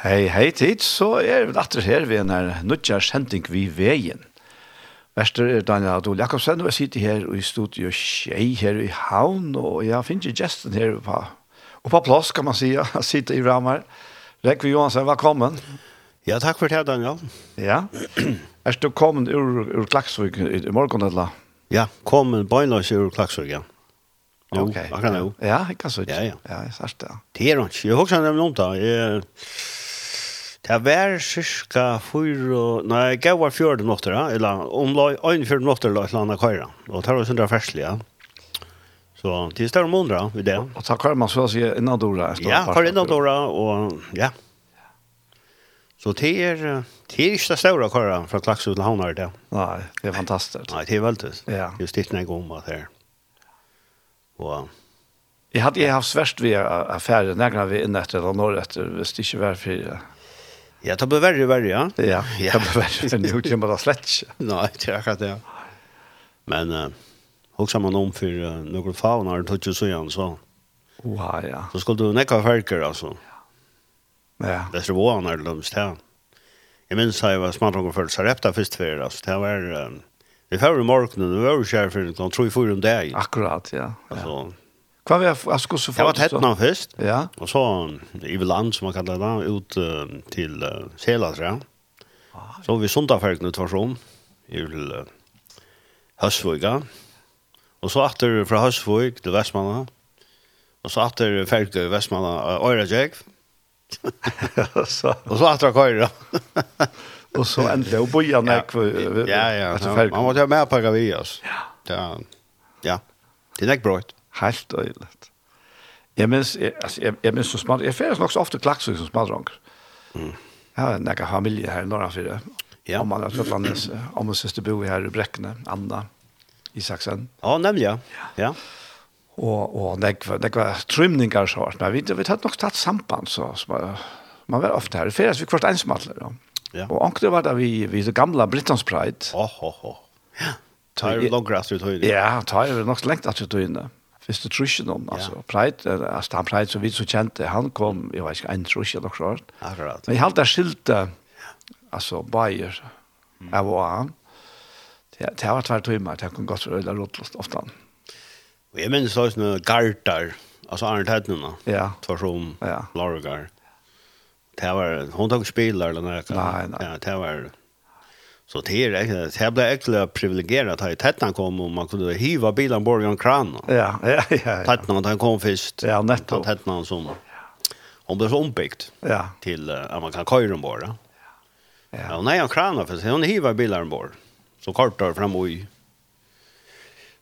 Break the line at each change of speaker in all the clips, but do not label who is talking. Hei, hei tid, så er vi atter her ved en her nødja sending vi veien. Vester er Daniel Adol Jakobsen, og jeg sitter her i studio Kjei her i Havn, og jeg finner ikke gesten her på, og på plass, kan man si, jeg sitter i rammer. Rekve Johansen, velkommen.
Ja, takk for det, Daniel.
Ja. Er du kommet ur, ur Klaksvik i, i morgen, eller?
Ja, kom en bøgnløs ur Klaksvig, ja. Jo,
Ok.
akkurat nå.
Ja, jeg kan så ikke.
Ja, ja.
Ja, jeg sier det.
Det er ikke. Jeg husker nemlig om det. Jeg, det er- var cirka fyra, nei, jeg gav var fjørde notter, ja, eller om la, øyne fjørde notter la et eller annet køyre. Og det var sånn der ferslig, ja. Så det er større måneder, ja, ved det.
Og så kører man så å si innan dora. jeg står
Ja,
på-
har innan dåra, og ja. Så det er, det er ikke det større køyre fra Klaksvig til Havnar, det.
Nei, det er fantastisk.
Nei, det er veldig.
Ja.
Just det när jag går med här. Och
Jeg hadde jeg haft svært ved affæren, nærmere vi inn etter eller norr etter, hvis det ikke var for...
jag tar blir värre och värre, ja.
Ja, det
Ja.
var verre enn det kommer da slett ikke.
Nej, det är akkurat det. Men eh också man om för uh, några faunar tog ju så igen så.
Oha, ja.
Så skulle du näka färker alltså.
Ja,
Det skulle vara när det lumst här. Jag minns att jag var smart och följt så räpta först för det. Alltså, det var... eh, vi får i morgonen, vi var ju kär för de tror ju fyra om det.
akkurat, ja. Ah, ja.
Alltså,
Hva var jeg, jeg skulle så
jag var
få
tätt någon först.
Ja,
Och så eh, i land som man kallar det ut eh, till uh, Selasra. Så har vi Sundafärgen tvärsom i uh, Hösvöga. Och så åter från Hösvög till Västmanna. Och så åter färgen till Västmanna uh, Öyrajäk.
så,
Och så åter Kajra.
og så endte jeg å bo igjen jeg
Ja, ja.
etter
ja. Man
fergen.
måste ha med på Gavias. Ja. Ja. Det är näck bra.
Helt øyelig. Jeg minns, jeg, altså, jeg, jeg minns så smart, jeg ferdes nok så ofte klaksøy som smadronger. Jeg har en nekka familie her i Norrafire.
Mm. Ja.
Ja. Om man har slått landet, om min søster bor her i Brekkene, Anna Isaksen.
Ja, nämligen. Ja.
og og det var det var trymningar så vart men vi vi hade nog tagit samband så så var- man var ofta här för vi kvart ensmattlar då.
Ja.
Och ankte var där vi vi så gamla Brittons Pride.
Åh, åh, åh. Ja. Tar du långgräs ut höjden?
Ja, er tar ju nog längt att du inne. Första trusjen om alltså Pride eh, alltså han Pride så vi så kände han kom jag vet inte en trusje och så.
Akkurat.
Men jag hade skilta alltså Bayer. Jag var han. Det det har varit två timmar, det kan gått så ölla rotlast ofta.
Og jeg minns det var sånne garter, altså Arne Tednena,
Ja.
Tvarsson,
Ja.
Largar. Det var, hun tok spiller den her.
Nei, nei.
Ja, det var, så det er ikke, det ble egentlig privilegeret her. Tednena kom, og man kunne hiva bilen bort i en kran.
Ja, ja, ja. ja.
Tednena, den kom først.
Ja, nettopp.
Tednena som, hon ble så ombyggt
Ja.
til eh, at man kan køyre den bort.
Ja.
Ja, nei, han kranar för sig. Hon hivar bilar ombord. Så kortar fram och i.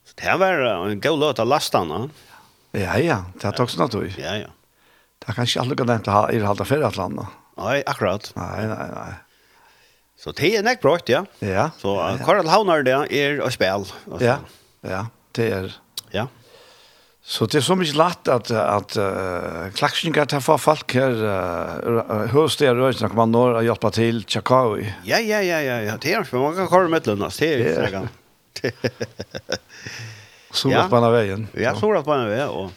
Så det här var eh, en god låt av lastarna.
Ja, ja, det har tagit snart då.
Ja, ja.
Det er kanskje alle kan nevnt å ha i det halda ferie at landa.
Nej, akkurat.
Nei, nei, nei.
Så det är näck bra, ja.
Ja,
Så eh, Karl Havnar det er är och spel. Alltså,
ja, ja, det er...
Ja.
Så det er så mye latt at, at uh, klaksninger til å få folk her, uh, høst det røysen, kan man nå hjelpe til Tjakawi.
Ja, ja, ja, ja, ja. Det er är för man kan köra med lönas. Det er
Ja.
är säkert.
Så
Ja.
ja. man av veien.
Jag såg det på en väg och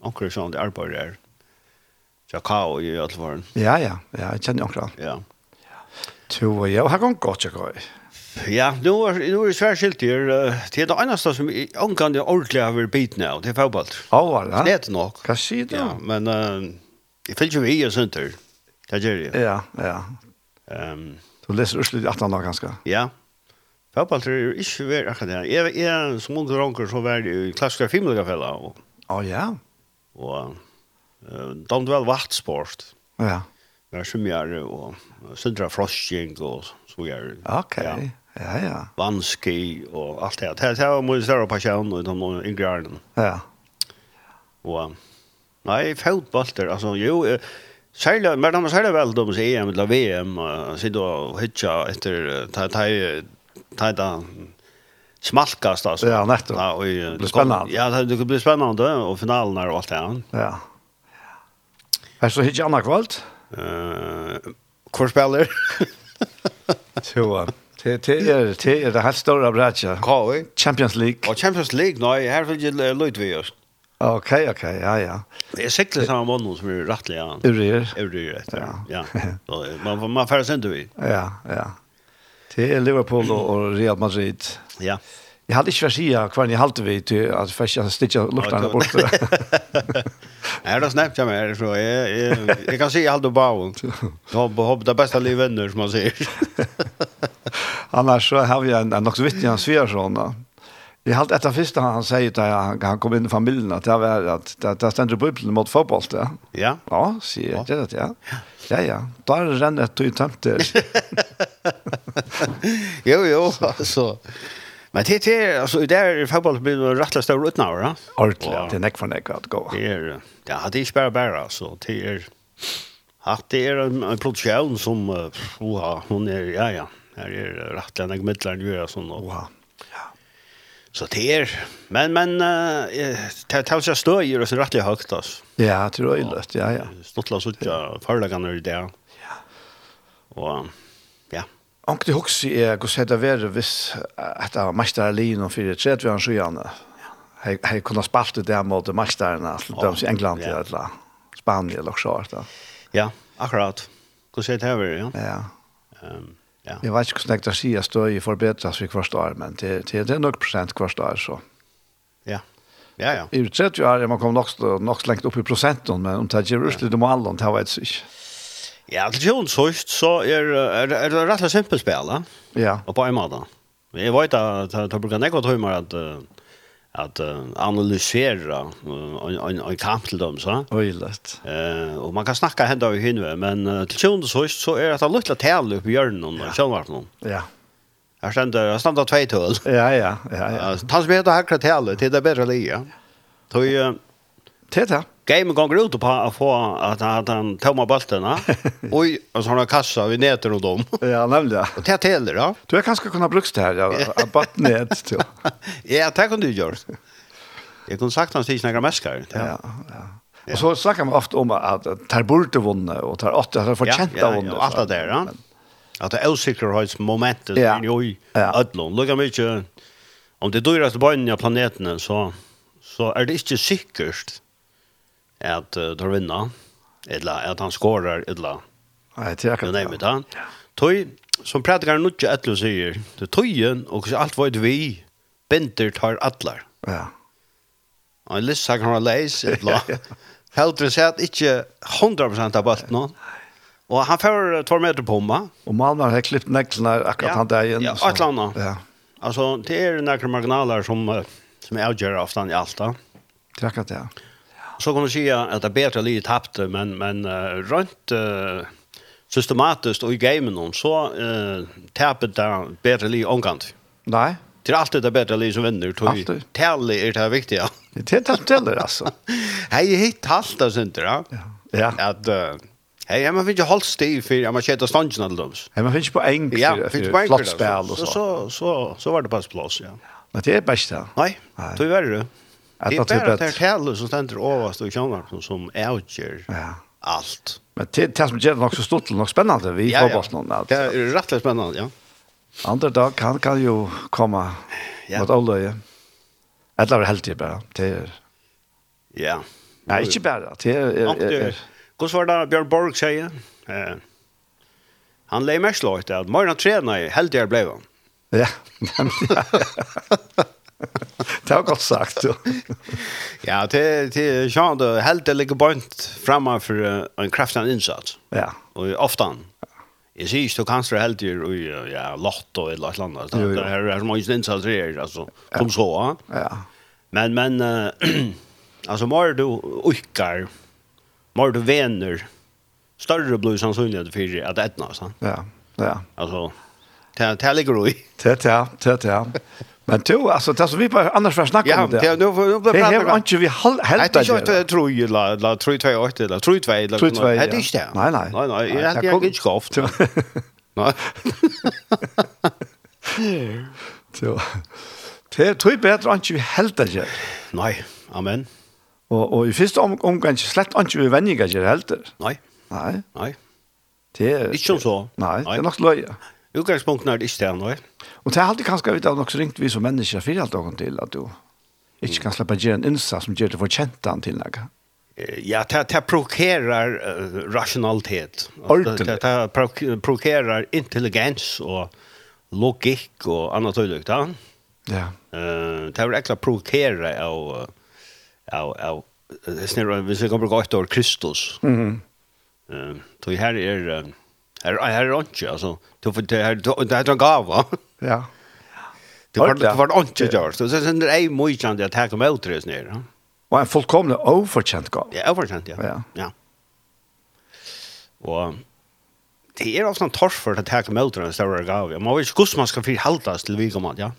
onkel Sean det arbetar där. Jakao i Göteborg.
Ja, ja, ja, jeg kjenner jo akkurat.
Ja.
To og jeg, og her kan godt Tjakawi.
Ja, nu är nu är er det svär skilt här. Det är det enda som ankan det ordentligt har varit bit nu. Det er är fotboll.
Å, var
Det
det?
är det nog.
Hva sier du?
Ja, men eh det finns ju vi är sånt där. Det gör det.
Ja, ja.
Ehm
Du leser Ørsli i 18 dager ganske.
ja. er Fotboll är inte väl akkurat det. Jag är som ung dronker så var det i klassiska filmliga och
Å, ja.
och eh de väl vaktsport.
Ja,
Där som jag och söndra frosting och så gör.
ok.
er. Ja.
Ja, ja.
Vanski och allt det. här. Det här var mycket större passion och de yngre åren.
Ja,
Og nei, fotbollter, altså jo, eh, særlig, men de er særlig vel de som EM eller VM, eh, sitter og hitja etter eh, ta ta ta ta smalkast altså.
Ja, nettopp.
Ja, og, eh,
Det blir spennende.
Ja, det det blir spennende og finalen her og alt det her.
ja. Er så hitt Janna kvalt?
Eh, hvor spiller?
Tjoa. Det det är er, det är det här stora brätcha.
Koi.
Champions League.
eh, Og Champions League, nei, her vil jeg Ludvig just.
Ok, ok, ja, ja. er.
Jeg sikler samme måned som er rettelig, ja.
Urier.
Øvrig etter,
Ja.
ja. Så, Man, man færre sender vi.
Ja, ja. Til Liverpool og, og Real Madrid.
Ja.
Jeg hadde ikke vært siden hver jeg halte vi til at jeg ikke stikker luktene
Ja,
bort.
Her har snabbt jeg med, er så jeg, jeg, jeg kan si alt og bauen. Håper håp det beste liv venner, som man sier.
Annars så har vi en, en nok så vittig han svigersson. da. Jeg halte etter første han sier da han, han kom inn i familien, at det var at det, det stender i Bibelen mot fotboll, ja.
Ja.
Ja, sier jeg, det er det, ja. Ja, ja. Da er det rennet du tømter.
Jo, jo, altså. Men det det er, altså, i det er fotball blir det rettelig større utnaver, ja.
Ordentlig, ja. Det er nekk for nekk at gå.
Det er, ja, det er ikke bare bare, altså. Det er, at det er en, en produksjon som, uh, oha, hun er, ja, ja. Her er rettelig enn jeg midler enn gjør, sånn, og
Wow.
Så det er, men, men, uh, det er ikke støy, det er så rettelig høyt, altså.
Ja, til røyløst, ja, ja.
Stottla suttja förlagarna i det. Och ja.
Ankti hoksi er gos heita veru viss at av meistare lin og fyrir tret vi han sjøyane. Hei, hei kunna spalte det mot meisterna, til døms i England
ja.
eller Spanien eller så. da.
Ja, akkurat. Hur ser det här ut? Ja.
Ja.
Ehm ja.
Jeg vet ikke hvordan jeg kan si at støy forbedres vi hvert år, men det, det, det er nok prosent hvert år, så.
Ja. Ja ja.
I 30 år er man kommet nok, så- nok så lengt opp i prosenten, men om det ikke er utslitt om alle, det vet jeg ikke.
Ja, det är ju så så är är är det rätt simpelt spel, va?
Ja,
Och på en måte. Vi vet att att det brukar något hur att eh, att eh, analysera eh, en en en kamp till dem så.
øylet.
Eh och man kan snacka hända i hinve, men eh, till sjön så så är det att lilla täl upp i hjörnan och sjönvarpen.
Ja,
Här ständer, här ständer två tull.
ja, ja, ja, ja.
Ja, han som heter Hakra Tjall, det är bättre liga. Då är
Det er det.
game gånger ut på att få att att han tomma bollarna. Oj, och så har han kassa vi näter och dem.
Ja, nemlig. ja.
Och det täller då.
Du er kanskje kunnet brukt det her, ja, abatt ned til.
Ja, det kan du göra. Jag kunde sagt hans tids några mäskar.
Ja, ja. Och så snackar man ofta om att tar bort det vunna och tar åtta har förtjänta ja, vunna.
och allt det där. ja. Att det är osäkerhets momentet
Ja.
i oj.
Ja.
Ödlon, lugga mycket. Om det dyraste barnen av planeten så så är det inte säkert att uh, tar vinna eller att han skorar eller
Nej, det är
Jag
kan.
nämner det. Tøy, som prædikaren nutje etlo sier, det er tøyen og så alt veit vi, benter tar atlar.
Ja.
Og en lissa kan ha leis, etla. Heldre sett ikke 100% av bøtt nå. Og han får två meter på meg.
Och Malmö har klippt näcklarna akkurat
Ja.
han där igen.
Ja,
så-
ett land då.
Ja,
Altså, det er nærkere marginaler som, eh, som jeg avgjør ofte i alt da.
det kan det.
Så kan du si at det er bedre livet tappte, men, men uh, rundt uh, systematisk og i gamen nå, så uh, tappet det bedre livet omgant.
Nej,
Det er alltid det bedre livet som vinner, tror jeg.
Alltid.
Tally er det viktige.
det är inte heller alltså.
Hei, hitt halvt det synder, ja.
Ja.
At, uh, hei, jeg må finne holdt stiv for jeg må kjette stånden alle dem.
Ja, man finns på eng
Ja,
för-
finnes
för
på enkel.
flottspel och så.
Så, så, så, så var det pass plass, ja.
Men det är bäst det.
Nei,
Nei.
du er det.
At
Det
det
er
er
bare at
bedre.
det er tally som stender overast og kjønner som avgjør
Ja.
alt.
Men det det som gör det också stort och spännande vi får bort någon att
Det er rettelig spennende, ja.
andra dag kan kan ju komma
Ja.
mot Olle. Eller helt ju bara. Det är
Ja.
Nej, inte bara. er- Det är-
Og
är
det-
är-
Hvordan var det Bjørn Borg sier? Eh, han leier mest lov til at morgen trener jeg, heldigere ble han.
er- Ja. men- Det har godt sagt. jo.
Ja, er- til, til Sean, det helt det ligger bort framme for eh, en kraftig innsats.
Ja.
Og ofte han. Jeg sier ikke du kan stå helt i eh, ja, lotto eller et eller annet.
Jo, jo.
Det her er så mange innsatser her, altså, som så. Ja.
Ja.
Men, men, eh, altså, må du ukker, må du vener, er større blir sannsynlighet for at det etna, sant?
Ja. Ja. er
Altså, det det ligger du i.
Det ja, det ja. Men du, alltså det som vi bara annars var snacka
Ja, er
om det.
det nu nu
Det
pratar
har
vi.
inte vi hal-
Nej,
helt
det er är inte tror ju la la tror två åt eller tror två eller
Tror två,
Nej, det
ja.
är inte.
Nej, nej.
Nej, nej,
Nej,
jag
det er
hade jag
kom-
inte skaft. Nej.
Så. Det tror jag bättre inte vi helt det. gör.
Nej, amen.
Och och i första om omgång slett inte vi vänjer gör helt.
Nej,
Nej.
nej.
Det är
Inte som så.
Nej, det er
Nej.
är nog löje.
Utgångspunkten är er det inte nej.
Och det har alltid kanske vi då också ringt vi som människor för allt någon till att du Ikke kan slippe å gjøre en innsats som gjør det for kjent han til noe.
Eh, Ja, det, det provokerar eh, rationalitet.
Ordentligt.
Det, det prov- provokerar intelligens och logik och annat dylikt. Ja?
Ja,
Eh, det er vel ekkert provokere av, av, av eh, snarere, hvis vi kan bruke åtte år, Kristus.
Mhm.
Eh, Så her er, eh, her, her er ikke, altså, Du får- det her, det her er en gava.
ja.
Det var,
Ordentlig.
det var ikke gjørst. Så sen er jeg mye kjent at jeg kommer ut til det snarere.
Og en fullkomlig overkjent gav.
Det er overkjent, ja.
Ja.
ja. Og det er ofte en torf for at um jeg kommer ut til det større gava. Man vet ikke hvordan man skal forhaltes til vikommand, ja.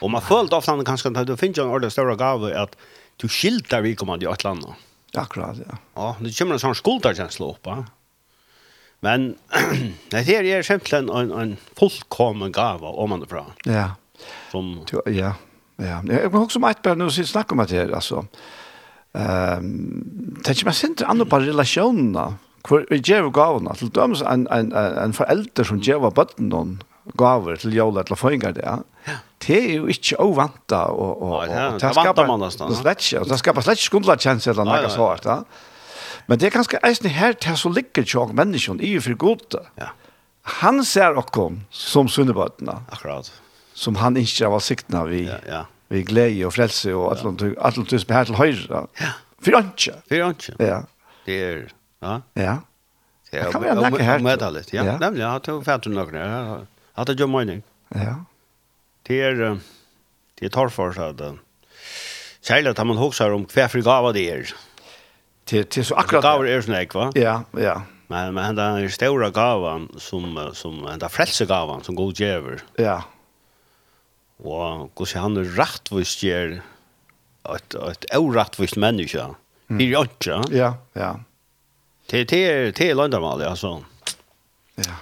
Og man følte ofte han kanskje at du finner en ordentlig større gave at du skilter vikommand i et eller annet.
Akkurat, ja.
Ja, det kommer en sånn skulderkjensle opp, ja. Men det her er simpelthen en, en fullkommen gave om man er fra.
Ja,
Som,
du, ja. Ja, jeg kan også mye bare nå sitte snakke om det her, altså. Um, tenker meg sindre andre på relasjonene, hvor vi gjør gavene, til dømes en, en, en en forelder som gjør bøtten noen gaver til jævla til å føynge det, ja. Det er jo ikke ovanta, og, og,
Nei,
og,
det-
og
det vantar man nesten,
Det slett ikke, og det skaper slett ikke skuldre kjensel eller
Nei,
noe
nei.
sånt, ja. Men det er ganske eisende her til så ligger tjokk menneskene i for gode.
ja,
Han ser okkom som sunnebøttene,
akkurat.
som han ikke har siktene vi,
Ja, ja.
vi glede og frelse og alt noe alt noe som er her til høyre.
Ja.
For ikke.
Det er ikke.
Ja,
Det er, ja.
ja.
Det er-
Det kan være noe her, tror jeg.
Møte litt, ja.
Ja.
Nemlig, jeg tror fætter noen. Jeg hadde jo mening.
Ja,
Det er, eh, det tar for seg at, eh, særlig at man hokser om hver fri gava det er.
til, til så akkurat
Gaver er sånn ikke, va?
Ja, ja,
Men, men den er større gavan som, eh, som den frelsegavan som god gjever.
ja,
Og hvordan han er rettvist gjer et, et orettvist menneske. Mm. Det er jo ikke. ja.
ja, ja,
Det det er, det er landamal, altså.
ja.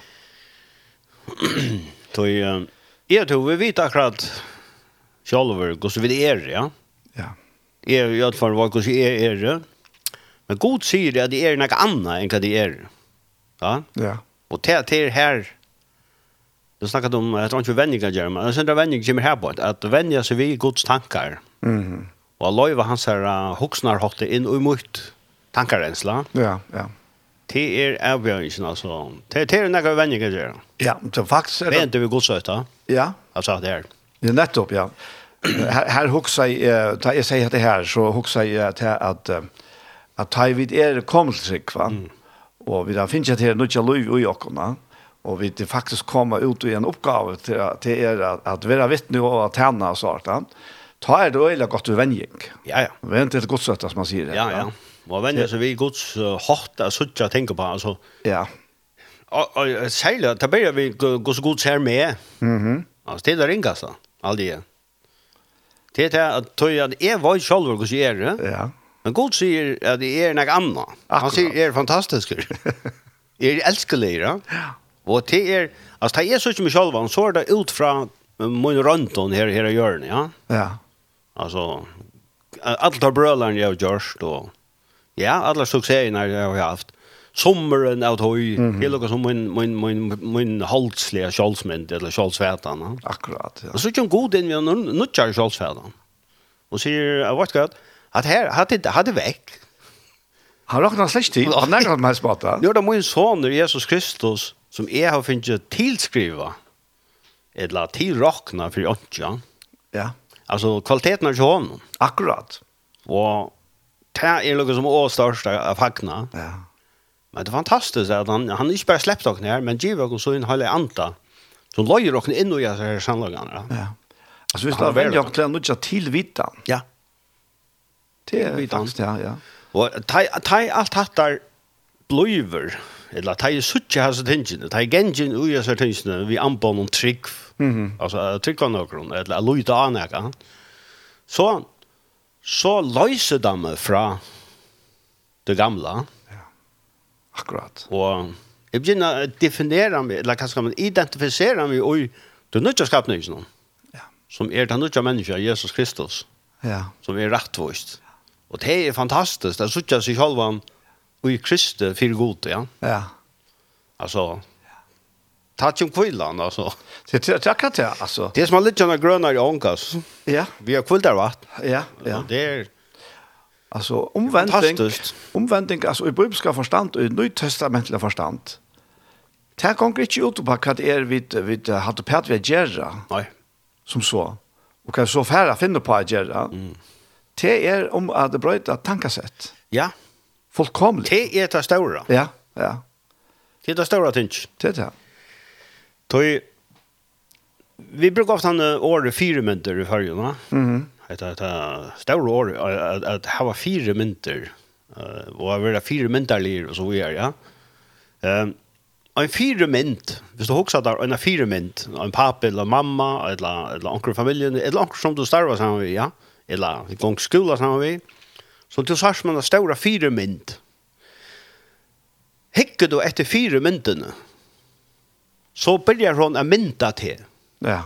Så eh, jeg tror vi vet akkurat sjálfur hvordan vi er, ja.
Ja,
Jeg i alle fall var hvordan jeg er. ja. Men god sier at det er noe annet enn hva det er. Ja?
ja,
Og til at det er her, du um snakket om, jeg tror ikke vendinga gjør, men jeg synes at vendinga kommer her på, at vendinga seg vi i gods tankar,
mhm,
og at løyva hans her uh, hoksnarhotte inn og imot tankarensla,
ja, ja.
det er avgjørelsen, altså. Det det er noe vendinga gjør.
Ja, så faktisk er
Det er
det,
ikke vi gods øyta,
ja,
altså det er.
det er nettopp, ja. Her, her hoksa jeg, eh, da jeg sier det her, så hoksa jeg til at, eh, at ta vid er kommelsikk, va?
Mm.
Og vi da finnes jeg til nødja lov i åkona, og vi til faktisk kommer ut i en oppgave til, til er at, at være vittne og at tjene og sånt, ja. Ta er det øyla godt uvenjeng.
Ja, ja.
Vent er til godsøtta, som man sier.
Ja, ja. Og vendinga seg vi i gods uh, hotte, suttja tenker på, altså.
Ja,
Og, og særlig, da blir vi gods gods her med,
mhm,
Altså, det er det ringeste, alle det. Det er det at tøy at jeg var selv hos jeg er, eh?
ja,
men God sier at jeg er noe annet. Han
Akkurat.
sier jeg er fantastisk. jeg er elskelig, ja. Og det er, altså, det er så ikke meg selv, han så er det ut fra eh, min røntgen her, her i hjørnet, ja.
ja,
Altså, alle tar brølerne jeg har gjort, og ja, alle suksessene jeg har haft. Sommeren av tøy, det er noe som min, min, min, min holdslige kjoldsmynd, eller kjoldsvetan, ja.
akkurat, ja.
Og så kom god inn med en nutjar kjolsfæden. Og sier, jeg vet godt, at her, hadde det hadde vekk.
Han råkna slett tid, han er ikke med spata.
Nå er det min soner, Jesus Kristus, som jeg har finnet tilskriva, eller tilrakna for åndsja.
Ja,
Altså, kvaliteten er ikke hånden.
akkurat,
Og det er noe som er størst av fagna.
ja,
Men det er fantastisk at han, han ikke bare slipper dere her, men giver dere så en hele anta, som løyer dere inn og gjør seg her sannlagene. Ja.
ja. Altså, hvis
Han
du har
er
venjeng
veldig-
til å nødja til vitan,
ja.
Det er
Vitan.
faktisk, ja, ja.
Og tai tai alt hattar bløyver, eller tai suttje hans tingene, tai gengen ui hans tingene, vi anbån om trygg, altså tryggva nokron, eller loida anega, så, så løyse dem fra det gamla,
Akkurat.
og jeg begynner å definere meg, eller hva skal man identifisere meg ui det nødja skapningen,
Ja.
som er den nødja menneska, Jesus Kristus
Ja,
som er rettvist. Og det er fantastisk. Det er sånn seg selv og i Kristi fire gode, ja.
ja,
Altså, Tatt om kvillan, altså. er
Det är tack att jag alltså.
Det som har lite sånne grønner i ångas.
Ja,
Vi har kvillar vatt.
ja, ja.
Det er
Alltså omvändning.
Fantastiskt.
Omvändning alltså i bibliska förstand och i nytestamentliga förstand. Det här går inte ut på vad det är vid vid hade pert vi gärra
Nei.
som så. Och kan så färra finna på att gärra. Det är om att det bröta tankasätt.
Ja,
Fullkomligt.
det er det større.
Ja, ja.
Det er det større tynsk.
Det är det.
Tøy, vi brukar ofta en år fyra mynter i färgerna. Mm. Det är stora år att, att ha fyra mynter. Uh, och att vara fyra mynterlir och så vidare, ja. Um, en fyra mynt, hvis du husker der, en fyra mynt, en pappa eller mamma, eller, eller onker i familien, eller onker som du starver sammen med, ja, eller gong skola sammen med, så du sars man en stora fyra mynt. Hikker du etter fyra myntene, så börjar hon att mynta till.
Ja.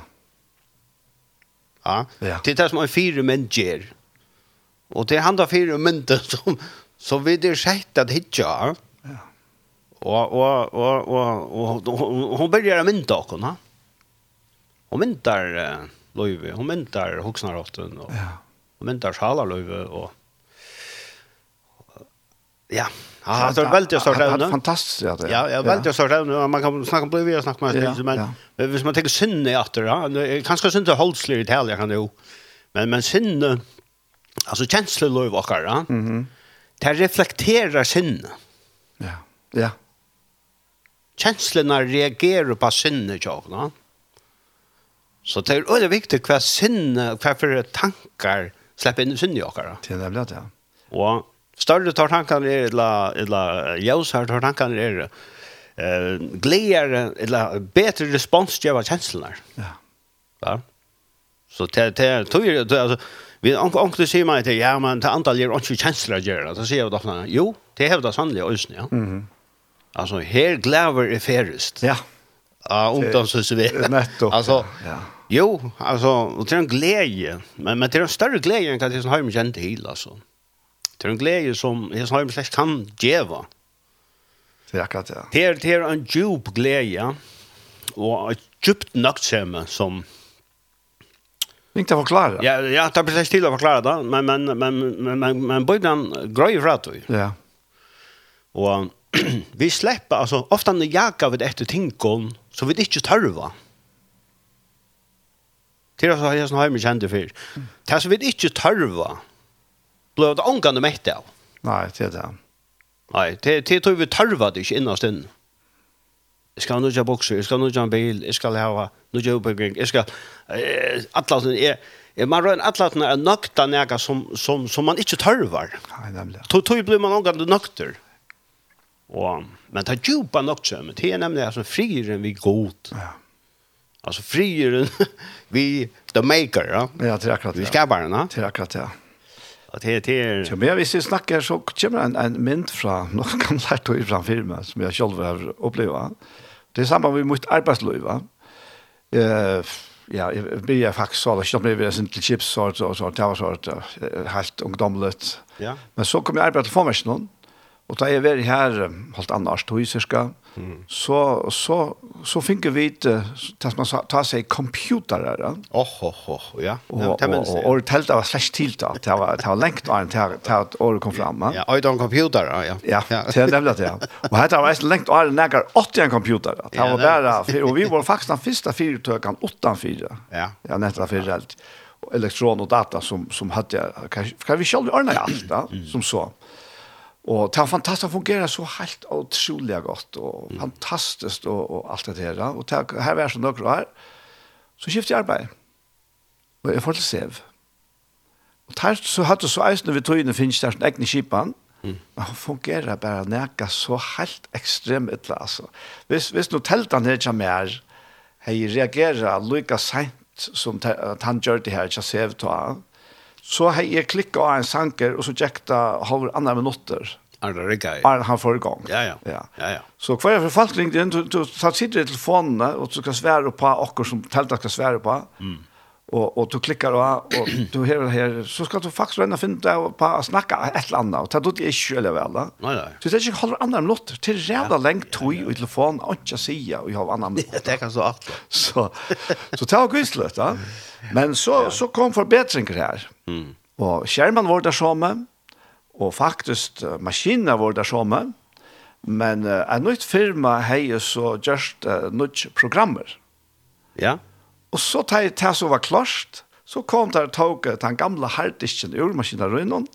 Ja.
Ja.
Det är det som en fyra mynt ger. Och det är han där fyra mynten som, som er vi det sett att hitta. Ja. Och, och, och, och, och, och hon börjar mynta och hon. Hon myntar eh, Löjve, hon myntar Hoxnarotten och
Ja.
hon myntar Sjalarlöjve och Ja, ja
Han-
Ah, er det är väldigt stort
han- han-
ämne.
Fantastiskt ja det.
Ja, ja, väldigt stort ämne. Man kan snacka om Blöjve och snacka om
Ja,
det, men
ja.
men hvis man tänker sinne efter, ja, eh, kanske synne holdslig i tal, jag kan jo, men, men sinne, alltså känslolöv och ja,
Mhm.
det reflekterar sinne.
Ja. Ja.
Känslorna reagerar på sinne, jag, ja. Så det er är väldigt viktigt vad sinne, vad för tankar släpper in i sinne, jag, ja.
Det är nämligen det. ja.
Og større tar tankene er, eh, eller, eller ljøsere tar tankene er, eh, gleder, eller bedre respons til av kjenslene.
Ja.
Ja. Så det det tror jag det alltså vi onkel onkel säger mig att ja men er det antal ger onkel chancellor ger det så säger jag då jo det hävdar sannolikt ösn ja. Mhm. Alltså här gläver är färrest.
Ja.
Ja, ungdomshus vi.
Nettopp,
Alltså
ja.
Jo, alltså och det är en glädje, men men det är en större glädje än kan det som har mig känt till alltså. Det är en glädje som det som har mig slash kan geva.
Det är akkurat det.
Det är det är en djup glädje och ett djupt naktsämme som
Inte förklara.
Ja, ja, det er precis til å forklare det, men, men, men, men, men, men Bibelen grøy fra det.
Ja.
Og vi slipper, altså, ofte når jager vi etter tingene, så vi ikke tørver. Til oss har jeg sånn hjemme kjent det før. Det som vi ikke tørver, blir det ångende mett av.
Nej, det är det.
Nei, det det tror vi tørva det ikke innast inn. Jeg skal ha nødja bokser, jeg skal ha nødja en bil, jeg skal ha nødja oppbygging, jeg skal... Eh, atlaten er... er man røyner atlaten er nøkta nega som, som, som man ikke tørvar.
Nej, nämligen.
Tog tog blir man ångande nøkter. Og, men det er djupa nøktsømme, det er nemlig altså frieren vi god.
Ja.
Altså frieren vi the maker, ja.
Ja, det är akkurat
Vi
det.
skaparen, ja.
Det är akkurat det.
Og det det
Ja,
er...
men jag visste snacka så kommer en en mynd från någon kan lärt då ifrån filmen som jag själv har upplevt. Det är samma med mitt arbetsliv va. Eh ja, jag blir jag faktiskt så där jag blev sen till chips så så så där så där helt ungdomligt.
Ja.
Men så kom jag arbeta till formationen och då är vi här eh, helt annars då iska. Så så så finner vi det att man sa- tar sig computerar. Ja?
Åh, åh, åh, ja. Ja,
Och
det minns
och
jeg.
och tälta var slash tilltalt. Det var det var längt an till att år kom fram. va?
Ja, och en computer, ja.
Ja, det er nemlig det, ja. Og dette var nesten lengt å ha nægger 80 en computer. Det
Ja,
var
det er
bare, og vi var faktisk den første fyrtøkken, 8-4.
Ja.
Ja, nettopp fyrir alt. Og Elektron og data som, som hadde, kan, kan vi selv ordne alt da,
Mm.
som så. Og det var fantastisk, det fungerer så helt utrolig godt, og
Mm.
fantastisk og, og alt det her. Og det, her var jeg som dere her, så skiftet jeg arbeid. Og jeg får til sev. Og der så hadde så eisen vi tog inn og finnes der sin egne kipan,
Mm.
men hun fungerer bare nækka så helt ekstrem ytla, altså. Hvis, hvis nå teltan her ikke mer, hei reagerer lykka sent som te- at han gjør det her, ikke sev ta, så hei jeg klikka av en sanker, og så tjekta halver andre minutter,
Arda Rikka. Ja,
bare han får i gang.
ja. Ja,
ja.
ja.
Så hver er for folk ringte inn, du, du tar sitter i telefonene, og du skal svære på akkur som teltet skal svære på. Mm. och och du klickar och och du hör här så ska du faktiskt ändå finna det och bara snacka ett eller annat och ta då det är ju eller väl.
Nei, nei.
Så det er är ju håller andra lott till rädda längt tog och telefon och inte säga och jag har annan
Det kan så alt.
så så ta och gyslet va. Men så så kom förbättringar här.
Mm.
Och skärmen var där samma och faktiskt eh, maskinerna var där samma. Men uh, en nytt firma hejer så just uh, nytt programmer.
Ja.
Og så tar jeg det som var klart, så kom eh, der toget den gamle harddisken ur maskinarøynen,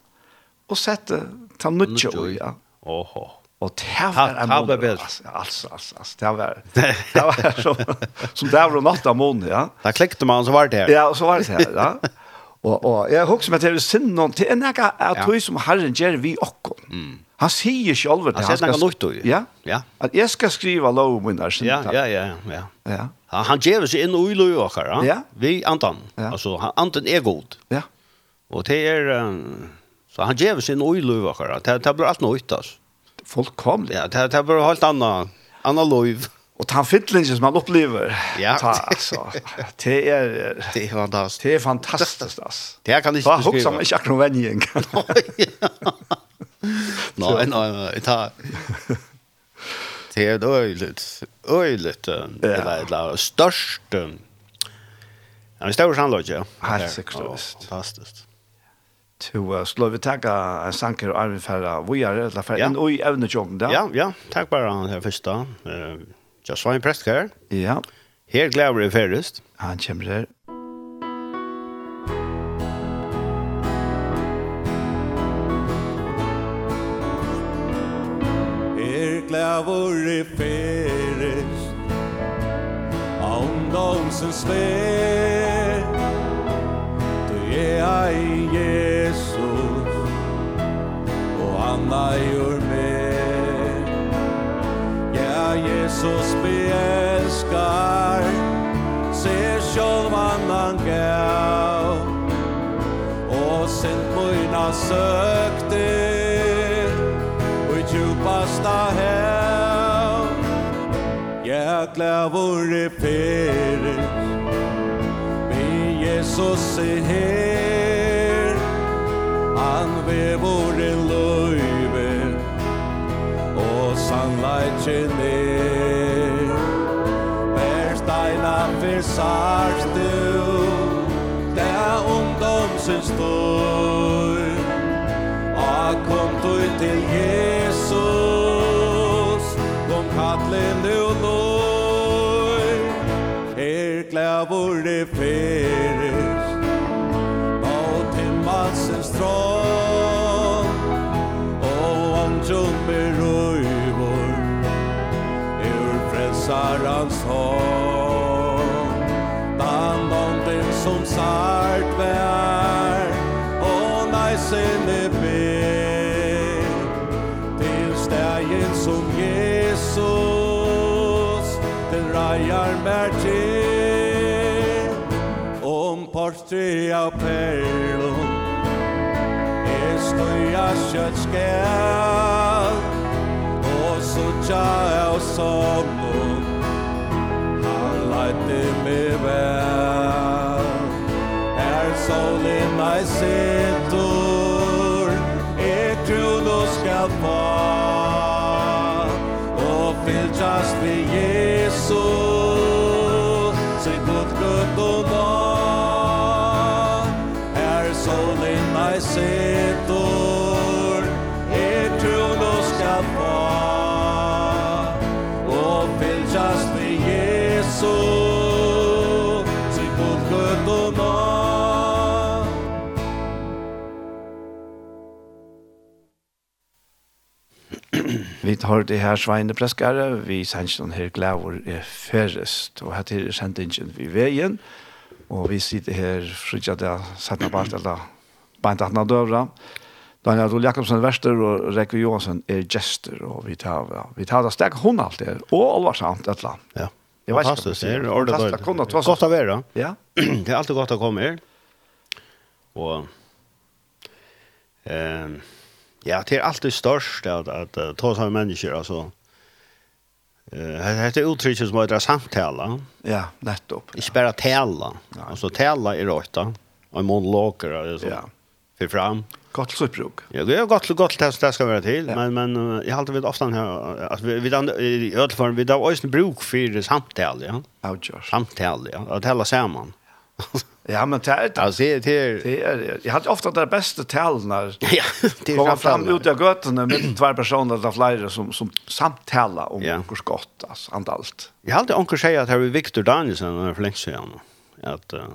og sette den nødje
Nudge ui.
ui, ja.
Åhå.
Og det
Ta-
var en
ta ble
måned,
bedre.
altså, altså, altså, altså, det var, det var som, som det var natt av måned, ja.
Da klikte man, så var det her.
Ja, og så var det det, ja. Og, og jeg husker meg til å sinne noen til en er ega av
Ja. Mm.
tog som Herren gjør vi okken. Han sier selv det.
Han sier noe nytt ui.
Ja,
Ja.
at jeg skal skrive lov om min her
Ja,
sinne.
ja, ja, ja.
ja.
Ja, Han gjør seg inn og ui løy okkar, ja.
Ja.
Vi, Anton.
Ja.
Altså, han- Anton er god.
Ja,
Og det er... eh, Så han gjør seg inn og ui løy okkar. Det det blir alt nytt, altså.
fullkomlig.
Ja, det det blir helt anna, anna løy.
Og ta fytlingen som man opplever.
Ja.
Ta, altså, det er,
Det er fantastisk.
det er fantastisk, ass.
Det kan
Ta
ikke
hoksa meg
beskrive.
ikke akkurat vending.
Nei, nei, nei, ta. Det er øyligt, øyligt, eh, eller, eller størst, eh, ja, en stor sannløyde, ja.
Helt
Det er,
sikkert,
ja,
visst.
Fantastisk.
Så uh, skulle vi takke en sanker og arven for å gjøre, eller for
Ja.
en ui evne tjong da.
Ja, ja, takk bare han her første. Eh, Jeg var en prest her.
Ja,
Her er glæver jeg ferdigst.
han kommer her.
Er klævor i ferest Åndomsens vær Du er ei Jesus Og han eier mer Ja, Jesus beelskar Ser sjálvan han gav Og sent moina søkte Og i djupasta hev Jeg klæver i ferie Med Jesus i her Han vever i løyve Og sannleitjen er Hver steina fyrsars du Det er ungdomsens tøy A kom du til Jesus Kom kattlen du nøy Her klævor det feres Nå til matsens tråd Og om tjummer røyvor Ur frelsarans hånd Dan om den som sart vær Og neisene ber Til stegen som Jesus Den reier mer til Om portre av perlon Er støya kjøttskall Og suttja av somnon Han leite meg vel Er solen ei setor Er trun og skal fa Og fylgjast ved Jesus Sitt godt gøtt og nå Er solen ei setor Er trun og skal fa Og fylgjast ved Jesus Jesus, sig på sköttorna.
Vi tar det her Sveine Preskare, vi sender den her glæver er ferest, og her er til sendingen vi veien, og vi sitter her frutja det sattna part, eller beint atna døvra. Daniel Adol Jakobsen er verster, og Rekve Johansen er gester, og vi tar, ja, vi tar det stek hun alt det, og alvarsamt et eller annet.
Ja.
Jeg vet ikke hva
Fantastisk.
du
Det
sier.
er ordentlig.
Fantastisk å kunne ta oss-
Godt å være.
Ja,
det er alltid godt å komme her. Og ehm, eh ja, det er alltid størst at, at, eh, ta seg av mennesker, altså. Hetta er uttrykkið som heter samtala.
Ja, nettopp.
Ikke bare tala. Altså tala er åtta. Og en monolog er så.
Ja.
För fram.
Godt supprok.
Ja, det är gott gott test det ska vara till,
Ja.
men men eh, jag har alltid vid ofta här att vi vi dan- i ödlform vi då ösn bruk för samtal, ja.
Outjust.
Samtal, ja. Att hela samman.
Ja, men det er det.
Alltså det är
Det är, jag hade ofta det bästa talen
ja, det är
Komma fram
samtal.
ut av götterna med två personer eller flera som, som samtalar om
Ja.
yeah. hur skott, alltså, allt allt.
Jag har alltid onkel säger att här är Victor Danielsen er för länge sedan att eh,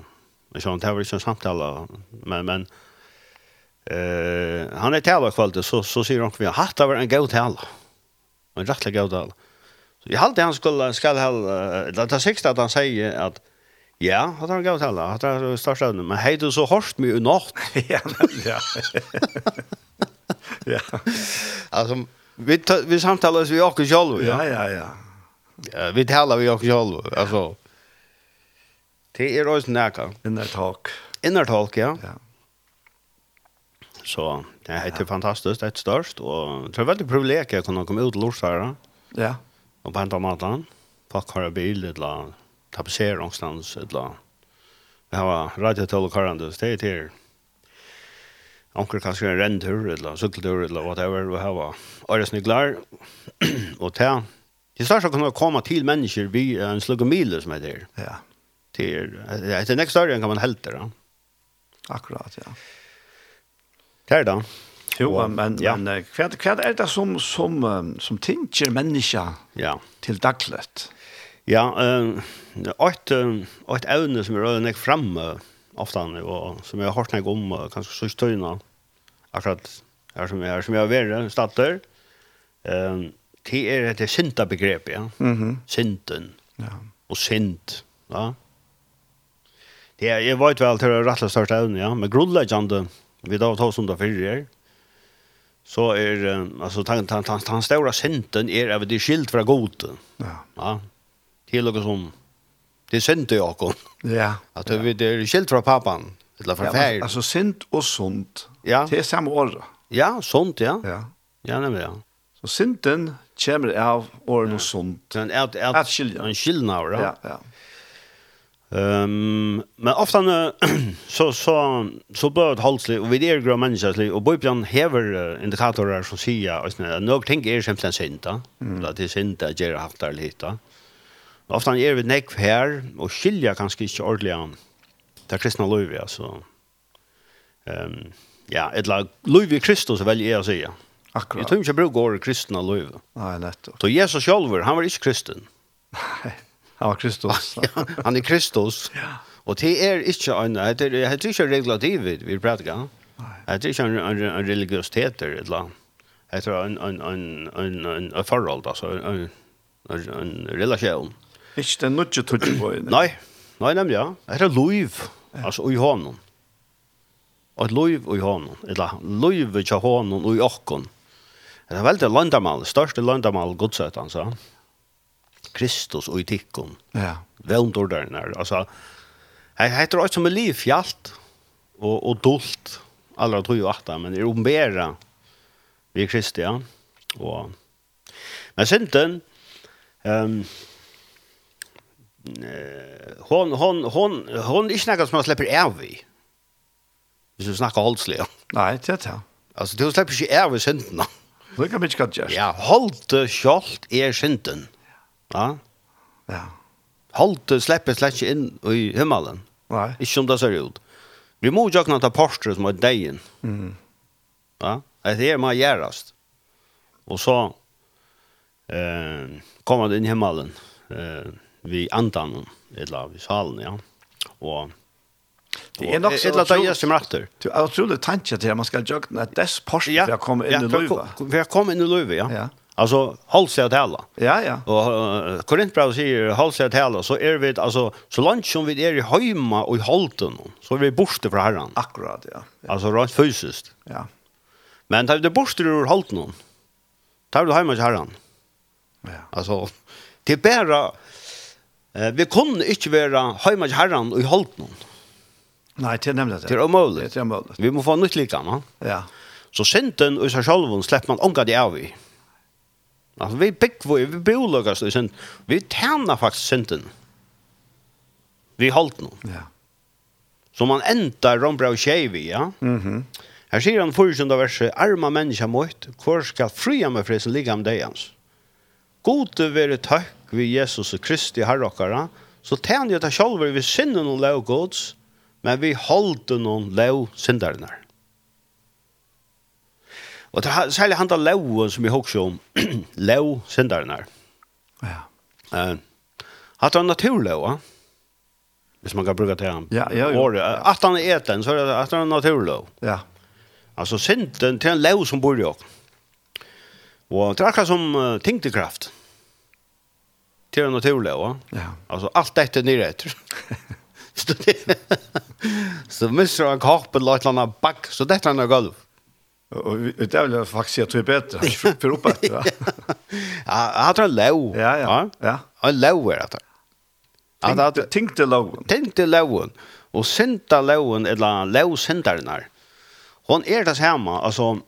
jag sa inte här var liksom samtal men men eh han är tävlar kvällt så så säger onkel vi har haft över en god tal. En rättlig god tal. Så jag hade han skulle skall ha eh, det det sista att han säger att ja, har han god tal, har han största ämne, men hej du så hårt mig i natt.
ja, men- ja. ja,
Alltså vi ta- vi samtalar vi också själva.
ja, ja, ja.
Eh, Vi talar vi också själva. Alltså Det er är också näka.
Inner talk.
Innertalk, ja.
Ja.
Så det är helt fantastiskt, det är störst och jag tror det är väldigt privilegium att kunna komma ut och lorsa här
Ja.
och på andra maten. Folk har en bil eller tapetserar någonstans eller vi har radiotol och karande, så det er är till Onkel kanske en renntur eller cykeltur eller whatever vi har öresnyglar och det Det er är störst att kunna komma till människor vid en slugomile som heter.
Ja.
Det är, det er är nästa större än kan man hälta. då.
Akkurat, ja.
Det är det.
Jo,
Og-
men,
ja.
men eh, hva, hva er det som, som, eh, som tinker mennesker
Ja.
til daglet?
Ja, eh åt åt ävne som rör nek fram eh, ofta nu och som jag har hört nek om eh, kanske så stöna. Akkurat här som jag som jag är statter. Ehm det är det synda begrepp, ja. Mhm. Synden
Ja.
och synd, ja. er, Det är jag vet väl till det rätta största ävne, ja, men grundläggande vi då tar som då förr så är eh, alltså tan tan tan, tan stora synden är över det skilt från goden.
Ja.
Ja. Till och som det synte Jakob
Ja.
att du vet det är skilt från pappan eller från
Ja,
fär.
men, alltså sunt och sunt.
Ja.
Det är samma år.
Ja, sånt ja.
Ja.
Ja, nämligen. Ja.
Så synten kommer av åren och sunt.
Den är är
Att skilja.
En skillnad,
Ja,
ja.
ja.
Ehm, men ofta när så så så bör det hålls och vi är grå människor och Bibeln häver eh, indikatorer som säger att när något ting är simpelt synd, ja. Att det är synd att göra haft där lite. eh. Ofta är vi näck här och skilja kanske inte ordentligt. Det kristna livet alltså. Ehm ja, ett lag Louis Kristus väl är att säga. Jag
Akkurat.
tror inte jag brukar ordet kristna livet.
Nej, nettopp.
Så Jesus själv, han var inte kristen.
Han var Kristus.
Ja, han är Kristus. Och det är inte en det är det är inte regulativt vi pratar. Det är inte en, en, en religiositet eller det är en en en en en en förhåll alltså en en, en relation.
Ikke den nødje tøtje på henne.
Nej. Nej nämligen. ja. Det är liv. Alltså i honom. Och ett liv i honom. Eller liv i honom och i okkon. Det är väldigt landamal, största landamal godset alltså. Kristus och i tikkon
Ja.
vevndordarnar. Alltså, hei heter det som er liv fjallt og, og dolt allra tog jo atta, men er ombera vi Kristi, ja. Og, men synden, um, hon, hon, hon, hon er ikke nekka som man slipper av i. Hvis du snakker holdslig, ja.
Nei, det er det.
Altså, du slipper ikke av i synden, da.
Det kan vi ikke godt gjøre.
Ja, holdt sjalt er synden. Ja,
Ja.
holdt slipper slett ikke inn i himmelen.
Nei.
Ikke som det ser ut. Vi må jo ikke ta parster som er deien.
Mm.
Ja? Det er man gjøres. Og så eh, kommer det inn i himmelen. Eh, vi andan, eller vi salen, ja. Og,
Det er nok så
så utrolig. Det
utrolig-
er som retter.
Det er utrolig tanke til at man skal gjøre den at dess posten for å komme inn i løyva.
For jeg kom inn i løyve, ja.
Ja.
Altså, hold seg til alle.
Ja, ja.
Og uh, Korintbrevet sier, hold seg til alle, så er vi, altså, så langt som vi er i høyma og i holden, så er vi borte fra herren.
Akkurat, ja.
Altså, rent fysiskt.
Ja.
Men tar du det bort ur halt någon. Tar du hemma till herran.
Ja.
Alltså det är bara eh, vi kunde inte vara hemma till herran och i halt någon.
Nei, det er nemlig det.
Det är omöjligt.
Det er mulig.
Vi måste få nytt lika man.
Ja.
Så synden och sig själv släpper man ånga det av i. Alltså vi pick vi vi bolagas och sen vi tärnar faktiskt synden. Vi hållt nu.
Ja.
Så man ändar Rombra och Chevi, ja.
Mhm.
Här ser han försunda verset, arma människa mot, kvar ska fria med frisen ligga om dig hans. Gode vere takk vi Jesus og Kristi herrokkara, så tæn jeg ta sjálver vi synden og lov gods, men vi holde noen lov syndarinnar. Og det er særlig handa loven som vi hokser om, lov syndarinnar.
Ja.
Uh, at han naturlova, er hvis man kan bruka det her
Ja, ja, jo.
året, at han er eten, så er det at han er naturlov.
Ja.
Alltså synden till en lov som bor i oss. Och det är akkurat som uh, tyngdekraft. Till en eh? naturlov. va?
Ja.
Alltså allt detta är nyrätt. er så det, så missar han karpen eller ett eller annat back. Så detta är en golv.
Och vi- det er vill jag faktiskt säga att det är bättre. För upp att, va?
Ja, han tar er en lov.
Ja, ja. er Ja.
En lov är det. Ja, det
Tänkte
är
tänkte loven.
tyngde loven. Och synda loven eller lovsyndaren här. Hon är det samma. Alltså,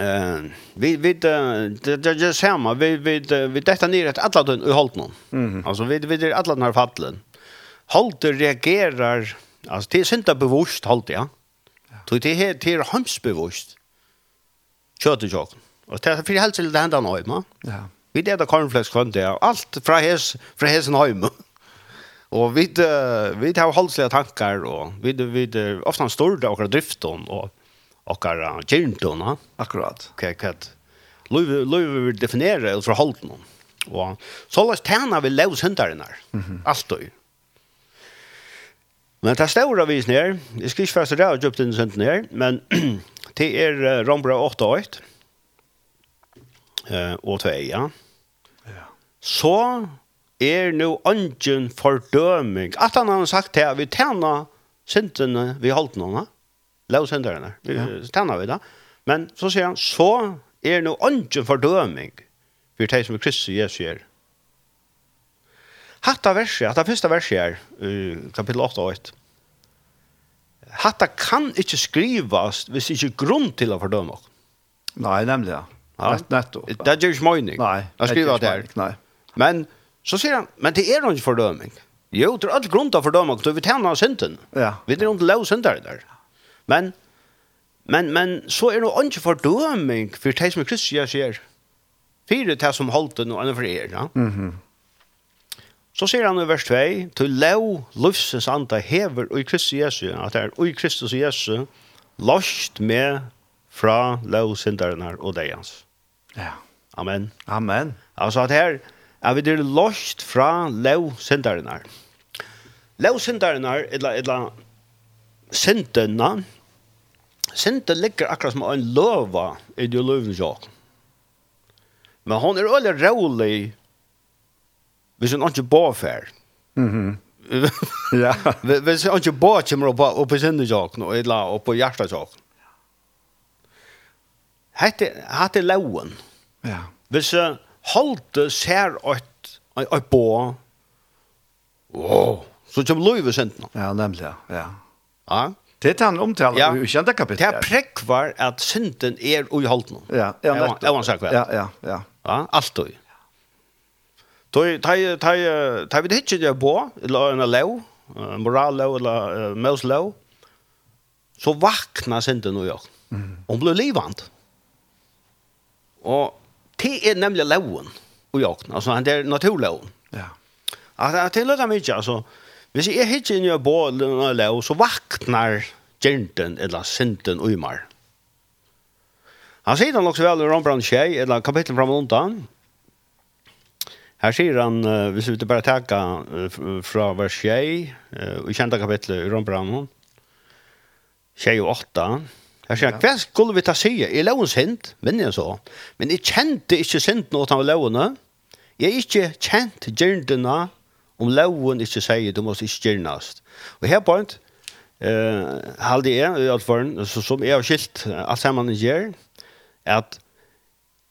Eh, vi vi eh, det det är samma vi vi eh, vi detta ner att alla den i hållt någon. Alltså vi vi det alla den här fallen. Hållt reagerar alltså det er är inte bevisst hållt ja. Så det är det er är hemsbevisst. Kör det jag. Och det er, är för helt till det ända nu, va?
Ja.
Vi det där cornflakes kvann det allt från hes från hesen hem. Och vi eh, vi har hållsliga tankar och vi vi eh, ofta står det och drifton och och våra gyrnton, va?
Akkurat.
hva kat løyve løyve vil definere og forholde noen. Og så la oss tjene vi løs hunderne her. Alt og. Men det står av visen her. Jeg er, skal ikke fast det og kjøpt inn sønden her, men det er eh, Rombra 8 og 8. Eh, og 2, ja. Så er nu ønsken fordøming. At han har sagt til at vi tjener syndene vi holdt noen, va? Lov synderne. Vi ja. tjener vi da. Men så sier han, så er nu ønsken fordøming for de som er Kristus Jesu er. Hatta verset, hatta første verset her, uh, kapittel 8 og 8. Hatta kan ikke skrivas hvis det ikke er grunn til å fordømme oss.
Nej, nämligen.
Ja.
Ja. Rätt netto.
Det er ikke mening.
Nej.
Jeg skriver det her.
Nej.
Men så sier han, men det er jo ikke fordøming. Jo, det er alt grunn til fordøming, så vi tjener av synden.
Ja.
Vi er jo ikke lov syndere der. Men, men, men så er det jo ikke fordøming for det som er Kristus jeg sier. Fyre det som holdt det noe for er. Ja? Så sier han i vers 2, «Til lov livsens anda hever i Kristus Jesu, at det er i Kristus Jesu, lost med fra lov synderne og deg hans.»
Ja.
Amen.
Amen.
Alltså att här är vi det lost från lov syndarna. Lov syndarna eller eller syndarna. Synder ligger akkurat som en löva i det lövens jag. Men hon är öle rolig. Vi syns inte bara för.
Mhm. Ja.
Vi vi syns inte bara kommer upp upp i synden jag och eller upp på hjärtat jag. Hette hette loven.
Ja.
Hvis jeg holdt ser et, et, et bå, wow, så kommer løyve sent nå.
Ja, nämligen. Ja.
Ja?
Det är han omtalar
Ja.
ja. i kända
Det
kapitel.
er prekvar at synden er ui holdt nå.
Ja, ja,
Jeg var-
nettopp.
jeg var sagt vel.
Ja, ja, ja.
Ja, alt ui. Toi, tai, tai, tai vi det ikke det bå, eller en lov, eh, morallov, eller uh, mauslov, så vakna synden ui og. Hun ble livant. Og det er nemlig loven ui og, altså det er naturloven.
Ja.
Att att det låter mycket alltså. Hvis jag hittar in i bål eller lå så vaknar genten eller synden og ymar. Han sier han også vel i Rombrand 6, eller kapittel fram og undan. Her sier han, eh, hvis vi bare takka eh, f- fra vers 6, eh, i kjenta kapittel i Rombrand 6 og 8, her sier han, hva skulle vi ta sige? I lovens hint, vinner jeg så. Men jeg kjente ikke synden åt han av lovene. Jeg er ikke kjent gjerne om loven ikke sier, du måste ikke gjernast. Og her på en, eh, halde jeg, i alt fall, så, som jeg har skilt eh, alt sammen jeg gjør, at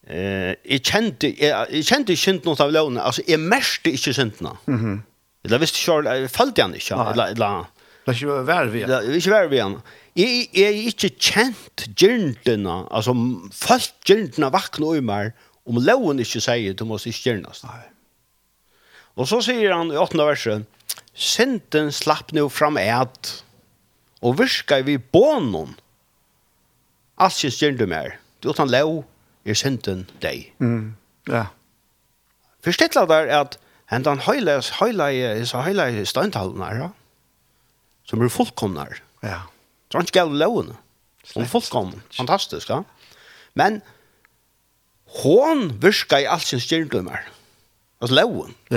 eh, jeg kjente, jeg, jeg kjente ikke synden åt av lovene, altså jeg merste ikke syndene. Mm -hmm. Eller hvis ikke, jeg følte han ikke,
Nei.
eller, eller
Det är ju värre
Ja, ikke være ved han. Jeg jeg er ikke kjent gjerne, altså folk gjerne vakna i meg, Om loven ikke sier, du måste ikke gjernast.
Nei.
Og så sier han i åttende verset, Sinten slapp nu fram et, og virka vi bånen. Alt ikke gjerne du mer. Du utan lov er sinten deg.
Mm. Ja.
Forstittla der at hentan høyla, høyla, så høyla støyntalene her, ja, som er fullkomne her.
Ja.
Så han ikke gav lovene. Hun er fullkomne. Fantastisk, ja. Men hon virka i alt sin styrndømmer. Altså loven.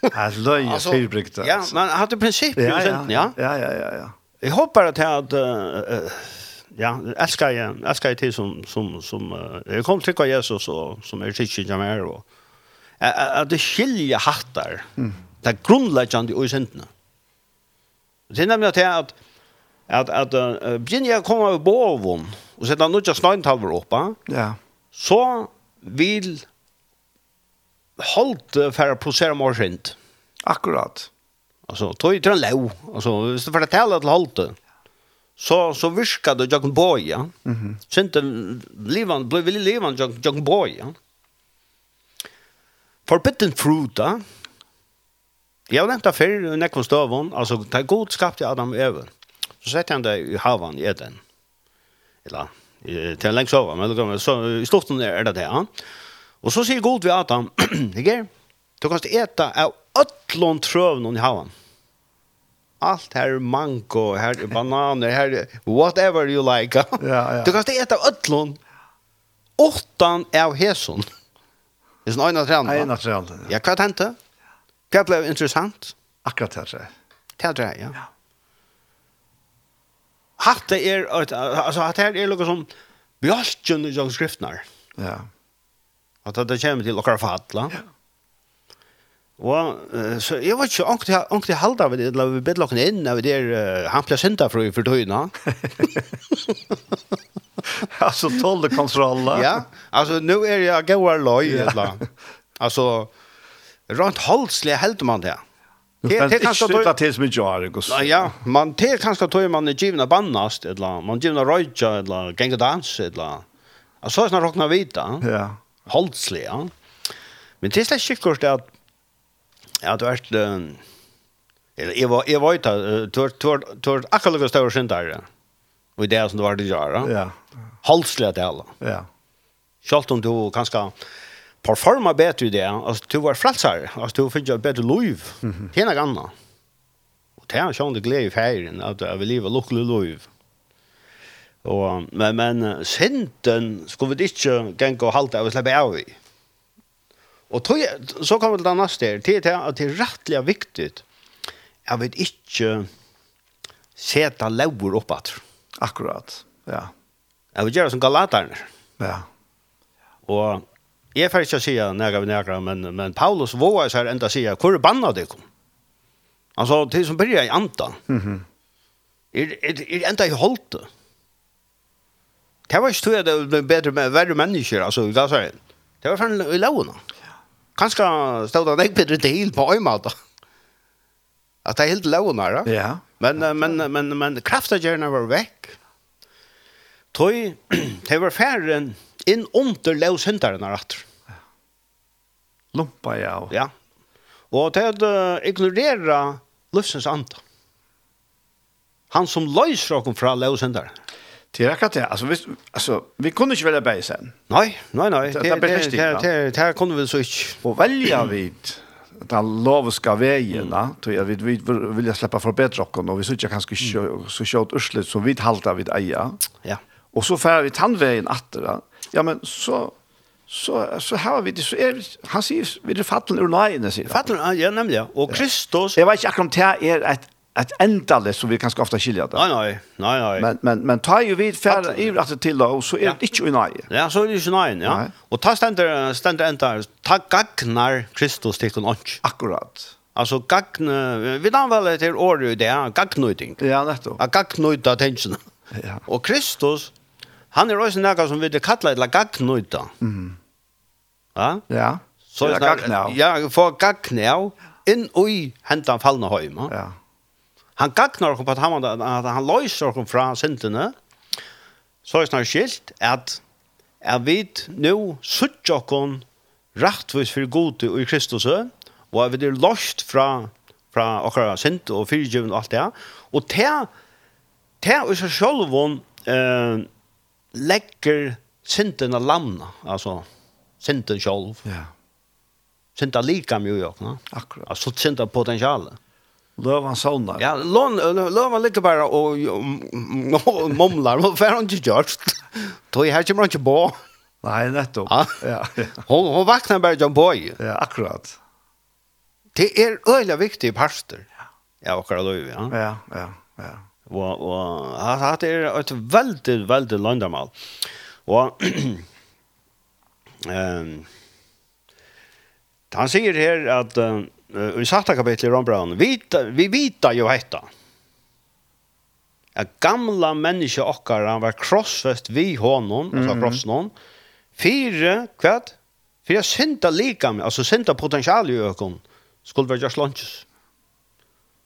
Ja. Altså løy og fyrbrygta.
Ja, men han hadde prinsipp i senten, ja.
Ja, ja, ja, ja.
Jeg håper at jeg hadde... eh, eh, Ja, elskar jeg, elskar jeg til som, som, som eh, jeg kom til å Jesus og som er sikkert ikke mer og eh, eh, at det skiljer hattar det er grunnleggjande i sentene det er nemlig at jeg at at, at eh, begynner jeg å komme over boven og sette han ikke snøyntalver oppa
Ja.
eh, så vil holdt for å prosere mer sint
Akkurat.
Alltså tog ju till lov. Alltså hvis du fortäller till Holte. Så så viskar det jag boy, ja. Mhm. Sente livan blev väl livan jag jag boy, ja. Forbidden fruit, ja. Jag har nämnt för när kom stövon, alltså ta god skapte Adam över. Så sätter han det i havan i Eden. Eller eh, till en längs över, men det kommer så i slutet är det det, er ja. Och så säger god vi Adam, "Iger, du kan äta av öllon trövnon i havan." Allt här är mango, här är bananer, här är whatever you like.
Ja, ja.
Du kan äta av öllon åttan av heson. Det är en annan trend. va?
Nei, naturlig. Ja.
Ja, hva tenkte? Hva ble interessant?
Akkurat det, tror jeg.
Det er det, ja. Hatt det er, altså, hatt det er noe som bjørstjen i sånne skriftene.
Ja.
At det kommer til dere fatla. Ja. Og, eh, så jeg vet ikke, ångte jeg, ångte jeg halda ved det, la vi bedde dere inn, av det er, eh, han ble synda fra i fortøyene.
Altså, tålde kontrolla.
Ja, altså, nå er jeg gauar løy, eller, altså, rent holdslig helder man det.
Det
Det,
er
det
ikke
kanskje tøy-
sluttet til som ikke har, ikke?
Ja, ja, man er te kanskje tog man i givna bannast, er eller man givna røyja, eller genga dans, eller... Og så er sånn råkna vita,
Ja.
holdslig, ja. Men det er slett sikkert at at du er eller jeg var, jeg var ute, eh, du var- du var du var akkurat lukka større syndare, og i det som du var til å gjøre,
Ja.
holdslig at det alle.
Ja.
Selv om du kanskje performer bedre i det, altså du var frelsare, altså du finner et bedre liv, det er noe annet. Og det er sånn det glede i ferien, at jeg vil leve lukkelig liv. Og, men, men synden skulle vi ikke gjenge og halte av å slippe av i. Og tog, så kommer det til det neste her, til det at det er rettelig viktig at vi ikke seta lover oppåt.
Akkurat. Ja.
Jeg vil gjøre som galaterne.
Ja.
Og jeg er får ikke si nega vi nega, men, men Paulus vågar seg enda si hvor er banna det kom? Altså, til som byrja i anta,
Mhm.
er, er, er enda i holdte. Det var ikke tog jeg det ble bedre med verre mennesker, altså, i gasar. Det var fan i launa. Kanskje stod han ikke bedre til på øymata. At det er helt launa, ja.
Ja.
Men eh, men men men kraftagerna var veck. Tøy, det var færren inn under løshundaren atter.
Lumpa, ja.
Ja. Og det at eh, ignorera lufsens anda. Han som løyser oss fra løshundaren.
Det er akkurat det. Altså, hvis, altså vi kunne ikke velge begge sen.
Nei, nei, nei.
Det-
Det,
det
det,
blir
det,
riktig,
det,
ja.
det, det her kunne vi så ikke.
Og velja vid den loviska veien, mm. tror jeg, vi, vi vilja sleppa forbedre oss, og vi synes ikke kanskje ikke så kjøtt urslet som vi halter vid eia.
Ja.
Og så færer vi tannveien atter. Ja, ja men så, så, så har vi det, så er, han sier, vi er fattelen ur nøyene, sier han.
Fattar du? Ja, nemlig. ja. Og Kristus...
Jeg vet ikke akkurat om det er et, et endelig som vi kanskje ofte skiljer det.
Nei, nei, nei, nei.
Men, men, men tar jo vi færer
Fattelen.
i rettet til da, og så er det ikke ur nøye.
Ja, så er det ikke nei, ja.
Nei.
Og ta stender, stender enda, her, ta gagnar Kristus til kun ånd.
Akkurat.
Alltså gagne, eh, vi tar väl ett år i det, gagnöjting.
Ja, nettopp.
Att gagnöjta attention.
Ja.
Och Kristus, han är också någon som vi kallar det gagnöjta. Mm. Ja?
Ja.
Så
det er gagne av.
Ja, för gagne av, in i hända fallna hem. Ja.
Ja.
Han gagnar oss på att han, er att han löser oss från synderna. Så är det snart skilt att er vi nå sutt okkon rettvis for gode i Kristus, og er vi er lost fra, fra okkara sint og fyrtjøven og alt det, og det, det er seg selv om eh, legger sinten av lamna, altså sinten selv,
Ja,
sinten lika mye i okkona,
akkurat.
altså sinten potensialet.
Løvan saunar.
Ja, lån lån var lika bara och mumlar och för hon inte gjort. Då är här kommer hon inte på.
Nei, nettopp.
Ja.
Ja,
Hon hon vaknar bara John Boy.
ja, akkurat.
Det är öliga viktiga pastor. Ja, och då ju, ja.
Ja, ja, ja.
Och och det är ett väldigt väldigt landamal. Och ehm Han säger här att uh, i satta kapitlet i Rombrand, vi, vi vita ju hetta. At gamla människa okkara var krossfest vi honom, mm. alltså krossen hon. Fyra, kvad? Fyra synda lika med, alltså synda potential i ökon, skulle vara just lunches.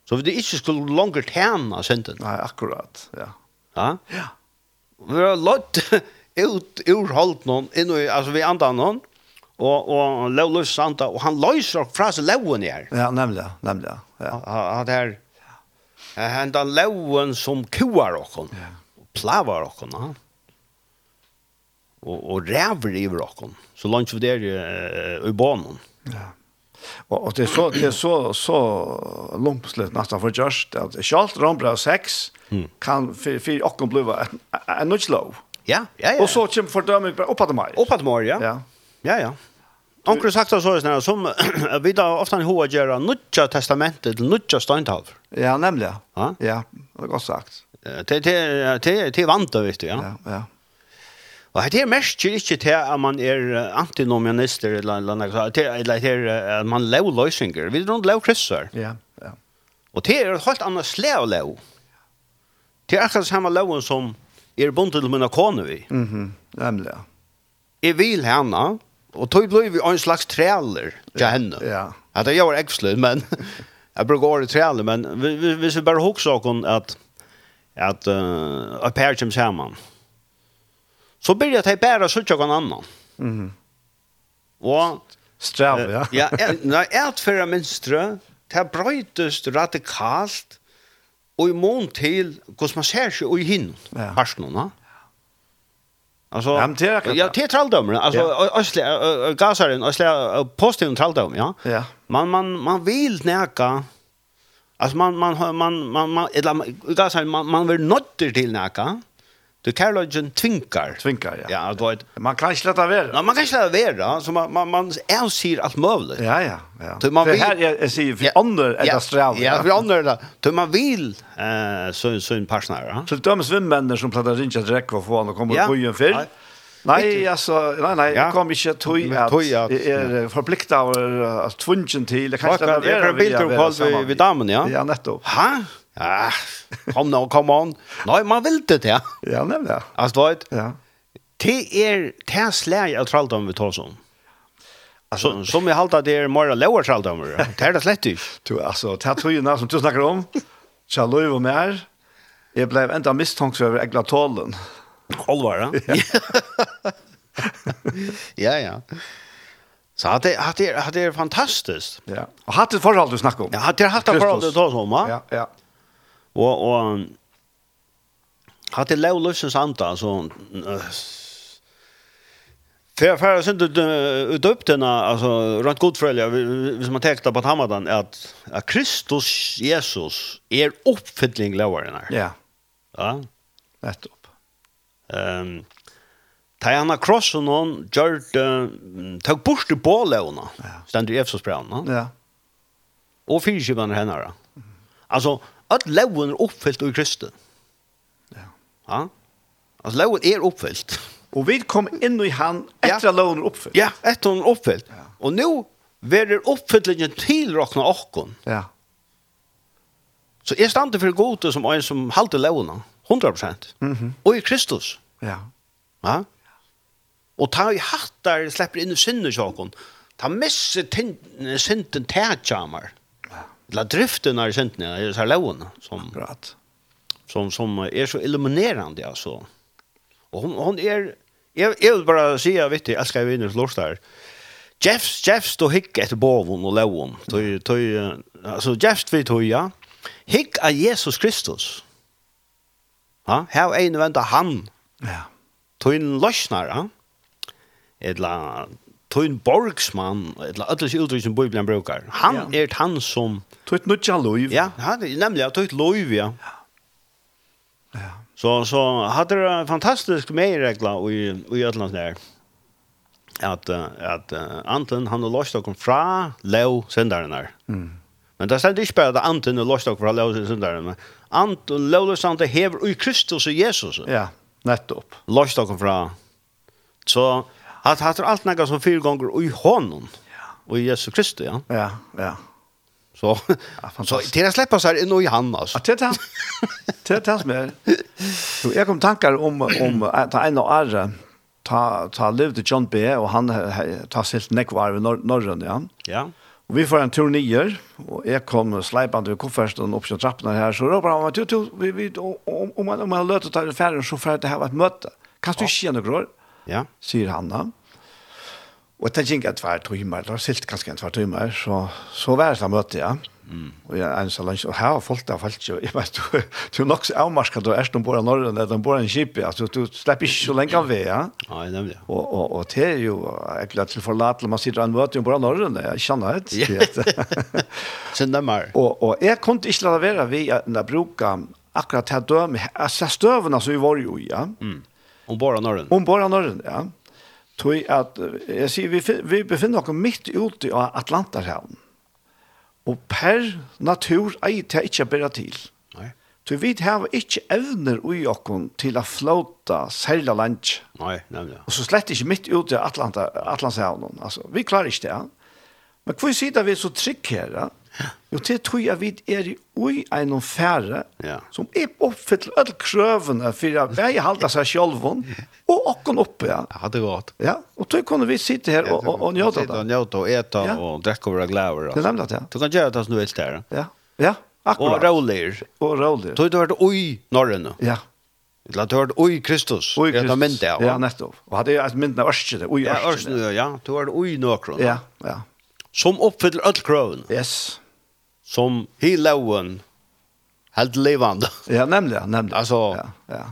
Så vi det inte skulle longer tjäna synden.
Nei, akkurat. Ja.
Ja?
Ja.
Vi har lått ut ur holdt noen, inn i, altså vi andan noen, og, og lov løs anda, og han løser fra seg loven her.
Ja, nemlig, nemlig. Ja.
Han er, han er loven som kuar okken, og plavar okken, ja. Og, og ræver i okken, så langt vi der eh, i banen.
Og, og det er så, det er så, så lumpsligt nesten for just, at ikke alt rombra 6
Mm.
kan for, for åkken bli en, en nødslov.
Ja, ja, ja.
Og så kommer fordømmet bare opp at meg.
Opp at morgen, ja.
Ja,
Ja, ja. Onkel sagt det så sånn, som vi da ofte har gjør nødja testamentet til nødja steintalver.
ja nemlig.
Ja.
Ja, det er godt sagt.
Eh, Det det det det vant vet du, ja.
Ja, ja.
Og det er mest ikke til at man er eh, antinomianister eller eller noe sånt. Det er- eller det er eh, at man lov løsinger. Vi rundt lov krysser.
Ja, ja.
Og det er et helt annet slag av lov. Det er akkurat samme loven som er bundet til mine kone vi.
Mhm, nemlig. ja.
Jeg vil henne, og tog blir vi en slags træler til henne.
Ja.
Att jag gör extra men jag brukar vara i trälle men vi vi vi ska bara huxa om att att uh, a pair chim samman. Så blir det att bara så tjock en annan.
Mhm.
Och
Strav, ja.
eh, ja, eh, nej ett för minstre det brötest radikalt och i mån till hur man ser sig och i hin.
Ja.
Harsnona. Alltså
Ja, men det är akkurat
ja,
det.
det är tralldömer. Alltså
Ja.
ösliga gasaren, ösliga positiv tralldömer, ja.
Ja.
Man man man vill näka. Alltså man man man man man eller gasaren man man vill nötter till näka. Du Carlogen tvinkar.
Tvinkar, ja.
Ja, då ett
Man kan ikke lette være.
Ja, man kan inte lära vara, så man man man avser allt möjligt.
Ja, ja, ja.
Du, man
det
vil-
her er, jeg sier, for andre er det strav.
Ja, för andra då. Då man vill eh så så en partner, ja.
Så det dømes vimmenner som pletter ikke at rekke for å få han og komme
Ja.
på byen før.
Nei.
Nei, altså, nei, nei,
Ja.
jeg kom ikke tøy
Men
at
tøy at-
jeg er forpliktet av eh, at tvungen til, jeg kan
Kanske
ikke lade
det är
være
en bild
være
på
sammen.
vid vid dammen, ja.
Ja, nettopp.
Ha? Ja, kom nå, kom on. Nei, man vil det, ja.
Ja, nemlig.
Altså, du vet,
Ja.
det er det slag av tralldom vi tar som. Altså, som jeg halte at det er mer lower tralldom, ja. det er det slett ikke.
Du, altså, det her tøyene som du snakker om, tja løyv og mer, jeg ble enda mistanks over egla tålen.
Olvar, ja. ja, ja. Så at det, at det, er- at det er fantastisk.
Ja. Og hatt et forhold du snakker om.
Ja, at det er hatt det forhold det
Kristus.
tar som, ja.
Ja, ja.
Og, er og hatt det lov løsens anta, så øh, for jeg færre synes eh, ut upp denne, altså rundt godfrølja, hvis man tekta på Hamadan, at, at Kristus Jesus er oppfylling loveren her.
Ja,
Ja.
nettopp.
Um, Ta han har krossen hon, gjør det, ta bort det på lovene, stendur i Efsos-brevene,
Ja,
og fyrkjøpene henne. Altså, at loven er oppfyllt i Kristus.
ja.
Ja. Alltså loven är er uppfyllt.
Og vi kom inn i han etter at loven er oppfyllt.
Ja, ett hon är uppfyllt. Och nu verður uppfyllingen tilrakna okkon.
Ja.
Så är stande för gode som en som halter lovna 100%. Mhm. och i Kristus.
Ja.
Ja. Och ta i hattar släpper in i synden okkon. Ta misse tin- synden tätjamar. La driften av synden är så lovna som
Akkurat.
er som som är så illuminerande alltså. Och hon hon är Jag jag vill bara säga vet du, jag ska vinna lust där. Jeffs Jeffs stod hick efter bovon och lån. Tog tog alltså eh, Jeffs vid tog ja. Hick av Jesus Kristus. Ja, här är en vänta han.
Ja.
Tog en lösnar, ja. Eller tog en borgsman, eller ödelse uttryck som Bibeln brukar. Han
Ja.
är ett han som,
Tog ett nutja loiv.
ja, han er är nämligen tog ett lov, ja.
Ja.
Så så hade det en fantastisk medregla i i Ötlands där. Att eh, att eh, Anton han har lost och fra Leo sändaren där. Mm. Men det stämde inte bara att Anton har lost och fra Leo sändaren. men Anton Leo sändaren hever i Kristus och Jesus.
Ja, nettopp.
Lost och fra. Så att hade det allt några som fyra gånger i honom. Och i Jesus Kristus, ja.
Ja, ja.
Så så
fantastiskt.
till att släppa så här in i han alltså.
Att det här. Det här som är. Jo, jag kom tankar om om att ta en och andra ta ta levde John B och han eh, ta silt nekvar i norr norrön ja.
Ja.
Og vi får en tur nyer, og jeg kom sleipende ved kofferten opp til trappene her, så råper han, «Tu, tu, vi, vi, om, om- om man, om man har løtt å ta den ferien, så får jeg det her vært møte. Kan du ikke gjøre noe grår?»
Ja.
sier han da. Og jeg tenker ikke at hver timer, det var silt ganske en hver timer, så, så var jeg til å møte, ja. Og jeg er en sånn, og her var folk der falt jo, jeg vet, du, du er nok så avmarsket, du er som bor i Norrland, eller bor i en kip, ja, du, du slipper ikke så lenge av ved, ja.
Ja, nämligen.
Og, og, og det er jo, jeg gleder til forlatelig, man sitter og en møte um jo bare Norrland, jeg kjenner det.
Ja.
det-
Sen där mer.
Og, og jeg kunne ikke la det være vi å bruke akkurat til døme, altså støvene som vi var jo i, ja.
Om bara norren.
Om bare norren, ja. Tog at, eh, jeg sier, vi, fin- vi befinner oss midt ute av Atlanterhavn. Og per natur er det ikke bare til.
Nej.
Tog vi har ikke evner i oss til å flåta særlig land.
Nej, nämligen.
Og så slett ikke midt ute av Atlanta, Atlantshavnen. Altså, vi klarer ikke det, ja. Men hvor sitter vi så trygg her, ja? Jo, til tror jeg vi er i ui en færre
Ja.
som er oppfyller alle krøvene for å være halda seg selv og åkken oppe, ja.
Ja, det går åt.
Ja, og då kunne vi sitte her og, og, og njøte
det.
det.
Njöta och äta
Ja.
och dricka våra gläver.
Det er nemlig det, ja.
Du kan göra det som du vill där.
Ja, ja
Och
akkurat.
roller.
Og rolig.
Då har er. du hört oj norren.
Ja,
Eller du har hört oj Kristus.
og i
Det
Kristus.
är
Ja,
Ja,
nettopp. Og hadde jeg mynden av Ørskjede, og i
Ja,
Ørskjede.
örsnu, ja. Du har oj nåkron.
Ja, ja.
Som uppfyller all krön.
Yes.
Som he lowen. Helt levande.
Ja, nemlig, nemlig.
Altså-
Ja, ja.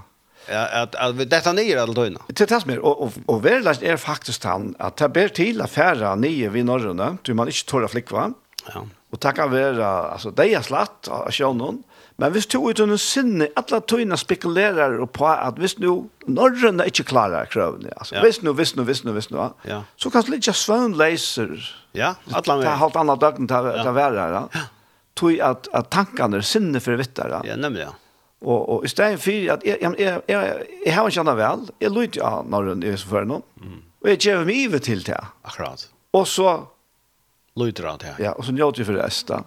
Ja, Att att vi- detta ner all døgnet.
Til det som er, og, og, og verlast er faktisk han, at det ber til affæra nye vid norrøne, du man ikke tåra flikva,
Ja.
og det kan være, altså, det er slatt av sjånen, men hvis du uten en sinne, alle tøyene spekulerer på at hvis nu norrøne ikke klarer krøvene, altså,
Ja.
hvis nu, hvis nu, hvis nu, hvis nu,
Ja.
så kan det ikke svøn leiser,
Ja, alla
det er
med.
halvt annet døgn til å være her, ja. Tui at, at tankene er sinne for vittere.
Ja, nämligen.
Og, og i stedet for at jeg, jeg, jeg, jeg, jeg har kjennet vel, jeg lytter jo av når hun er så for noen, og jeg gjør meg ivet til det.
Akkurat.
Og så,
Lyder allt här.
ja, og så njøter vi for resten.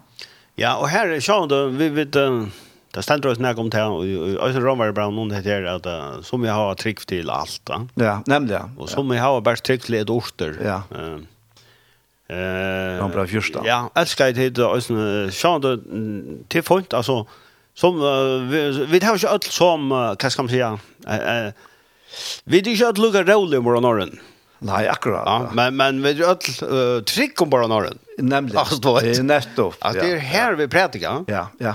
Ja, og her, sjån, det, vi vet, eh, det stender oss nek om det, og og- og så rammer det bra noen heter at eh, som vi har trygg til alt, da.
Ja, nemlig.
og som vi har bare trygg til et orster.
Ja.
Eh,
Rammer det først, da.
Ja, elsker jeg til det, og sånn, sjån, det, mm, til folk, altså, som, eh, vi, vi har ikke alt som, eh, hva skal man si, eh, eh, vi er ikke alt lukket rolig om våre norren,
Nei, akkurat.
ja, men, men vi er alt eh, trygg om våre norren.
Nemlig.
Altså, du vet.
Det er nettopp.
At det er her vi prætiker,
Ja, ja.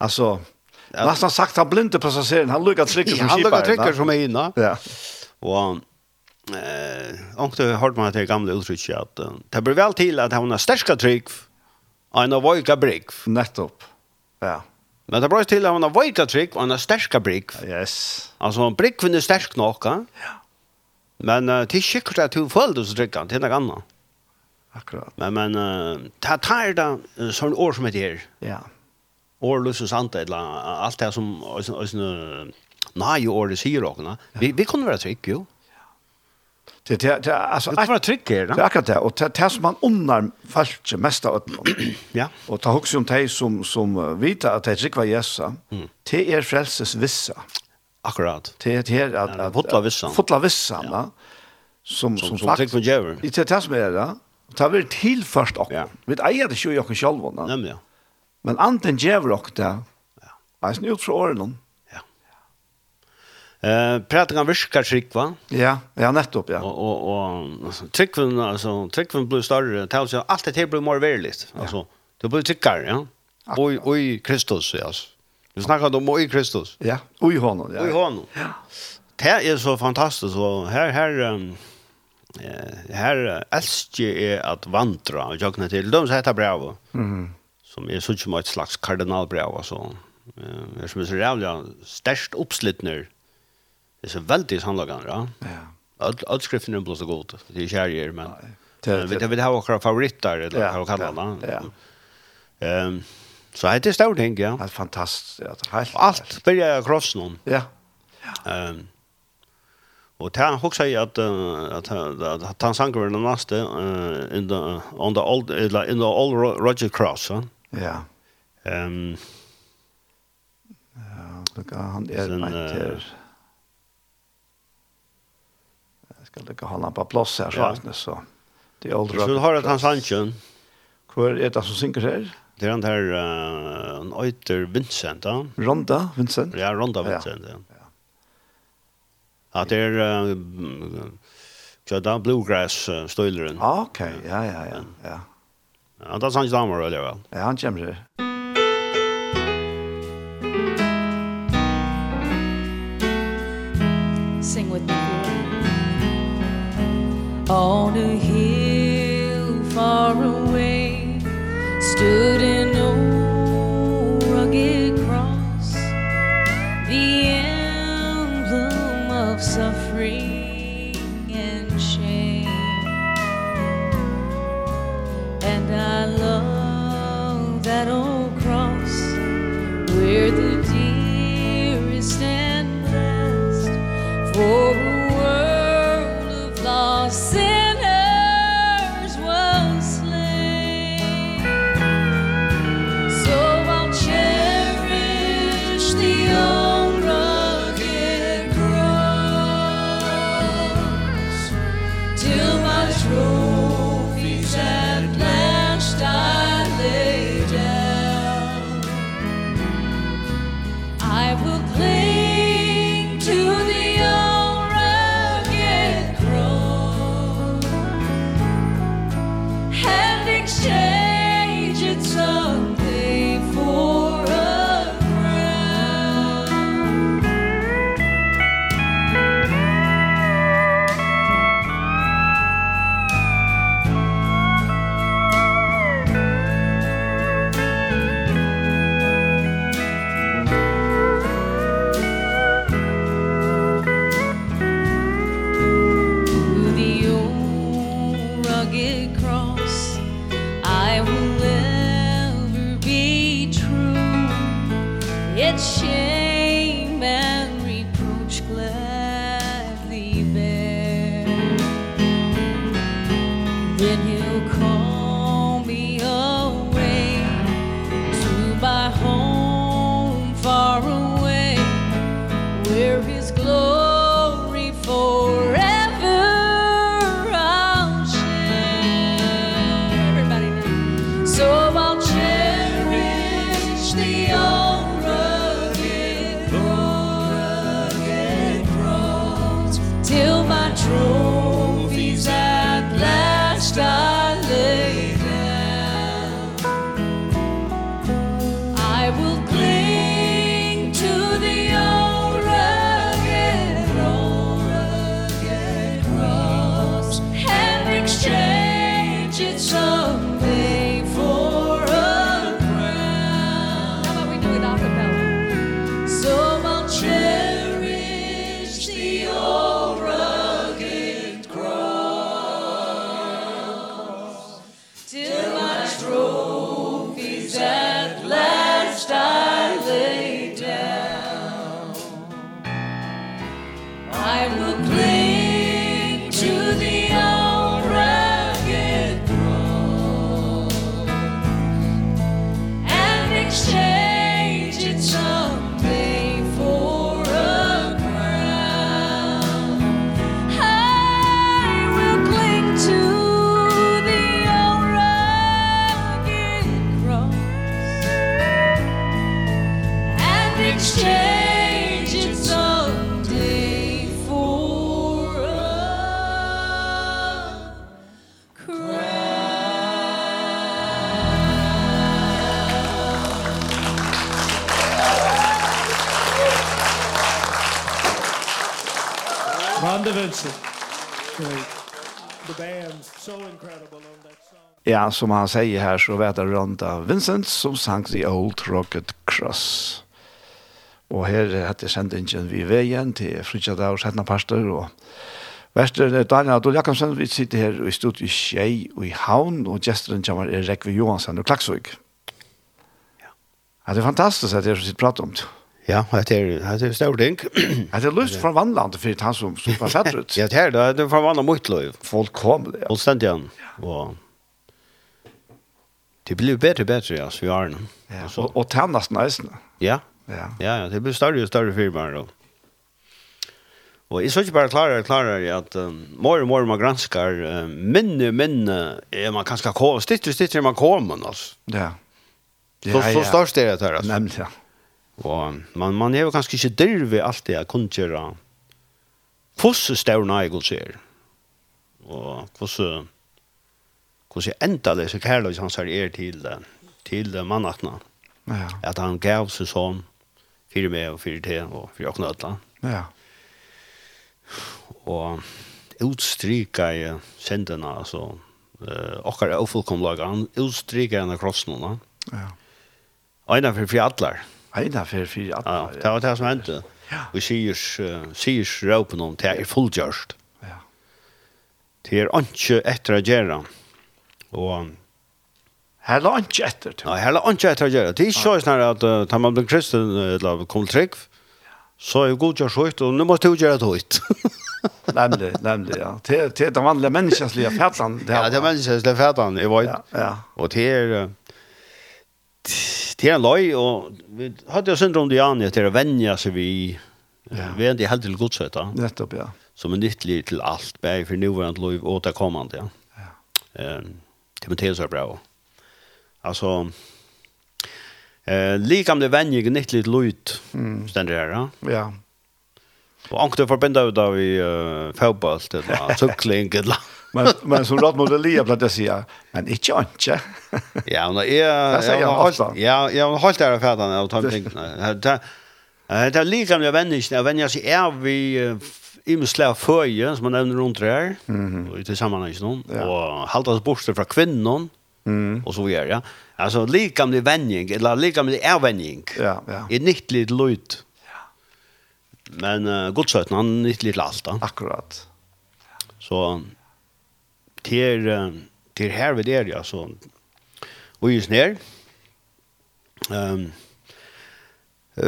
Altså,
Ja.
nesten sagt han blinde på passasjeren, han lukker trykker som
Han
skiparen.
lukket trykker som er inne.
Ja,
Og eh onkte hørte man til gamle uttrykk at eh, det blir vel til at han har sterska trygg og en avoika brygg.
nettopp. Ja,
Men det blir til at han har avoika trygg og en sterska brygg.
yes.
Altså, bryggen er sterk nok, ja. Men uh, det er ikke sikkert at du føler deg så trygg, det er noe annet.
Akkurat.
Men, men uh, ta, ta er da eh, sånne år som heter her.
Ja,
År løsens ante, eller eh, alt det som øyne, øyne, nei, året sier dere. Vi, vi kunne være trygg, jo.
det, det, det, altså,
Vi kunne være trygg her,
det
da.
er akkurat det, og det, det som man unnar falt mest av ødelen.
Ja.
Og ta um hugsa om tei som, som eh, vita at tei trykva jessa,
Mm.
te er frelses vissa.
Akkurat.
Te er te er at...
Ja,
at-
fotla vissan.
Fotla vissan, ja. Som,
Som,
som,
som
sagt,
trygg med djeveren.
i te er som er det, ta vi tilførst okk.
Ja.
Vi eier det ikke i okk sjálvona,
Nämligen.
men anten djever okk det,
Ja.
eisen ut fra åren,
Ja. Eh, pratningar virkar trikva.
Ja, ja nettopp ja.
Och och och trikven alltså trikven blir större. Tals jag allt det här blir mer verligt. Alltså det blir trickar, ja. Oj oj Kristus ja. alltså. Vi snackar om oj Kristus.
Ja, oj honom ja.
Oj honom. Ja. Det är så fantastiskt och här här ehm, eh här älskar är att vandra och jagna till de så heter bravo.
Mm.
Som är så mycket slags kardinalbravo så. Eh, är som är så jävla störst uppslitner. Det är så väldigt handlagan, ja.
Ja.
Allt allt skriften är blåsa god. Det är kärjer er, men Eh,
Det-
men vi vi har våra favoriter eller
er- Ja,
vad man kallar
ja,
det. Ehm så heter det stort häng ja.
Det är fantastiskt. Ja, det är helt.
Allt börjar kross någon.
Ja.
Ehm och ta också säga att eh, att han- att att han sank över den nästa er eh, in the on the old eller in the old Ro- Roger Cross. va?
Ja.
Ehm
Ja, det kan uh, han er är
Sen,
med här. Jag ska lägga hålla på plats här så
Ja.
att så. Det är åldrar.
så du har att han sanken
Hvor er det som synker her?
det är den här eh, en Oyter Vincent. Ja.
Ronda, Vincent?
Ja, Ronda
Ja.
Vincent. Ja. Att det är eh, er så där bluegrass eh, stöjleren.
Ah, ok, ja, ja, ja. Ja,
Ja, det är sant damer eller väl.
ja han kommer her.
Sing with me. On a hill far away stood an old rugged cross, the emblem of suffering and shame. And I love that old cross where the dearest and best for a world of lost sinners was slain. So I'll cherish the old rugged cross till my trophies at last I lay down. I will cling to the old rugged cross and exchange it someday for a crown. To the old rugged cross I will ever be true Yet shame and reproach gladly bear Then he'll call me away To my home far away where his glory forever I'll share. Everybody now. So I'll cherish the old rugged
John DaVinci. Great. The band's so incredible on that song.
Ja, som han säger här så vet jag runt av Vincent som sang The Old Rocket Cross. Og her hette sendingen vi veien til Fridtjada og Sætna Pastor og Vester er Daniel Adol Jakobsen, vi sitter her i studiet i Kjei og i Havn, og gesteren kommer er Rekve Johansen og Klaksvig. Ja, det er fantastisk at jeg sitter og prater om det.
Ja, det er, det er stor ting.
At det er lyst fra vannlandet for han som, som var fett ut.
Ja, det er det, det er forvandlet mot liv.
Folk kom, ja.
Fullstendig igjen. Og det blir bedre og bedre, altså, vi har den.
Ja,
Og så-
Og, og tennast næsene.
Ja,
Ja.
ja, ja, det blir større og større firmaer. Og, og jeg så ikke bare klarer og klarer at um, more og more man granskar, um, minne, minne, er man kanskje kommer, stittere, stittere er man kommer, altså.
Ja.
Så, så størst er det her, altså.
Nemlig, ja.
Og man, man er jo kanskje ikke dyrve alt det jeg kunne gjøre hvordan større jeg kunne gjøre. Og hvordan hvordan enda det så kærlig han ser er til, eh, til eh, mannaktene.
Ja,
At han gav seg sånn fyrir meg og fyrir til og fyrir åkne ødla.
ja.
Og utstryka i sendene, altså uh, okkar er ofullkomlaga, han utstryka henne krossen henne.
Ja.
Einar fyrir fyrir allar.
Eina fyrir fyrir
Ja,
atler,
det var det som hendte. Og sier, eh, sier råpen om det er fullgjørst.
Ja.
Det er ikke etter å gjøre. Og
Her la han ikke etter til.
nei, heller ikke etter å gjøre. Det er ikke sånn her at uh, da man blir kristen eh, eller kommer trygg, så er det godgjørst høyt, og nå må du gjøre det høyt.
Nemlig, nemlig, ja. Til, til den vanlige menneskens liv, fjallan.
ja, det er mennesker som er fætan, jeg vet.
Ja, ja.
Og det er... eh, Det er en løy, og vi hadde jo syndrom det Anja til å vennja seg vi, ja. vi er ikke helt til godsøyta.
Nettopp, ja.
som er nyttelig til alt, bare for nåværende lov og det kommende. Ja. Ja. Um, Timotheus er bra. Altså, eh, likam det venner ikke nyttelig til lov, mm. stender her, ja.
Ja,
Og ankte forbindet ut av i uh, fotballt, eller sykling, eller
men, men som råd mot Elia blant jeg sier, men ikke ikke.
Ja, men jeg... Jeg
sier han
holdt-
ofte.
Ja, jeg har holdt der av fætan av tomtingene. Eh, Det er- det er likam det venner ikke, jeg venner seg av eh, i imenslega føje, som man nevner rundt det her,
Mhm.
og i til sammenheng noen, og halvdags borste fra kvinnen,
Mhm.
og så videre, ja. Altså, likam det vending, eller likam det er vending,
Ja, ja.
er nytt litt løyt. Men uh, godsøtten, han er nytt litt alt, da.
Akkurat.
Så til, eh, til her ved det, ja, så og just ned. Um,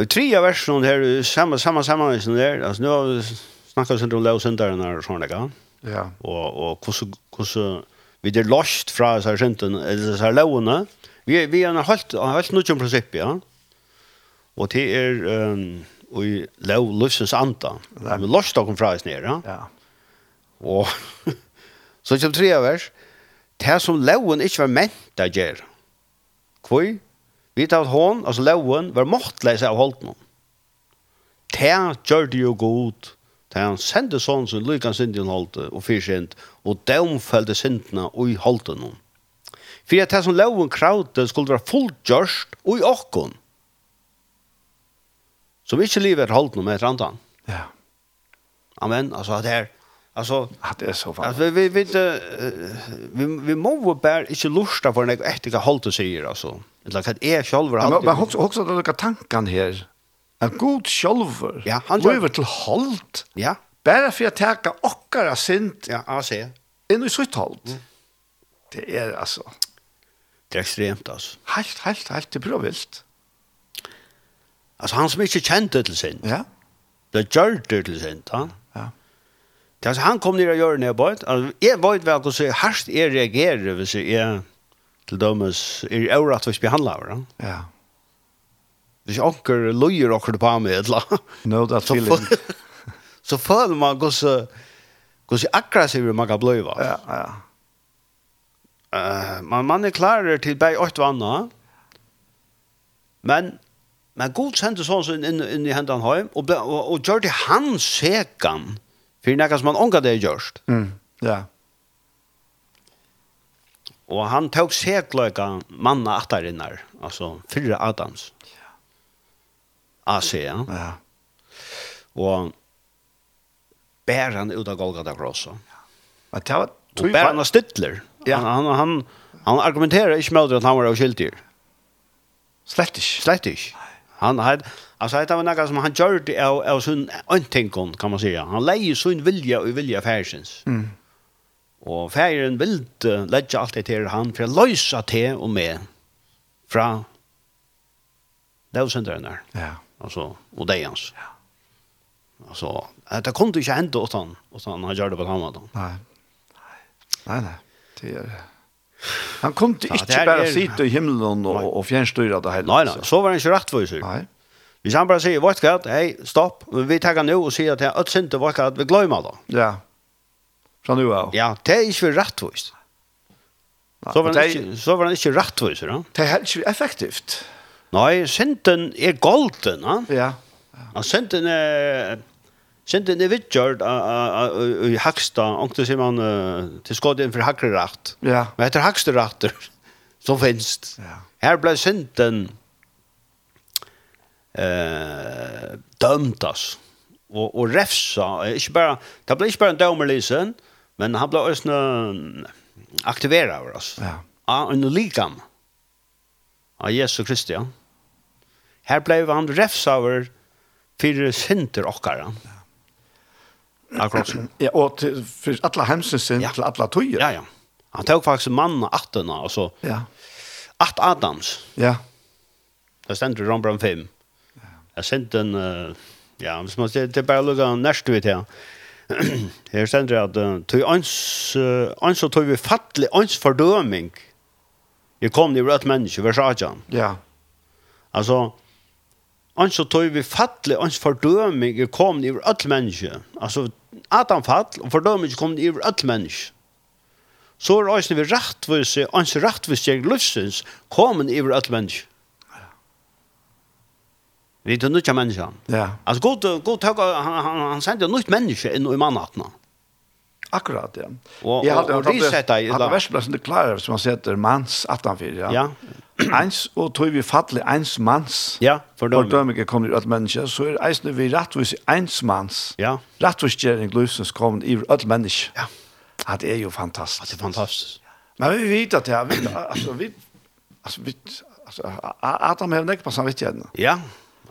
tre av versene her, samme, samme, samme versene der, altså nå har vi snakket sånn om lov synderen her og sånn, ikke?
Ja,
Og, og hvordan, hvordan vi er lost fra disse syndene, eller disse lovene, vi, vi har holdt, har holdt noe om prinsippet, ja. Og det er, um, og i lov løsens anda.
Nei.
Vi lost dere fra oss ned, ja.
ja.
Og så kommer tre vers. Det som loven ikke var ment å gjøre. Hvor? Vi tar at hon, altså loven, var måttløs av holdt noen. Det gjør det jo godt. Det han sendte sånn som lykken synden holdt og fyrkjent, og domfelte syndene og i holdt noen. For at det som loven kravde skulle være fullgjørst og i åkken. Som ikke livet holdt noen med et annet.
Ja,
Amen. Altså, det er, altså,
Ja, det er så fantastisk.
Alltså vi vi vet eh, vi vi må bara inte lusta för något efter vad hållt säger alltså. Eller er vad är själva
Men, men
hållt.
også, også at dere tankene her, en god sjolver,
Ja, han-
løyver til holdt,
Ja.
bare for å teke okkara sint
Ja, jag ser.
inn i sitt holdt.
Mm.
Det er altså,
Det er är extremt alltså.
helt, helt, helt til prøvilt.
Alltså han som inte kände till sin.
Ja,
Det gör det till sin, va?
ja.
Det alltså han kom ner och gör när bort. Alltså jag vet väl hur så harst är reagerar över så är till dömes är orätt att behandla, va?
Ja.
Det är onkel lojer och på mig eller.
No that
Så
feeling.
får- Så föll man går så går så aggressiv man kan bli va.
Ja, ja.
Eh, man man er klarer til bei åt vanna. Men men god sendte sånn så inn, inn, inn i hendan heim og, ble- og, og gjør det han sekan for nekka som han ångar det gjørst.
Mm. Ja.
Og han tok sekløyka manna attarinnar, altså fyrre Adams. AC, ja.
Ja.
Og bär han ut av Golgata krossa.
Men det var
Och bär han av stittler.
Ja.
Han, han, han, han argumenterar inte med att han var av skyldig.
slett ikke.
Slett ikke. Han had, altså, det var noe som han gjør det av, av sin øntenken, kan man säga. Han leier sin vilja og vilja færsens. Mm. Og færen vil legge alt det til han for å løse til og med fra løsenderen der.
Ja.
Altså, og det hans. Ja. Altså, det kunne ikke hende utan, utan han gjør det på den måten.
Nei. Nei, nei. Det er... Han kom til
Ja, det
ikke
her
bare
er-
sitte i himmelen og,
Nei.
og fjernstyre det hele.
Nei, nei, så var han ikke rettviser.
Nei.
Hvis han bare sier, vet du hva, hei, stopp, vi tar nå og sier til at synte, vet du hva, vi glemmer det.
Ja. Fra nu av.
Ja, det er ikke rettvist.
Nei,
Så var
det er-
han ikke, er så var han ikke rettvist, da.
Det er helt ikke effektivt.
Nei, synden er golden, da.
Ja.
Ja, synden er... Synden er vidtgjørt i Hakstad, og det sier man eh, til skåd inn for hakre rakt.
Ja.
Men er etter hakste ratter, som finnes.
Ja.
Her ble synden eh, dømt, ass. Og, og refsa. Eh, Ikke bare, det ble ikke bare en dømerlisen, men han ble også en mm, aktivera over oss.
Ja.
Av en likam. Av Jesu Kristi, ja. Her ble han refsa over fire synder okkara. Ja. Akkurat sånn.
Ja, og til, for alle hemsens sin,
Ja.
til alle tøyer.
Ja, ja. Han tok faktisk mannen attena, altså
Ja.
att Adams.
Ja.
Det ständer i Rambram 5. Jag sent en eh, ja, hvis man ser det er bara lugga nästa vid här. Här ständer det att eh, tog ans eh, ans och tog vi fattlig ans fördöming. Jag kom ni rätt människor vers 18.
Ja.
Alltså ans och tog vi fattlig ans fördöming jag kom ni över all människor. Alltså Adam fall er och fördöming kom ni över all människor. Så är det vi rättvise, ans rättvise lustens kom ni över all människor. Vi er nødt til mennesker.
Ja.
Altså, god, god tøk, han, han, han sendte nødt menneske inn i mannattene.
Akkurat, ja.
Og-
Jeg hadde-
og- og
hadde-
resetta i-
Hadde verseplassen det klare, som han setter, mans 18-4, ja.
Ja.
Eins, og tog vi fattelig eins er mans.
Ja, fordøming.
Fordøming kommer i alle mennesker, så er eisne vi rettvis i eins mans.
Ja.
Rettvisgjering løsens kommer i alle mennesker.
Ja.
Ja, det er jo fantastisk.
Det er fantastisk.
Men vi vet at det er, vi- altså, vi, altså, vi, altså, A- Adam har nekk på samvittigheten.
Ja,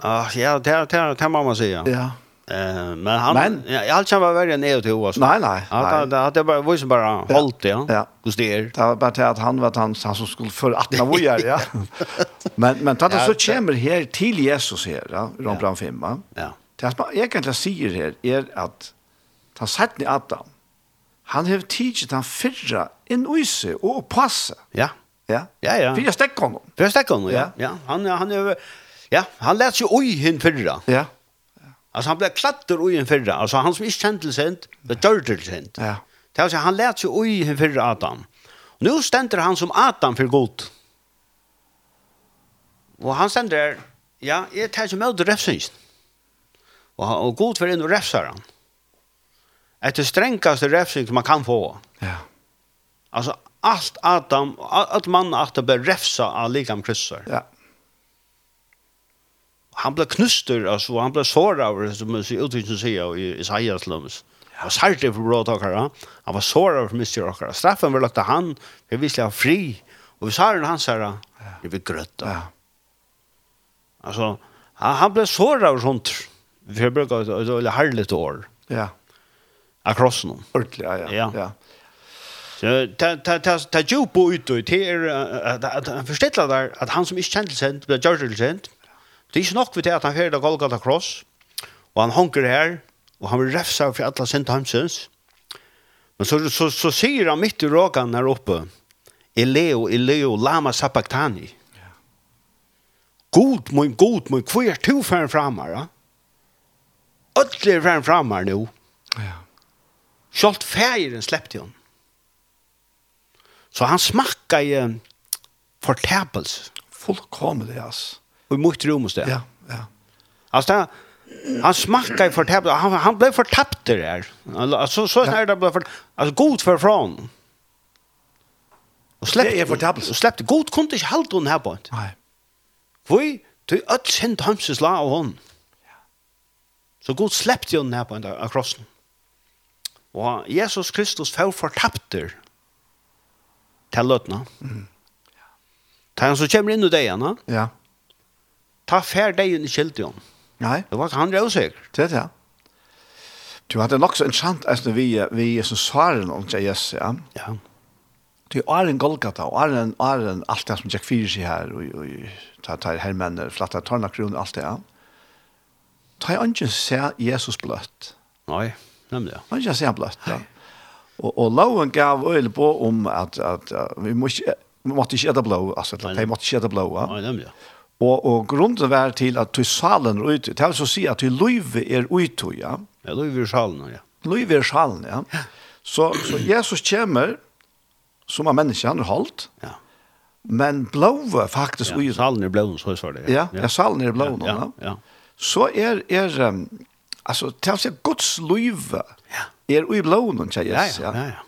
Ah, ja det, er- det, er- det må man si, ja.
Ja.
Eh, men han,
Men-
ja, alt kommer verre enn jeg til henne. altså.
Nei, nei,
Ja,
nei.
det- det- det er bare, vi som bare holdt det, ja.
Ja.
Hos det er.
Det var bare til at han var han, han som skulle føre 18 av vågjere, ja. Men, men tatt det
Ja,
så
det-
kommer her til Jesus her, ja, Rombran 5, ja.
Ja,
Det som han egentlig sier her er at han satt i Adam, han har tidsit han fyrra inn i seg og passe,
ja.
ja.
Ja, ja.
Fyrra stekk honom.
Først er han, ja.
Ja.
ja. Han, ja, han er, ja, han lærte seg oi henne fyrre.
Ja,
Altså, han ble klatter oi henne fyrre. Altså, han som ikke kjente til sent, det dør til sent.
ja,
Det vil si, han lærte seg ui hin fyrir Adam. Og nå stender han som Adam fyrir god. Og han stender her, ja, jeg tar ikke med refsynsen. Og, han- og god fyrir inn og refsar han. Etter strengaste refsing som man kan få.
ja,
Altså, alt Adam, a- alt mann Adam ble refsa av likam kryssar.
ja,
Han ble knustur, altså, han ble såra over, som utviksen sier i Isaias lums. Han var særlig for bråtakere. Han var såra over mistyrkere. Straffen var lagt til han, for vi skulle ha fri. Og vi saren hans her, det blir grøtt.
ja,
Altså, han, han ble såra over sånt. Vi har brukt et et veldig herlig år
ja,
av krossen.
ordentlig, ja, ja,
Ja.
ja,
Så ta ta ta ta djupo ut och det är att han förställer där att han som inte kände sent blir gjord till sent. er Det är inte nog vid det att han färd av Golgata kross och han honker här och han vill refsa för alla sent hemsens. Men så så så säger han mitt i rakan här uppe. Eleo Eleo lama sabachthani. God min god min kvar to fram framar. Ödler fram framar nu.
ja,
Sjalt färgen släppte hon. Så han smakka i eh, fortapels
fullkomlig, ass.
og i mot rom hos det.
Ja, ja,
Alltså det, han smakka i fortapels. Han, han blev fortapt det där. Alltså så snart det blev fortapt. Alltså god för från. Och släppte,
Det är fortapelse.
Och släppte. God kunde inte halda hon här på. ett.
nei,
Voi, du öll sent hamses la av hon. Så god släppte hon här på en av krossen. Og Jesus Kristus får fortapter til løtene. Ta han som kommer inn i degene,
Ja.
ta fær degen i kjeldion.
Nei,
Det var ikke han rødsikker.
det er det. Du hadde nok så interessant as når vi vi som svaren om Jesus, ja.
Ja.
Det er en Golgata, og er en, er en alt det som Jack Fyrs i her, og, og ta, ta hermenner, flatta tårnakron, alt det, ja. Ta i ønsken se Jesus bløtt.
Nei, nemlig ja.
Man kan se bløtt, ja. Og, og loven gav øyne på om at, at, at vi må ikke, vi måtte ikke ete blå, altså,
Nei.
de måtte ikke ete blå, ja.
Nei, nemlig ja.
Og, og grunden var til at du salen er ute, det vil så si at du løyve er ute, ja.
Ja, da er vi i salen, ja.
Løyve er salen, ja. Så, så Jesus kommer, som er menneske, han er holdt,
Ja.
men blåve faktisk
Ja,
ute.
salen er blåen, så var det.
Ja, ja, salen er blå nå.
Ja,
Ja,
ja.
Så er, er um, altså, til å si Guds løyve er ui blå nå, sier
Ja,
Jesus.
ja, ja. ja.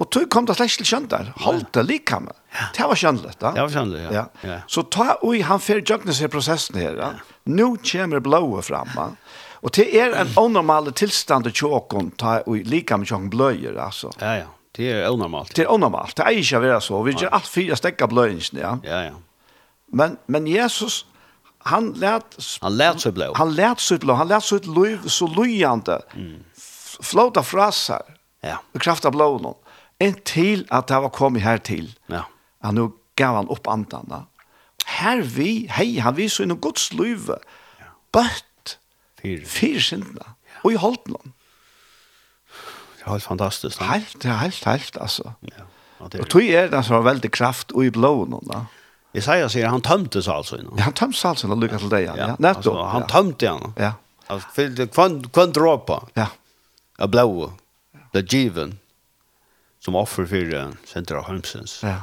Og tog kom det slett til kjønt der. Holdt det like med. Det var kjønt litt, da.
Det var kjønnelig, ja. Ja.
Så ta ui, han fer jøgne seg prosessen her. Ja. Nå kommer blåa fram. Ja. Og det er en onormal tilstand til tjåkon, ta ui, like med tjåkon bløyer, altså.
Ja, ja. Det er unormalt.
Det er onormalt, det er ikke å være så. Vi gjør alt fire stekker bløyensene, ja.
Ja, ja.
Men, men Jesus, han let
Han lærte seg blå.
Han lät sig blå, han lät sig ett liv så lojande. Mm. Flåta frasar
Ja,
i kraft av blånen. En till att det var kommit här till.
ja.
Han nu gav han upp antarna. Här vi, hej, han visar inom Guds liv. Bött,
Fyr.
fyra synderna. Och i hållt någon.
Det er helt fantastisk. da.
Helt, ja, helt, helt alltså.
Ja. Ja, det
Och
er-
tog är det som har väldigt kraft och i blånen. da.
Isaiah säger han tömte sig alltså innan.
Ja, Han töms alltså och lyckas till dig. Ja, ja. Netto.
alltså, han
ja.
tömte han.
Ja,
Alltså fyllde er kvann kvann droppa
ja.
av blå. Det er given som offer för eh, Central Holmsens.
ja. er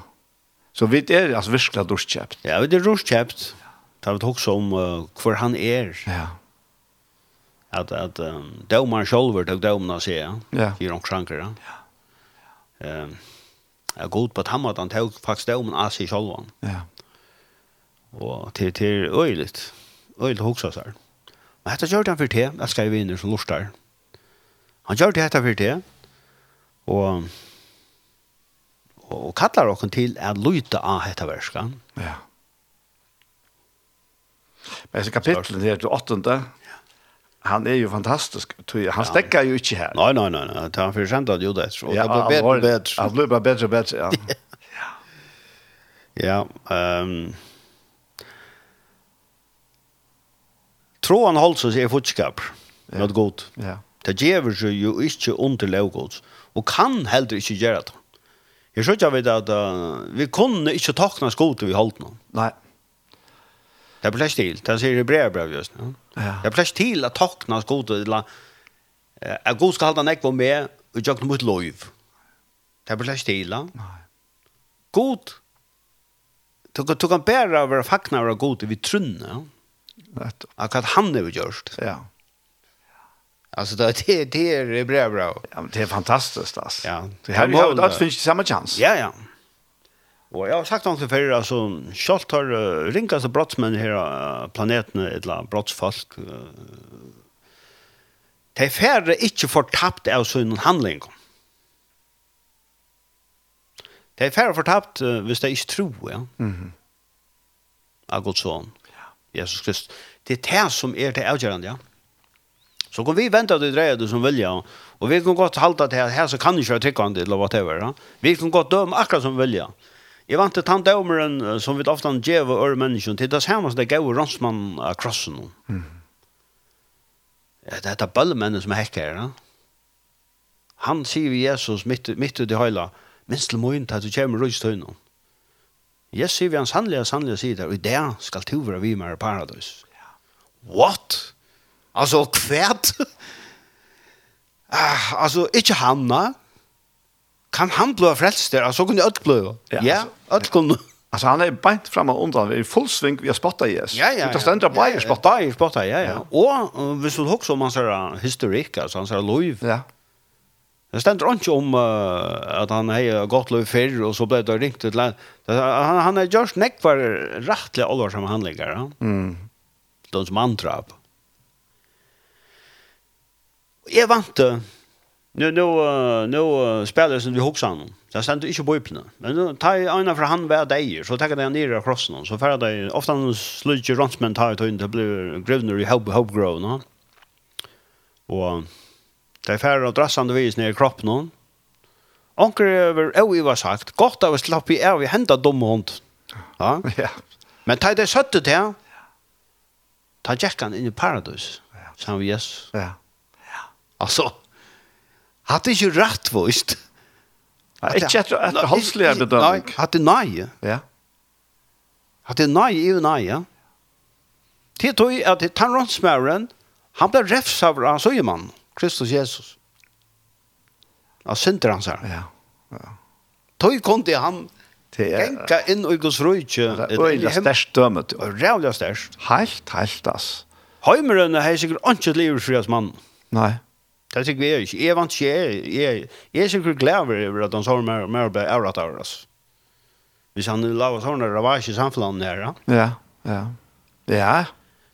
Så vi är alltså verkligen durchkäppt.
Ja, det är ruskäpt. Tar vi också om uh, var han är.
Ja.
Att att um, domar själva tog domarna säga.
Ja.
I de skrankar. Ja. Ehm Jag god på att han att han tog faktiskt domen av sig själva.
Ja.
Og til, til øyligt. Øyligt hoksa seg. Men dette gjør det han for te. Jeg skrev inn som lortar. Han gjør det dette for te. Og, og, og kallar okken til at lyta av dette verskan.
Ja. Men så kapitlet her til åttende, han er jo fantastisk. tror jeg. Han stekker jo ikke her.
Nei, nei, nei, nei. Det er han for sent at jo det. Og det
alvorlig.
ble bedre og bedre.
Han ble bare bedre og bedre, ja.
Ja. Um, Troan holdt seg i fotskap. Ja. Nått godt.
ja.
Det gjever seg jo ikke under lovgods, og kan heller ikke gjøre det. Jeg skjønner ikke at uh, vi kunne ikke takne skoter vi holdt nå.
Nei.
Det er plass til, det sier Hebreabrev just nå.
Ja.
Det er plass til at takne skoter, eller eh, at god skal holde nekva med, og gjøre noe mot lov. Det er plass til, ja.
Nei.
God, du, kan- du kan bare være fakna av god vi trunne, ja.
Nettopp.
Akkurat han har gjort.
Ja.
Altså, det er, det er Hebreabrev.
ja, men det er fantastisk, altså.
Ja.
Det her
Han
vi har
mål,
alt
da.
finnes ikke samme chans.
Ja, ja. Og jeg har sagt noe før, altså, Kjolt har uh, ringaste brottsmenn her av eh, planeten, eller brottsfolk, uh, de færre ikke fortapt av sånne handlinger. De færre fortapt uh, hvis de ikke tror, ja. Mm -hmm. Av Guds son, Jesus Kristus. Det er det som er det avgjørende, ja. Så kan vi vente at det dreier det som vilja, og vi kan godt halte at her, her så kan ikke være trykkende, eller whatever. Ja? Vi kan godt døme akkurat som vilja. Jeg vant til tante omeren, eh, som vi ofte djeve øre menneskene, til det samme som det gav rånsmann av krossen. Mm. Det er bøllemennen som er hekk her. Ja? Han sier vi Jesus midt, midt ut i høyla, minst til morgen til at du kommer rødstøyne. Jeg sier vi han sannlige, sannlige sier det, og i det skal du være vi med i paradis. What? Altså, kvært? ah, altså, ikke Hanna. Kan han blive frelst der? Altså, kunne ødt blive.
Ja,
Ja, ja
altså,
ødt kunne.
Altså, han er beint fremme og undan, vi er i full sving, vi har spottet Jesus. Det stender bare i spottet.
Bare i spotta, ja, ja. Og uh, hvis du husker om hans her historikk, altså hans her loiv,
Ja.
Det stender ikke om eh, at han har gått løy før, og så ble det ringt til land. Det- Han, han har gjort nekvar rettelig alvorsomme handlinger. Ja?
Mm.
De som antrap. Jeg vant det Nu nu eh, nu eh, spelar sen vi hoppsan. Det ständ inte på öppna. Men nu tar jag ena för han var där så tar jag den ner across någon så färda det ofta en sludge runsman tar det inte blir grövner i hope hope grow no. Och eh, det er färra drassande vis ner i kroppen er någon. Onkel över oj vad sagt. Gott av slapp i är vi hämtar dom hund. Ja.
Ja.
Men tar det sötte till. Ta jackan in i paradis. Så vi yes.
Ja.
Alltså hade ju rätt visst.
Ja, Ikke etter etter halslige
Nei, er
bedømming.
hade nej.
Ja.
Hade nej ju nej. ja. er Det tog ju att Taronsmären han blev refsad av Sjöman, Kristus Jesus. Ja, synder han så här.
Ja.
Tog kom det han
Det er
gänka in i Guds rujtje.
det er øyla størst dømmet.
Rävliga stärst.
Helt, helt, ass.
Heimeren har sikkert ikke et liv for hans mann.
Nei.
Det er sikkert jeg ikke. Jeg vant ikke. Jeg, jeg, jeg er sikkert glad over at han sånn mer, mer ble avratt av oss. Hvis er han laver sånne ravasje i samfunnet her, ja.
Ja, ja. Ja,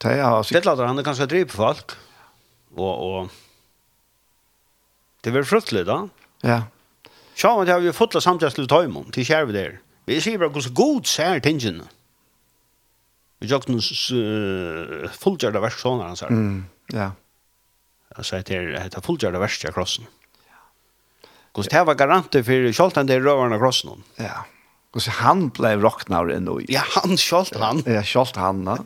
det er altså.
Det lader han det kanskje drive folk. Og, og det blir fruktelig da.
Ja,
Sjå om at jeg har jo fått det samtidig til Tøymon, til er. kjærve der. Vi sier bare hvordan god ser tingene. Vi gjør noen uh, fullgjørte versk sånne han sier.
mm, ja.
Alltså det är det är fullgjorda värsta i krossen. Kost det var garanter för Scholten det rövarna krossen. hon.
Ja. Och så han blev rocknar ändå.
Ja, han Scholt han.
Ja, Scholt Hanna.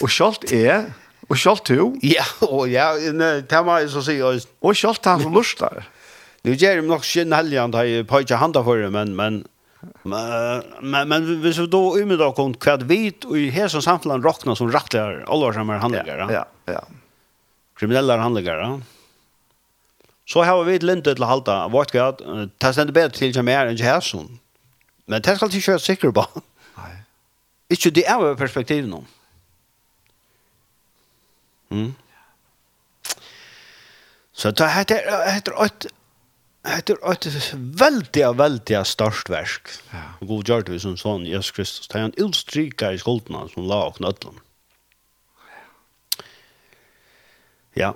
Och Scholt är och Scholt du
Ja, och ja, nej, det var ju så att säga.
och Scholt han som lustar.
Nu ger de nog sin helgen där ju pojkar handa för det, men men men men, men hvis vi då i med då kom kvad vit och i här som samfällan rockna som rattlar allvarsamma handläggare.
Ja, ja.
kriminella handläggare. Så har vi ett linte till halta vart gott. Det ständer bättre till som är en Jason. Men det ska inte köra säker på.
Nej.
Inte det är över perspektiv nu. Mm. Så er- det heter heter ett heter ett väldigt väldigt stort verk. Ja. God gjort vi som sån Jesus Kristus. er Det är en utstryka i skulderna som la och knötlen. Ja.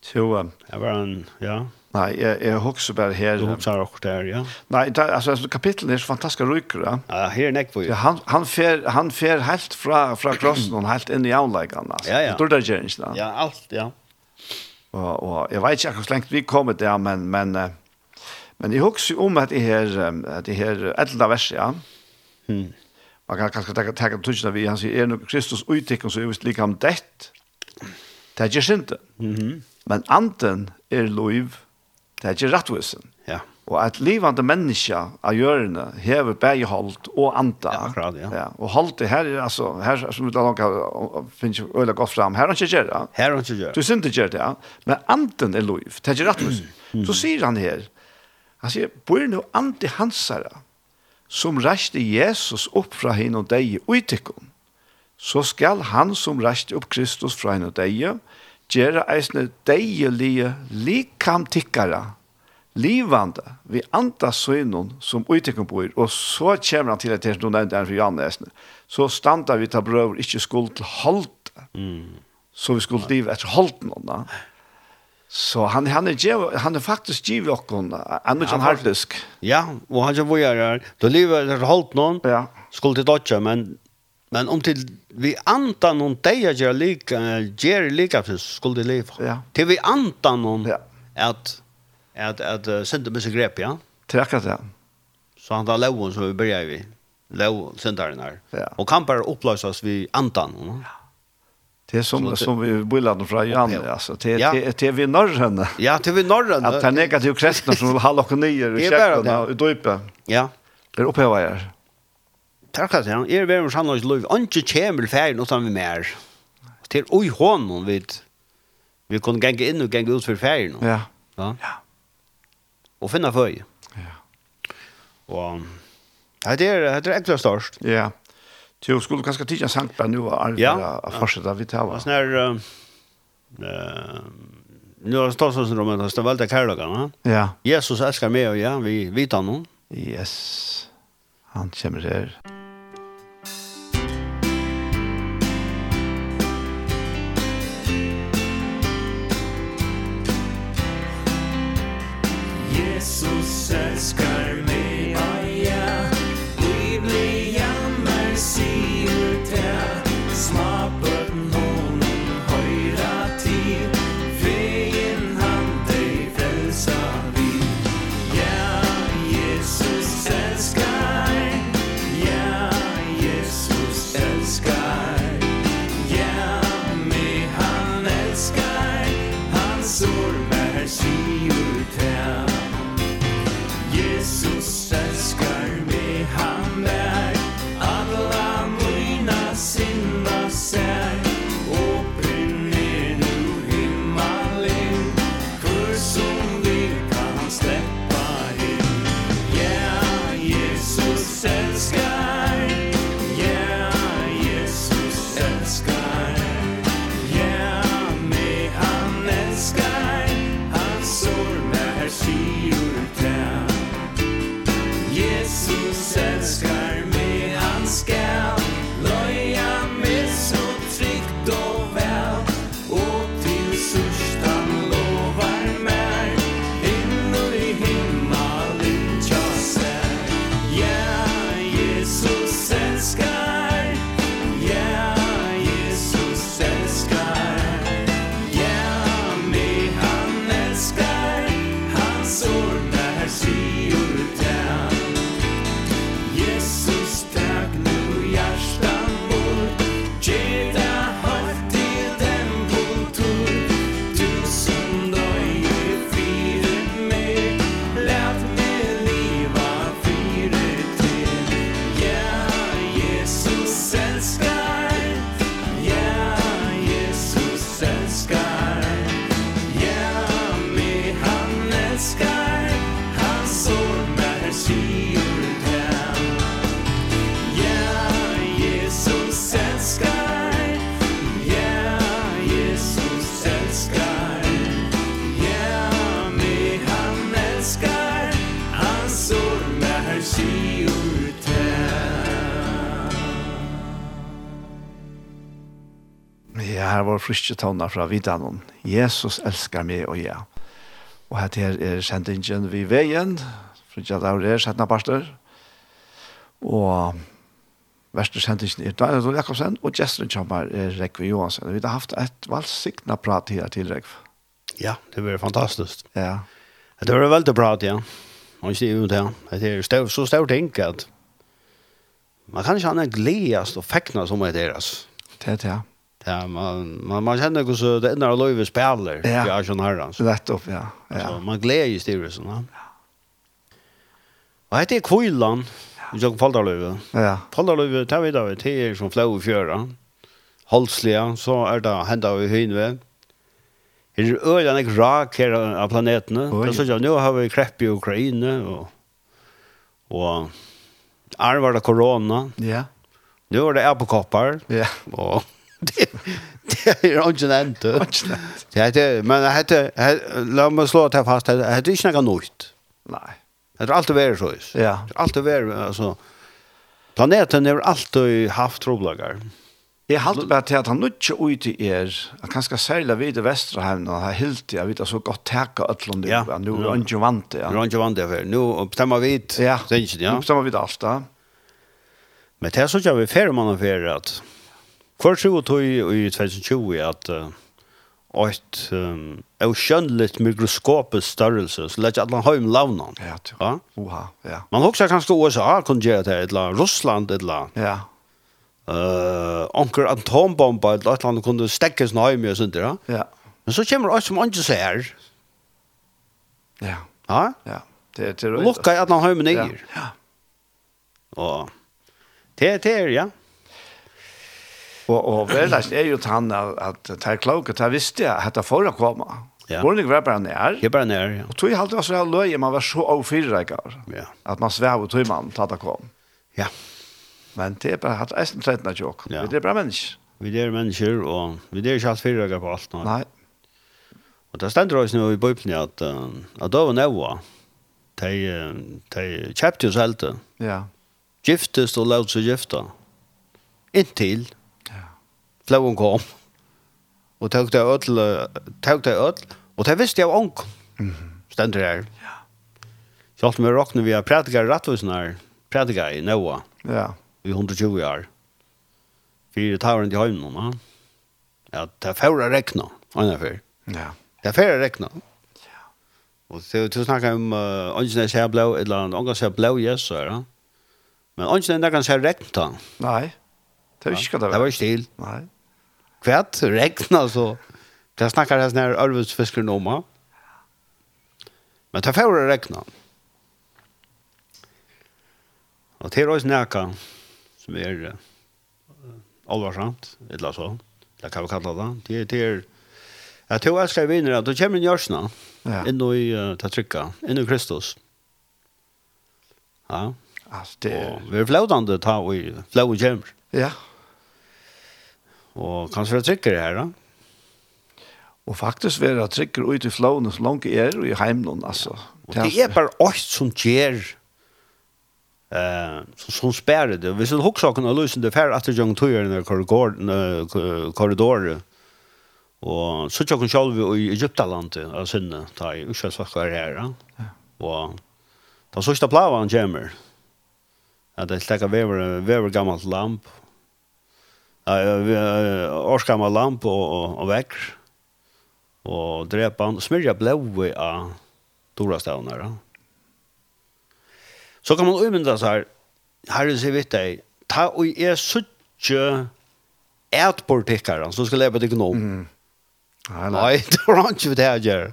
Så eh,
Det var en, ja,
nej, jag jag huxar bara
um, du
här.
hoppsar också där, ja.
Nej, det, alltså alltså kapitlet är så fantastiska rycker. Ja.
Ja, her er nekk på
Ja,
jo.
han han fer han fer helt fra fra krossen og helt inn i avleggene. altså.
Ja, ja.
Det er det gjerne ikke. da.
Ja, alt, ja.
Og, og jeg vet ikke akkurat hvor lengt vi kommer der, men, men, eh, men jeg husker om at det her, eh, at det her eldre verset, ja.
Hmm.
Man kan kanskje tenke tenke på tusen av vi, han sier, er nok Kristus uttikken, så er visst like ham dett. Det er ikke synte. Men anten er loiv, det er ikke rettvissen.
Ja,
Og at livande menneske av hjørne hever begge holdt og anta.
Ja, akkurat, ja.
og holdt det her, er altså, her som vi da langt har- finnes jo øyla godt fram, her har han ikke gjør det.
her er ikke gjør.
Du synd inte gör det, ja. men er anten är lov. Det är rätt Så säger han här, han säger, bor nu anti hansara som räckte Jesus upp från hin och dig utikon, så skall han som räckte upp Kristus från hin och dig göra eisne dig lie likam tikkara, livande vi anta synon som utikon bor, og så kommer han til at det er noen nevnt for Janne eisne, så standa vi ta brøver ikke skuld til halte, så vi skulle leva efter holten då. Så han han är ge, han er är faktiskt giv och hon han
er
är en harddisk.
Ja, og han som vojar her, du lever etter holdt noen,
Ja.
skulle til dodge, men, men om til vi antar noen deg at gjør lika, gjør lika, så skulle til leva.
Ja.
Til vi antar noen
Ja.
at, at, at uh, sender med seg grep, ja.
Träckat det.
Så han tar loven som vi börjar vi. Lov, sendaren her.
Ja.
Og kan bare oppløses vi antar noen. Ja.
Det är som
Så det-
som vi bullar från Jan
Upphäv.
alltså till
Ja.
till till er- vi norrhen.
Ja, til vi norrøn.
Att den negativa kristna er som vill hålla och nyer och
Det är bara
käkarna
det.
och döpa.
Ja.
Det är upphäva er.
Takk at han, er verum sannløs lov, anki kjemur færin utan vi mer. Til oi hånden vi, vi kunne genge inn og genge ut for færin.
Ja.
Ja.
Ja.
Og finna føy.
Ja.
Og, ja, det er, det er ekla størst.
Ja. Du skulle kanske titta sankt er nu och
Ja.
arbeta och fortsätta vi tar
Og
va.
sånn her, uh, um, nu har stått sånn som det er veldig kærlagan, ja.
Ja.
Jesus elskar meg, og ja, vi vet han noen.
Yes. Han kommer her.
sier til Jesus elskar meg, han er Alla mina sinna sær Og brinner nu himmelen Hver som vil kan sleppa inn Ja, Jesus elskar Ja, Jesus elskar Ja, meg han elskar Han sår mer sier til Jesus elskar mig, han skal Løya mig så tryggt og vel Og til sørst han lovar meg Hinnor i himmelen tja seg Ja, Jesus elskar Ja, Jesus elskar Ja, mig han elskar Han sår när sier det Jesus tak nu hjärtan bort Geda halt i den kultur Tusen døye fire med Lät mig liva fire til Ja, Jesus elskar Ja, Jesus elskar Ja, mig han elskar Han sår mer sier den Ja, Jesus elskar Ja, Jesus elskar Ja, mig han elskar Han sår mer sier
Ja, her var friske tånda fra Vidanon. Jesus elskar meg og ja. Og her til er sendingen vi veien. Frutja daur er setna parster. Og verste sendingen er Daniel Dahl Jakobsen og gesten kommer er Rekve Johansen. Vi har haft et valgsikna prat her til Rekve.
Ja, det blir fantastiskt.
Ja,
Det blir väldigt bra att ja. Man ser ju det. Det är stå, så stort tänk att man kan känna glädjas och fäckna som är deras.
det er det.
Ja, man, man, man känner hur så det enda löjve spelar
Ja.
i Arsson Herrans.
Nettopp, ja. ja.
Så man glädjas i det sådana. Och det är kvällan i Jokk Faldarlöve.
Ja,
Faldarlöve tar vi där till er som flå i fjöra. Holsliga, så er är det hända vi hynve. Det är öjan är er rak här av planetene.
Oj.
Det så jag nu har vi krepp i Ukraina och och arvar det corona.
ja,
Nu är det er apokoppar
ja.
och det det är inte
er
ända. Det heter men det heter låt mig slå det fast det heter inte något nytt.
Nei,
Det har alltid varit så. Det
ja,
har alltid varit alltså planeten har alltid haft troblagar.
Jeg halte bare til at han ikke ut i er, at kanskje særlig vid i Vesterheim, og har hilt jeg vet at så godt teka øtlån det,
Ja.
ja. nå er han ikke vant det.
Ja.
Ja.
Det var inte vant det för. Nu bestämmer vi det.
Ja,
Det är inte det,
nu
ja.
bestemmer vi det alt da.
Men det är så jag vill färre man har färre att kvar så tog i 2020 att uh, ett um, okännligt mikroskopiskt störelse så lägger alla hem lavnan.
Ja, du.
Ja.
Oha, ja.
Man huxar kanske USA kunde göra det eller Ryssland eller
Ja,
eh onkel atombomba eller ett land kunde stäcka sin hem och sånt där.
ja,
Men så kommer det som inte ser.
ja,
Ja.
ja. Det er til
Och lucka i alla hem
Ja,
ner.
ja.
Och det det är ja.
Og, og veldig er jo til han at at det er klokt, det er visste jeg at det får å komme.
Ja.
Hvordan ikke var bare nær.
Jag bara ner. er Ja.
er? Og tog jeg alltid var så jeg løy, man var så overfyrreikere.
Ja.
At man svev og tog man til at det kom.
Ja.
Men det er bare at eisen trettene tjokk.
Ja.
Det er bare mennesker.
Vi är människor och vi är inte allt fyra på allt.
Nei.
Och det ständer oss nu i Bibeln att uh, att då var Noa. De eh, de chapters älte.
Ja.
Giftes och låt sig gifta. Intill. Ja. Flågon kom. Och tog det öll eh, tog det öll och det visste jag onk. Mhm. Ständer där. Ja. Så allt med rockna vi har pratikat rättvisnar. Pratikat i Noa
Ja.
i 120 år. Fyra tavren till hemmen, va? Ja, det får jag räkna, ungefär.
Ja.
Det får jag räkna. Och så så snackar jag om uh, ungen är blå eller en ungen är blå yes så ja. Men er ungen är ganska räkna.
Nei. Det er ikke hva det
Det var
var.
ju stil.
Nei.
Kvätt räkna så. Det snackar häst när Örvus fiskar noma. Men er det får det regna. Og det er også nækka som er eh, alvarsamt, eller så. Det kan vi kalla det. Det er, det er Jeg tror jeg skal vinne at du kommer inn i Jørsna,
Ja.
inn i uh, det trykka, inn i Kristus. Ja,
Alltså det
og vi er flødende ta og i flød og kommer.
ja.
Og kanskje det trykker det her da.
Och faktiskt vara trycker ut i flowen så långt är i hemlon alltså.
Og det er bare oss som gjør eh som, som spærer det. Hvis du husker noen av løsene, det er at det er tøyere i korridoren, korridorer. Og så tjokk hun selv i Egyptalandet av sinne, da jeg ikke snakker her. Ja. Og da sørste plavan kommer, at det stekker vever, vever gammelt lamp, uh, årsgammel lamp og, og, og vekk, og drepa han, smyrja blåi av stora stavnar. ja. Så kan man umynda seg her, herre sier vitt deg, ta og er suttje etbortikkaren som skal leve til gnom.
Nei.
Nei, det var han ikke det jeg gjør.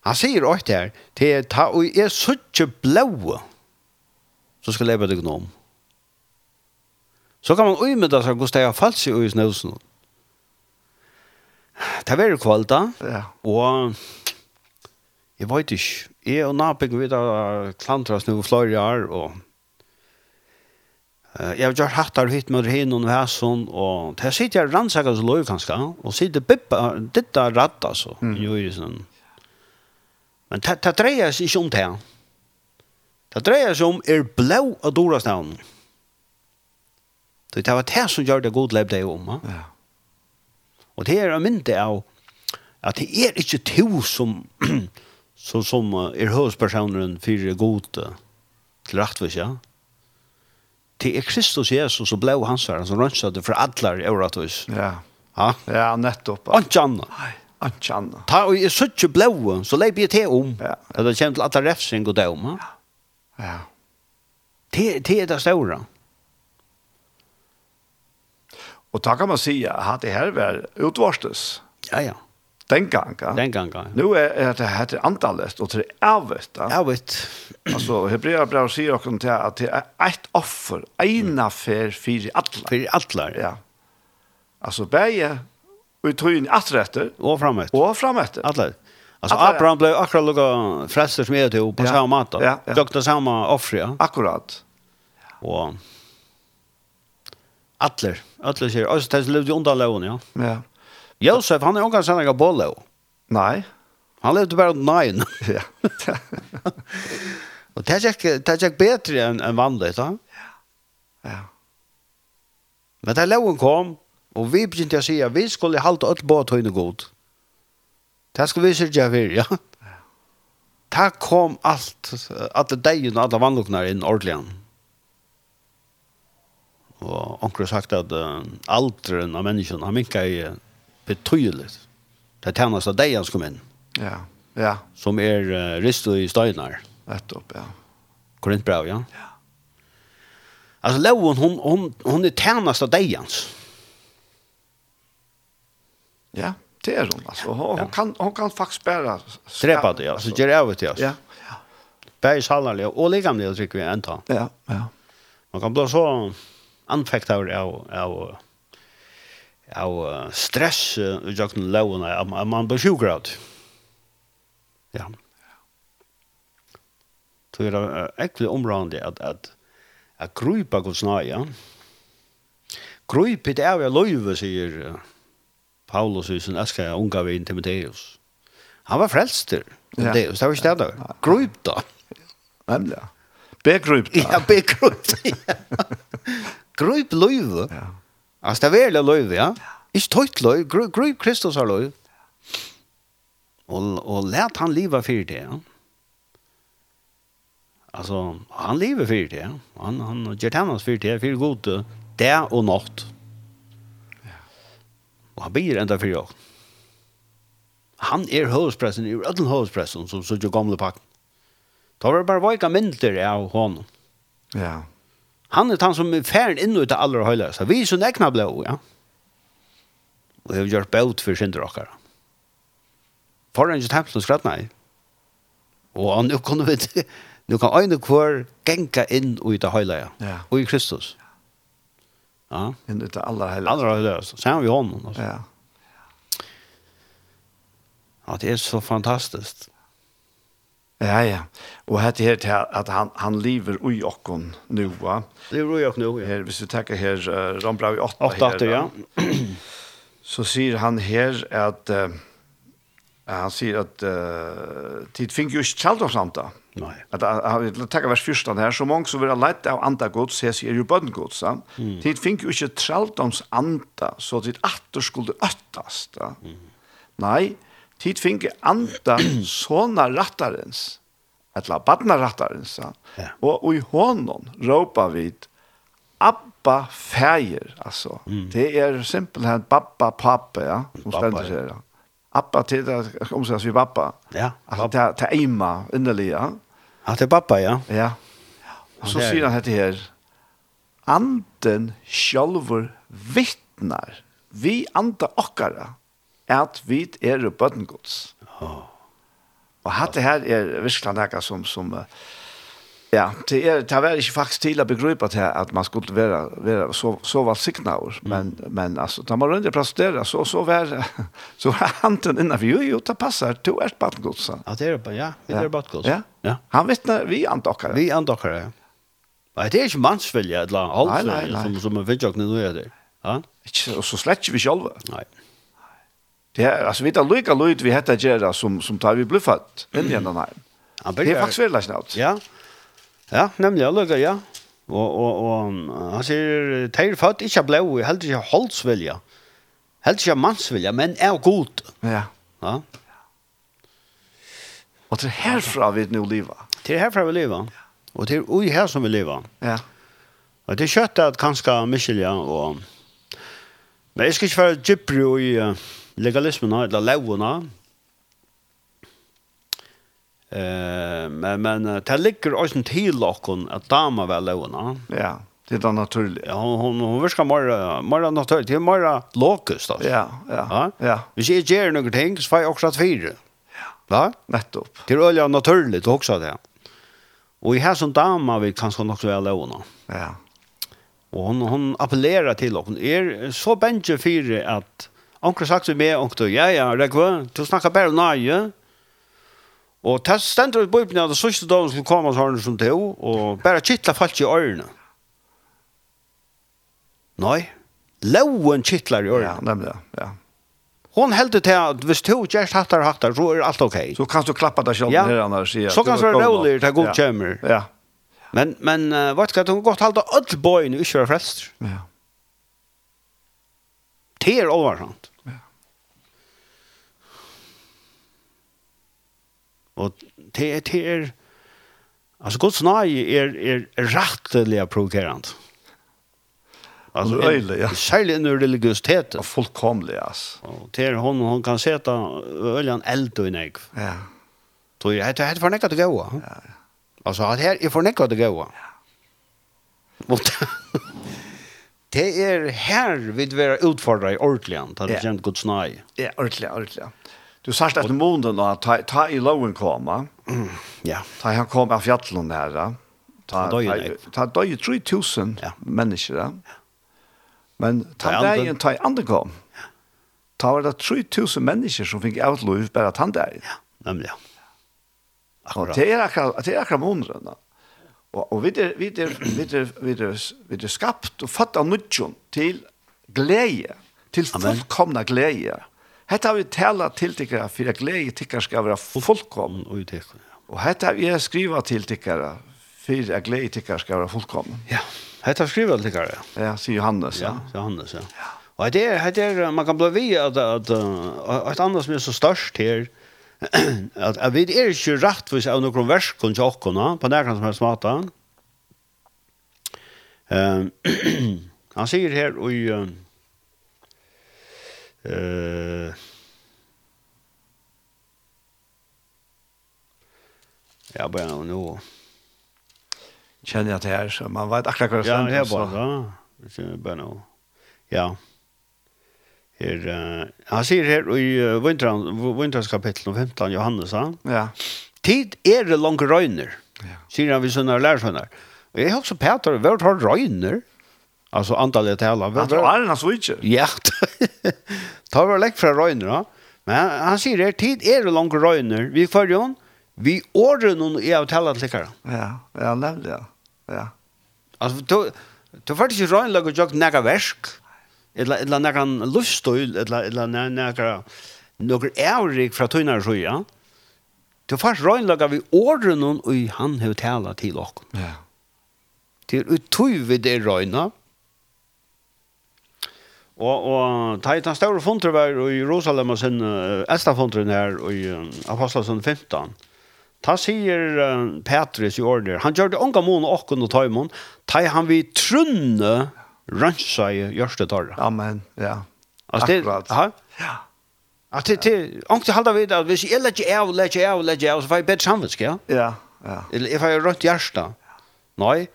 Han sier også her, det er ta og er suttje blå som skal leve til gnom. Så kan man umynda seg hvordan det er falsk i snøsen. Det er veldig kvalt da.
Ja.
Og jeg vet ikke, jeg og Nabing vet at klantras nå i flere år, og eh, jeg har gjort hattar hit med hin og hæsson, og der sitter jeg rannsaker så løy kanskje, og sitter bippa, ditta ratt altså, i jurisen. Men det det dreier seg ikke om det. Det dreier seg om er blå av Dorastavn. Det var det som gjør det god lev det om. Ja.
Ja.
Og det er en myndi av at det er ikke to som som, som eh, er høvespersoneren for god eh, til rettvis, ja. Det er Kristus Jesus og blå hans herren som rønnsade for allar i åretvis.
Ja.
Ja.
Ja, nettopp.
Ikke annet.
Nei, ikke annet.
Ta og jeg suttje blå, så leip jeg til om.
Ja.
At det kommer til allar refsing og døm. Ja.
Ja.
Det, det er det store.
Och då kan man säga att det här var utvarstes
Ja, ja.
den gången.
Den gangen.
Nu är är det här till antalet och till avvet.
Jeg vet.
Alltså Hebreerbrevet säger också till att det är ett er offer, ena för för alla.
For allar.
Ja. Alltså bäge och tog in att rätter
Og framåt.
och framåt.
Alla. Alltså
Alla, ja.
Abraham blev akkurat lika frälster som jag tog på
Ja.
samma mat.
Ja, ja.
Doktor samma offer, ja.
Akkurat.
Och Atler. Atler säger, alltså det levde ju undan lån, ja.
Ja.
Josef, han är också sen jag bolle.
Nej.
Han levde bara under nine.
Ja.
Och det är det är bättre än än vanligt, ja.
ja.
Men där lån kom och vi började att säga vi skulle hålla allt båt höjne god. Det skulle vi sörja för, ja. Det kom allt, alla dejen och alla vannloknar in ordentligt. Och onkel har sagt att uh, alderen av människan har minkar i eh, betydligt. Det tjänas av dejen som kom in,
Ja. Ja,
som är uh, risto i stöjnar.
nettopp, ja.
Korintbrev, ja. ja. Alltså Loven, hon, hon, hon är tjänas er av dejens.
Ja, det är hon alltså. Hon,
Ja.
hon kan hon kan faktiskt bära
Drepa det, ja. Så gjør jeg av det, ja.
Ja.
Bæg salarlig og ligamlig, trykker vi enda.
Ja, ja.
Man kan bli så anfekt av, av, av, av eh, stress eh, i jøkken lovene, at man- at man blir sjuk grad. Ja. Så er det eh, ekkelig områdende at, at, at grupa gods nøye. Grupet er jo løyve, sier eh, Paulus i sin æske unga vi Timotheus. Han var frelster.
Ja.
Ja. Det, det var ikke det da. Grup da.
Nämligen. Begrypt.
Ja,
Ja.
be grup. Grup løyve.
Ja.
Altså, det er veldig løyve, ja. Ikke tøyt løyve, gru- grup Kristus har løyve. Og, og let han liva fyrir det, ja. Altså, han lever fyrir det, ja. Han, han gjør tennas fyrir det, fyrir gode, det og natt. Og han blir enda fyrir oss. Han er høvespressen, er ødel høvespressen, som så ikke gamle pakken. Da var det bare veika myndir av honom.
Ja.
Han er han som er færen inn ut av allra høylæsa. Vi er så nekna blå, ja. Og hefur gjort bøt for synder okkara. Foran ikke tempelen skrattna i. Og nu kan vi nu kan ein og kvar genka inn og ut av heilaja.
Ja.
Og i Kristus. Ja.
inn ut av alla heller.
Allra heilaja. Sen vi honom. Alltså.
Ja.
Ja, det är så er fantastiskt.
Ja, ja. Og hette her til at han, han lever ui okkon nu, va?
Det är roligt nu. Ja.
Her, hvis vi takker her, uh, Ramblau i 8,
Åtta åtta, ja.
så sier han her at, uh, han sier at, uh, tid fink jo ikke kjald om samta.
Nej.
At han takkar vers 14 her, så mange som vil ha leit av anda gods, ses er jo bønn gods, ja. Tid fink jo ikke traldoms anda, så tid atter skulle øttast, ja. Nei, tid fink anda såna rattarens, etla badna rattarens, ja.
Ja.
Og, og i hånden råpa vid, Abba fæger, altså. Det er simpelthen Babba, pappa, ja. Som
Pappa,
stender
ja.
her, ja. Abba til det, omsett vi Babba.
Ja.
Altså, det er- det er eima, inderlig, ja.
Ja, det är pappa, ja.
Ja. Og så
det er
sier han dette her. Anden sjálfur vittnar. Vi anda okkara at vi er bøttengods. Og dette her er virkelig noe som, som eh, ja, det er, det var ikke faktisk til å begripe til at man skulle være, være så, så valgsikna år,
Mm.
men, men altså, da man rundt prestera, så, så var, så var handen innenfor, jo, jo, det passer, to er bøttengods.
Ja, det är bara ja. Det är bara gott.
Ja.
Ja.
Han vittnar, vi anda okkara.
Vi andokkar det. Nei, det er ikke mannsvilje, eller
Nei, nei,
halvvilje,
nei.
som, som er vidtjøkne nå er det. Ja?
Ikke, og så slett ikke vi sjølve.
Nei.
Det er, altså, vi tar lykke lyd vi heter Gjera som, som tar vi blir født inn i enda nei.
Han
Det er faktisk veldig snart.
Mm. Ja, ja nemlig, jeg lukker, ja. Og, og, og um, han sier, teir født ikke blå, heldur ikke holdsvilje, heldur ikke mannsvilje, men er god.
Ja.
Ja?
Og det er herfra vi nå lever.
Det er herfra vi lever, og det er ui her som vi lever.
Ja.
Og det er kjøtt at kanskje miskilja, og... Men jeg skal ikke være gypri i eh, legalismen, eller launa. Eh, men, men eh, det ligger også til okken at dama vel launa.
Ja. Det er da naturlig.
Ja, hon hon hon viskar mera mera naturligt. Det er är mera lokust alltså.
Ja, ja.
Ja.
Ja.
Vi ser ger några ting så får jag också att fyra. Ja.
Nettopp.
Det är öliga naturligt också det. Och i här som dama vi kanske också väl låna.
Ja.
Och hon hon appellerar till och hon är Er så bänge fyra att onkel sagt till mig och då ja ja det går. Du snackar bara nej. Och tas ständer i bibeln att sista dagen skulle komma så har hon som till och bara kittla fallt i öronen. Nej. Lowen kittlar i
Ja,
öronen.
nemlig. Ja.
Hon heldur til at hvis to gjerst hattar og hattar, så er alt ok.
Så kan du klappa deg sjølv
Ja.
her annars. sier jeg.
Så kan
var
du være
god nok.
rolig til god
Ja.
kjemmer.
Ja.
Men, men uh, vet du hva, du kan godt halda öll bøyene og ikke være frelst.
Ja.
Det er oversant.
Ja.
Og det er, det er, altså Guds nøye er, er rettelig provokerant.
Og øyelig, ja.
Særlig under religiøsiteten.
Og fullkomlig, ass.
Og det er hun, hun kan seta øljan eld og i negv.
Ja.
Så jeg heter heter fornekka er til gåa. Altså, at her er fornekka til gåa. Og det- det er her vi vil utfordra i ordentlig, da
Ja.
det kjent Guds nøye.
Ja, ordentlig, ordentlig. Du sagt etter måneden da, ta, ta i loven komme,
Ja.
ta han kom av fjallen her, da. ta,
Ta døye
ta,
nei.
ta døye 3000
Ja.
mennesker, da. men ta
Ta i anden.
dagen ta i andre kom, ta var det 3000 mennesker som fikk utlov bare ta dagen. Ja.
Nemlig, ja.
Og
Akkurat.
det er akkurat, det er akkurat måneder, da. Og, og vi er, vi er, vi er, vi er, vi er skapt og fatt av nudjon til glede, til fullkomna glede. Hette har vi tala til tikkara, for at glede tikkara skal være fullkomna.
Og i det, ja.
Og hette har vi skriva til tikkara, for at glede tikkara skal være fullkomna.
Ja, hette skriver det likkare, ja.
Ja, sier Johannes.
Ja,
Ja.
det er Hannes, ja. Og det er, det er, man kan bli vi at, at, uh, et annet som er så størst her, at, at vi er ikke rettvis av noen verskund til åkkerne, på nærkant som helst måte. Ehm, han sier her i, um, eh, ja, bare nå,
Kjenner jeg til her, så man vet akkurat hva det
Ja,
stender,
her
så-
bara. Ja, vi ser bara nu. Ja. Her, eh, han sier her i eh, vintran, vintrans kapittel 15, Johannes, han,
Ja,
tid er det langt røyner,
Ja.
sier han vi sånne lærersønner. Og jeg har også Peter, hva har røyner? Altså antallet tala.
Han tror Arne er han switcher.
Ja, ta var lekk fra røyner, da. Men han, han sier her, tid er det langt røyner, vi følger hon, vi årer noen i av tala til likkere.
Ja, ja, nemlig, ja. Ja.
Altså, du, du får ikke røyner og jokk nega versk, eller, eller nega lustøyl, eller, eller ne- nega noen ævrig fra tøyner så, ja. Du får røyner vi årer noen i han har tala til okken.
Ja.
Det er utøy vi det røyna. Og, og ta i den store fondre var i Jerusalem og sin uh, eldste fondre her i uh, Apostelsen 15. Ta sier uh, Petrus i ordet, han gjør det unga mån og åkken og taimon, ta i han vi trunne rønsa i gjørste torra.
Amen, ja.
Altså, det-
Akkurat.
Ja.
Ja.
At det, det, ångte halda vid at hvis jeg legger av, legger av, legger av, så får jeg bedre samvitsk, ja?
Ja, ja.
Eller jeg får rønt hjärsta. Nei,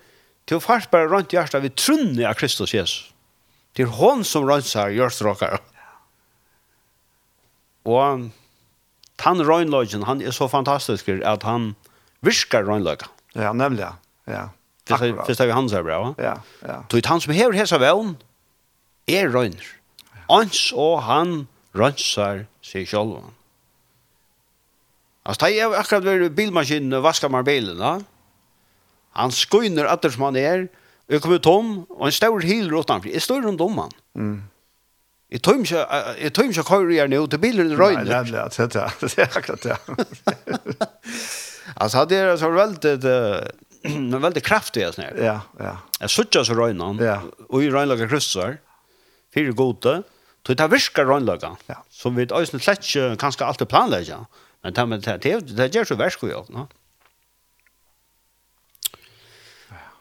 til fast bare rønt hjärsta vi trunne av Kristus Jesus. Det er hon som rønsar hjärstråkar. Og han rønløgjen, han er så fantastisk at han virkar rønløgjen.
Ja, nemlig, ja. Ja. Akkurat.
Fyrst er vi hans er bra, va?
Ja, ja.
Så han som hever hesa vevn er røyner. Ans og han rønsar seg sjálv. Altså, det er akkurat ved bilmaskinen og vaskar man bilen, da. Han skuiner atter som han er, og kommer tom, og en stor hil utanför. Jeg står rundt om han.
Mm.
Jeg tøm ikke, jeg tøm ikke køyre her nå, til bilen
Nei,
røyner.
er nemlig, ja. Det er det. Det er akkurat det.
Altså, det er så veldig, eh, veldig kraftig, jeg snart.
Ja, ja.
Jeg sutja så røynan,
Ja.
og i røynlaga kryssar, fyrir gode, tog det virkar røynlaga,
Ja.
som vi øyne sletje kanskje alltid planlegja, men det, men det, det, det gjør så versk vi jo, no?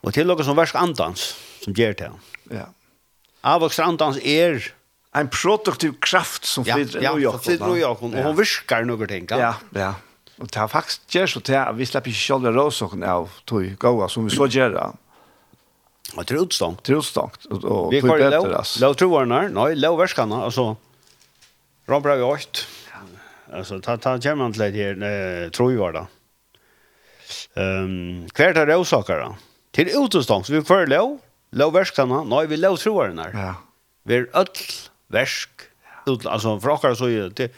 Og til noe som versk andans, som gjør det.
Ja.
Avvoksra andans er,
En produktiv kraft som
ja,
flyter
ja,
inn i oss,
som flyter inn i
da.
oss, og hun er- virkar noe ting,
Ja, ja. Og det er faktisk gjør så til at vi slipper ikke sjølve råsokken av tog gåa som vi så gjør det.
Og er til utstånd.
Til utstångt og og
Vi
tog
kvar lov,
bedre, ass.
lov trovarnar, nei, lov verskana, altså, rambra vi åkt. Alltså ta ta German till här eh, tror jag var det. Ehm kvärt av rosakar då. Till utestångs vi för lov, lov värskarna, nej vi lov tror den här.
Ja.
Vi är öll värsk. Ut alltså för oss så är det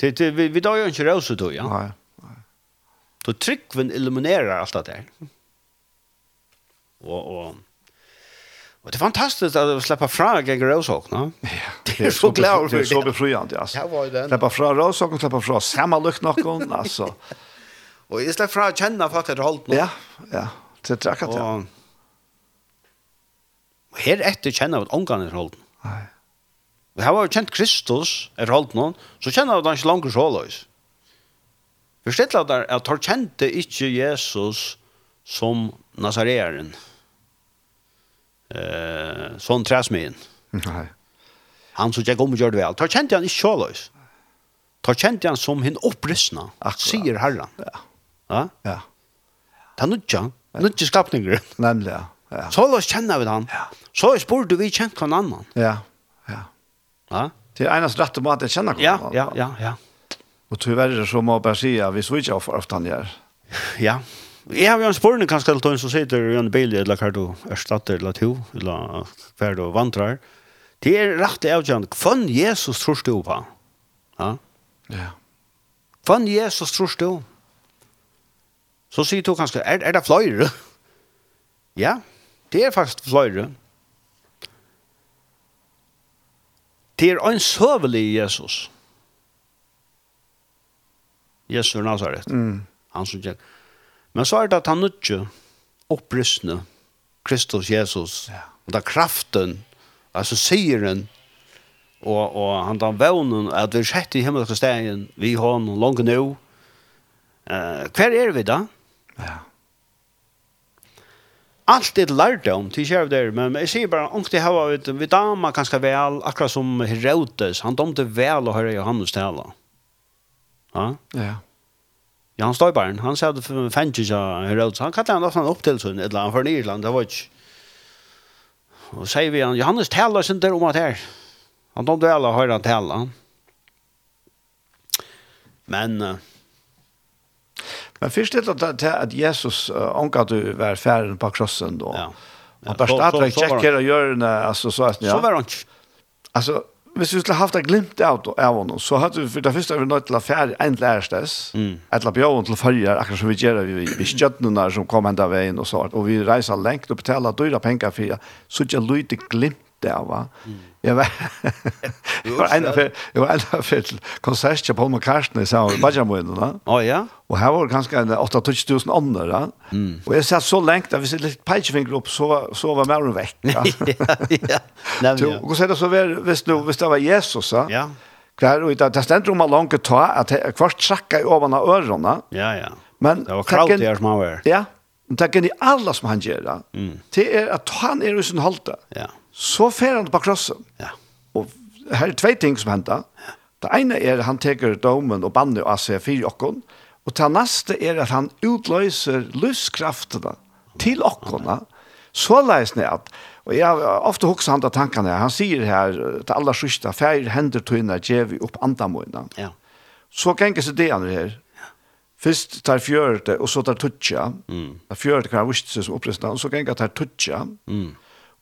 det det- vi vi då ju inte rosor då ja.
Nei.
Då tryckven eliminerar allt det där. Och och Och det är er fantastiskt att släppa fram gegen rosakna.
Ja.
Det er så glad
Det
for
er så
det.
befriande, ass.
Ja, var det.
Släppa fra råsokken, släppa fra samma lukt noen, altså.
Och jag släpper fram att känna faktiskt hållt
Ja, ja. Det er akkurat det.
Og og her etter kjenner vi at ångan er holden.
Nei.
Vi har jo kjent Kristus er holden noen, så kjenner vi at han ikke langer så løs. Vi stedet at at han kjente ikke Jesus som Nazarearen. Eh, sånn træsmien.
Nei.
Han som gikk om og gjør det vel. Da kjente han ikke så løs. Da kjente han som henne opprystna,
Akkurat.
sier Herren.
Ja.
Ja?
Ja.
Det er nødja. Nødja skapninger.
Nemlig, ja. Ja.
Så løs kjenner vi han.
Ja.
Så spurte vi kjent hver annan.
Ja. Ja.
Ja,
Det er eneste rette måte jeg kjenner
ja, ja, ja. ja.
um. Og tyvärr så må jeg bare si at vi switcher for ofte han gjør.
ja. Jeg har jo en spørning kanskje til en som sitter i en bil eller hver du erstatter eller to, eller hver du vandrar. Det er rett avgjørende. Hvem Jesus tror du på? Ja.
Ja.
Hvem Jesus tror du? Så sier du kanskje, er, er det fløyre? ja, det er faktisk fløyre. Det er en søvelig Jesus. Jesus er Nazaret.
Mm.
Han som gikk. Men så er det at han ikke opprystne Kristus Jesus.
Ja.
Og det er kraften, altså sieren, og, og han tar vevnen at vi er sett i himmelske stegen, vi har noen langt nå. Uh, hver er vi da?
Ja.
Allt er lært om til kjær der, men jeg sier bare, om det her var vi, vi damer ganske vel, akkurat som Herodes, han domte vel å høre Johannes tale. Ja?
Ja.
Ja, han står i baren. Han sier at fanns ikke Herodes. Han kallar han ofte opp til sin, eller han for Irland, det var ikke. Og sier vi han, Johannes taler sin der om at her. Han tom dvela og høyre han tala. Men, eh,
Men først er det til at Jesus omgav du var ferden på krossen, og
Ja.
han bare
Så- så-
startet og
så var han-
tjekker og gjør det, altså så er det,
Så var
ja.
han ikke.
Altså, hvis vi skulle haft et glimt av av honom, så hadde vi for det første vært nødt til å fære en lærerstes,
Mm.
et la bjøven til følger, akkurat som vi gjør vi, vi skjøttene som kom hendt av veien og så, og vi reiser lengt og betaler dyra penger for, så ikke lyde glimt av, va?
Mm.
Jeg var, jeg var en av fyr, jeg var en av fyr til konsert til Paul McCartney, sa han, Bajamoyen, da.
Å ja.
Og her var det kanskje en 8-2000 ånder, da.
Mm.
Og jeg satt så lengt, at hvis jeg litt peitjefinger opp, så, var- så var mer vekk, ja.
ja, ja. Nei,
Jo,
men
og så er det så vel, hvis, nu, hvis det var Jesus, ja.
Ja.
Kvar, og det, det stender om man langt ta, at he- kvart trakka i ovan er av ørene,
Ja, ja.
men...
Det var kraut
takken-
der som han var.
Ja, men takken i alla som han gjør, mm. det er at han er i sin halte,
Ja.
så fer han på krossen.
Ja.
Og her er tvei ting som hender. Det ene er at han teker domen og banner av seg fire okken, og det neste er at han utløser lyskraftene til okkene, så leis ned at, og jeg har ofte hokset han til tankene, her. han sier er, her eh, til aller sørste, «Fær hender tøyene djev vi opp andamøyene».
Ja.
Så ganger seg det andre her. Først tar fjørte, og så tar tutsja. Mm. Fjørte kan ha vist seg som opprestende, og så ganger tar tutsja. Mm.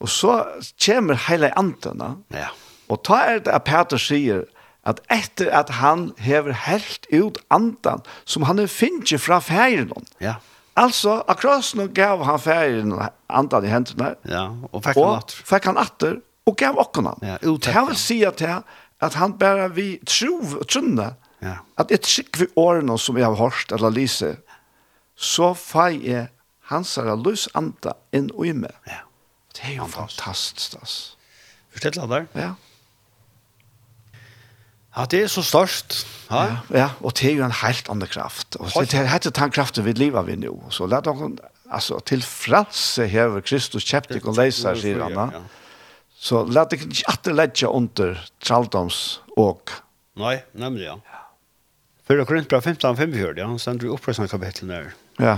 Og så kommer hele antene,
Ja.
Og ta er det at Peter sier at etter at han hever helt ut andan som han er finnes fra færen.
Ja.
Altså, akkurat nå gav han færen andan i hendene,
Ja, og fikk han
og
atter.
fikk han atter, og gav åkken han.
Ja, ut
det
etter.
vil si at, jeg, at han bare vi tro, trunne,
Ja.
at et skikk vi årene som jeg har hørt, eller lise, så fei jeg hans her løs anda inn og i meg.
Ja.
Det er jo fantastisk, ass.
Forstell han der.
Ja.
Ja, det er så størst. Ja. ja.
Ja, og det er jo en helt annen kraft. Og det er hette den kraften vi lever vi nå. Så la dere, altså, til frelse hever Kristus kjøpt dere og leiser, sier han.
Ja.
da. Så la dere ikke alltid legge under traldoms og
Nei, nemlig, ja. Fyrre Korintbra 15, 45, ja, han stender i opprøsene kapitlet der.
ja,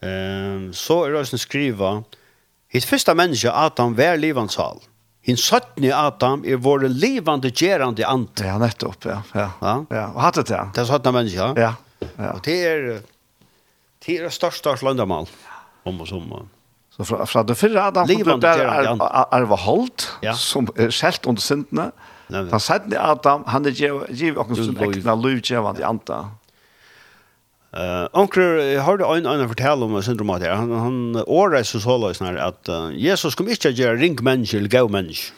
Ehm så er det også skriva Hitt første menneske Adam var livans hal. Hin sattne Adam er vår livande gerande ant.
det er nettopp, ja. Ja, ja.
Ja.
og hatt det, ja.
Det er sattne menneske.
Ja, ja.
Og det er det er det største største landamal. Om og som.
Så fra, fra det fyrre Adam som ble
Livande
bare
gerande
arv,
ant.
arve holdt,
Ja.
som er skjelt under syndene.
Nemlig.
Han sier til Adam, han er givet oss sin
Lov.
ekne lovgjevende i anta.
Eh onkel eh, har det en annan fortell om syndrom um at han han året så så løs när att eh, Jesus kom inte att göra ring människor eller gå människor.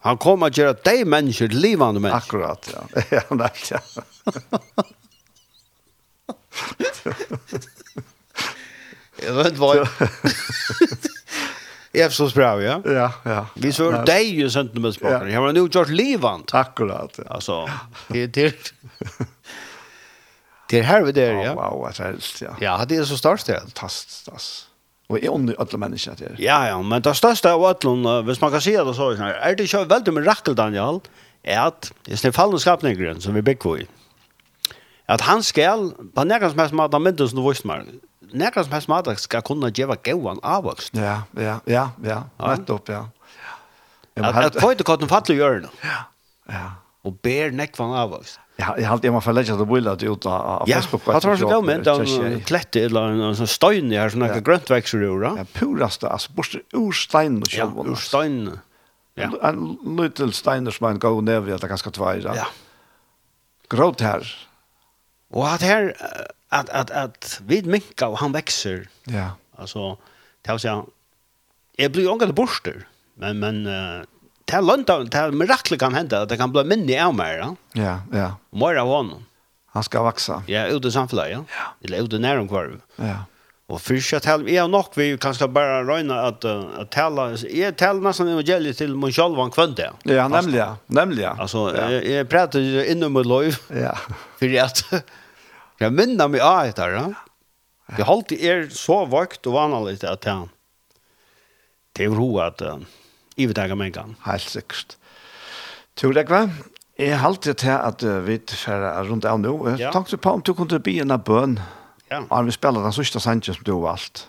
Han kom att göra de människor till livande människor.
Akkurat, ja. Ja, nei, ja.
Jag vet vad. Jag är så bra, ja.
Ja, ja.
Vi så var det ju sent med språkare. Jag har nu gjort livant.
Akkurat, ja.
Alltså, det det Det är här vi där, er, ja.
Wow, at helst, ja.
Ja, det är så störst det.
Fantastisk, ass. Og jeg er. ånder alle mennesker til det.
Ja, ja, men det største av Atlon, hvis man kan si det så, er det ikke veldig mirakel, Daniel, er at, i sin fallende skapningeren som vi bygger i, at han skal, på nærkens mest mat, han myndes noe vissmer, nærkens mest mat skal kunne gjøre gøyene avvokst.
Ja, ja, ja, ja. Nettopp, ja. Jeg må
At, at
helt-
kvøyte katten fattelig gjør det,
Ja.
og ber nekvann avvokst.
Jeg har- Jeg har alltid jeg må få legge til å boile det ut av av
Ja,
Facebook.
at var så
Jeg-
gav med
jeg-
en
er jeg-
eh, klette eller en, en sånn stein her, sånn
Ja.
ja. grønt vekser i jorda.
Ja, puraste, altså, er bortsett ur steinen og
Ja,
sjølven.
ur
altså.
stein. Ja,
En lytel steiner som er en god nev i at det ganske tveira.
ja.
Gråt her.
Og at her, eh, at, at, at vi minka og han vekser,
Ja.
altså, det vil si, jeg blir jo ångat borster, men, men, eh, det er lønt, av- det er mirakler kan hende, at det kan bli minne av meg, ja.
Ja, ja.
Mer av honom.
Han skal vaksa.
Ja, ute i samfunnet, ja. Eller ute nærum kvarv.
Ja.
Og fyrst jeg taler, jeg nok vi kanskje bare røyne at, eh, at tala, jeg taler nesten evangeliet til min sjølvan kvønte.
Ja, nemlig, ja. Nemlig, ja.
Altså,
ja.
jeg, jeg prater innom mitt liv,
Ja.
fordi at jeg minner meg av etter, ja. Det holdt er så vakt og vanlig at jeg til ro at eh, jeg vet ikke om jeg kan.
Helt sikkert. Tror jeg, hva? Jeg har alltid til at eh, vi er rundt av nå. Jeg
Ja.
tenkte på om du kunne bli en av bøn.
Ja.
Og vi spiller den sørste sangen som du har valgt.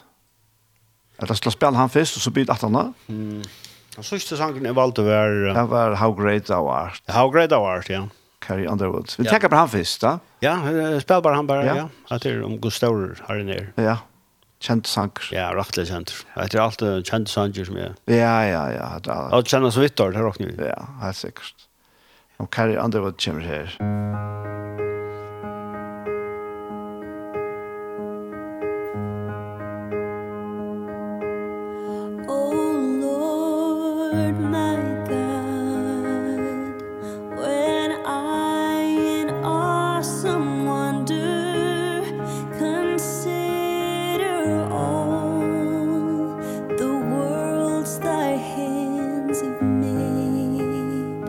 Eller skal jeg spille han først, og så blir det at han da.
Den siste sangen jeg valgte var eh,
Det var How Great Thou Art.
How Great Thou Art, ja.
Carrie Underwood. Vi
Ja.
tenker på han først, da.
Ja, eh, spel bara han bara,
Ja.
ja. Att det är om Gustav här nere.
Ja, kjent sanker.
er. Ja, rattlig kjent. Det er alltid kjent sanger som jeg...
Ja, ja, ja. Da,
Ja, det kjenner så vidt det er åkne vi.
Ja, helt sikkert. Og Carrie Underwood kommer her.
Oh Lord, my God, when I in awesome wonder consider all the worlds Thy hands have made,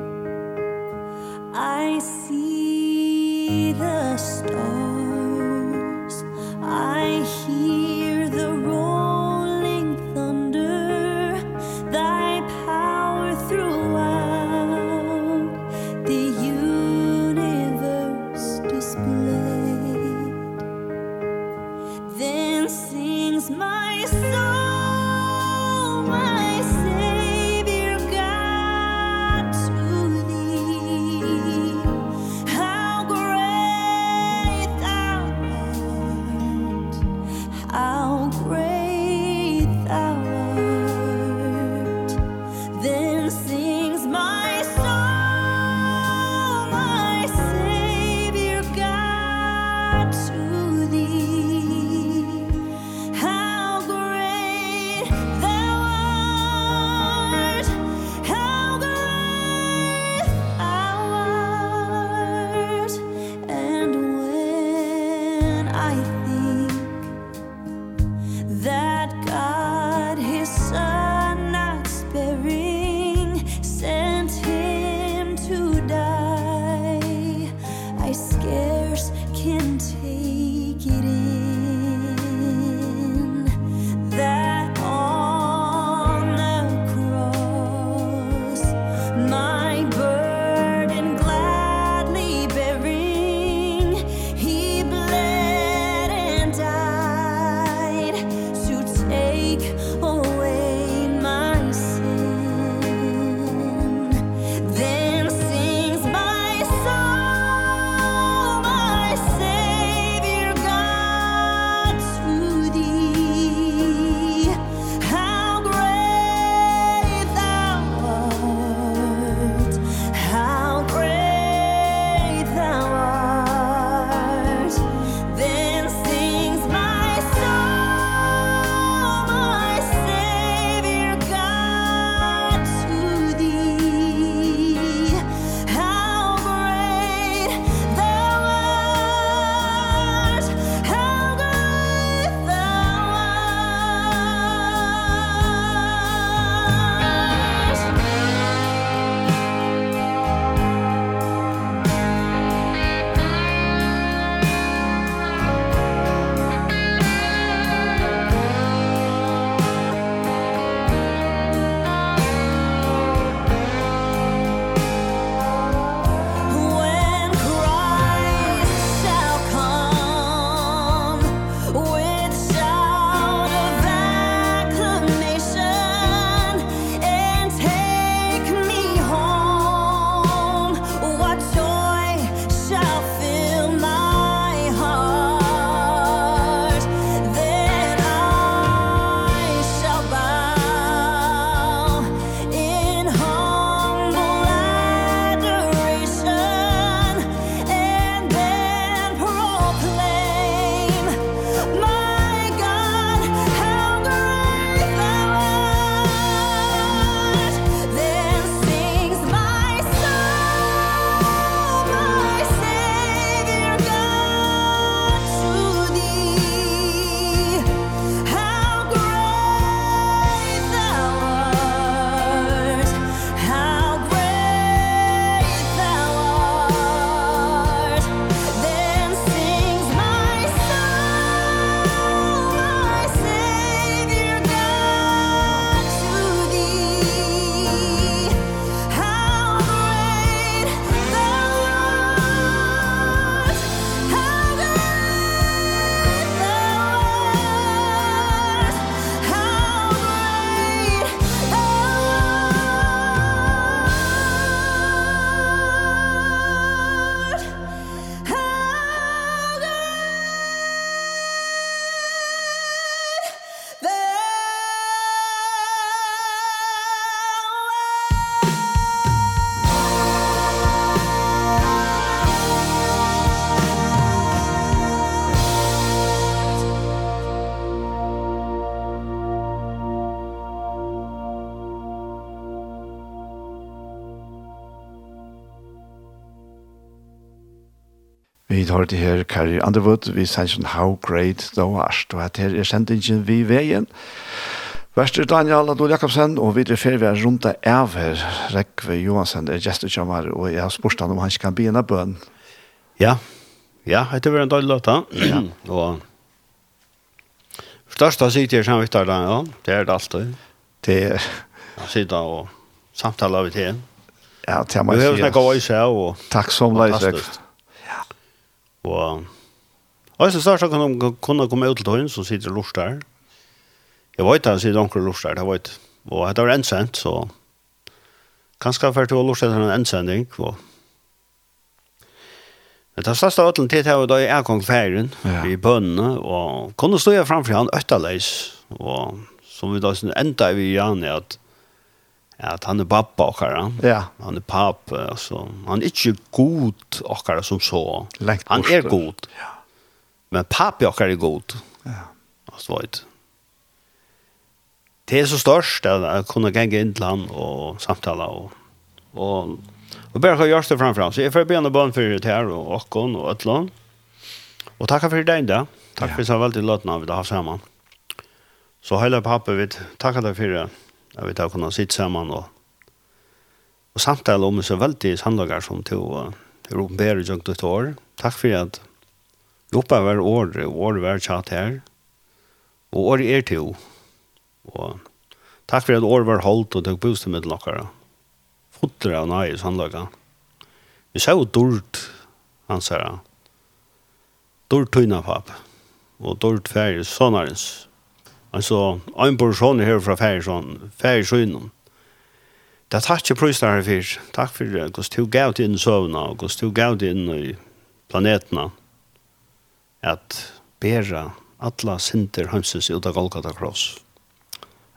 I see the stars. I hear the rolling thunder. Thy power throughout the universe displayed. Then sings my soul, my Savior God, to Thee. How great Thy
Vi har det her Carrie Underwood, vi sier sånn How Great Thou Art, og at her er sendingen vi veien. Værste Daniel Adol Jakobsen, og videre fer vi er rundt av av her. Rekve Johansen er gestekjammer, og jeg har spurt han om han ikke kan bli en av bøn.
Ja, ja, det var en dårlig låt, da. og størst av sitt er samvittar, da, ja, det er det alltid.
Det er,
Jeg sitter og samtaler vi til.
ja, til jeg må
Vi har
si.
snakket av oss her, og
Takk som leis, Rekve.
Fantastiskt. Og Og så snart så kan de kunne komme ut til tøyen, så sitter det lort der. Jeg vet at han sitter onker lort der, jeg vet. Og dette var endsendt, så kanskje jeg til å lort etter en endsending. Og... Men det største av øtlen til det var da jeg er kong ferien,
Ja.
i bønene, og kunne stå jeg framfor han øtterleis, og som vi da sin- enda vi gjerne at at han er pappa okkara.
Ja.
Han er pappa, altså. Han er ikke god okkara som så.
Lengt
han er
borte.
god. Men pappi okkara er god.
Ja.
Altså, vet. Det er så størst at jeg kunne gange inn til han og samtale og og og bare har gjort det framfor han. Så jeg får begynne bønn for det her og åkken og øtlån. Og takk for deg da. Takk for så veldig løtene vi har haft sammen. Så hele pappa vi takker deg for det. Jeg vet at jeg kunne sitte sammen og og um samtale om så veldig sannlager som til å rompere i jøkt et år. Takk for at vi oppe hver år, og år hver tjatt her, og år er til. Og takk for at år var holdt og tok bostad med dere. Fotter av nøye sannlager. Vi ser jo dårlig, han sier han. Dårlig tøyne papp, og dårlig ferie sånnerens. Altså, en person her fra ferie sånn, ferie sønnen. Det er takk til prøyster her fyrt. Takk for det. Gås du gav til inn i søvnene, og gås du gav til inn i planetene. At bæra alla sinter hansens ut av Golgata Kross.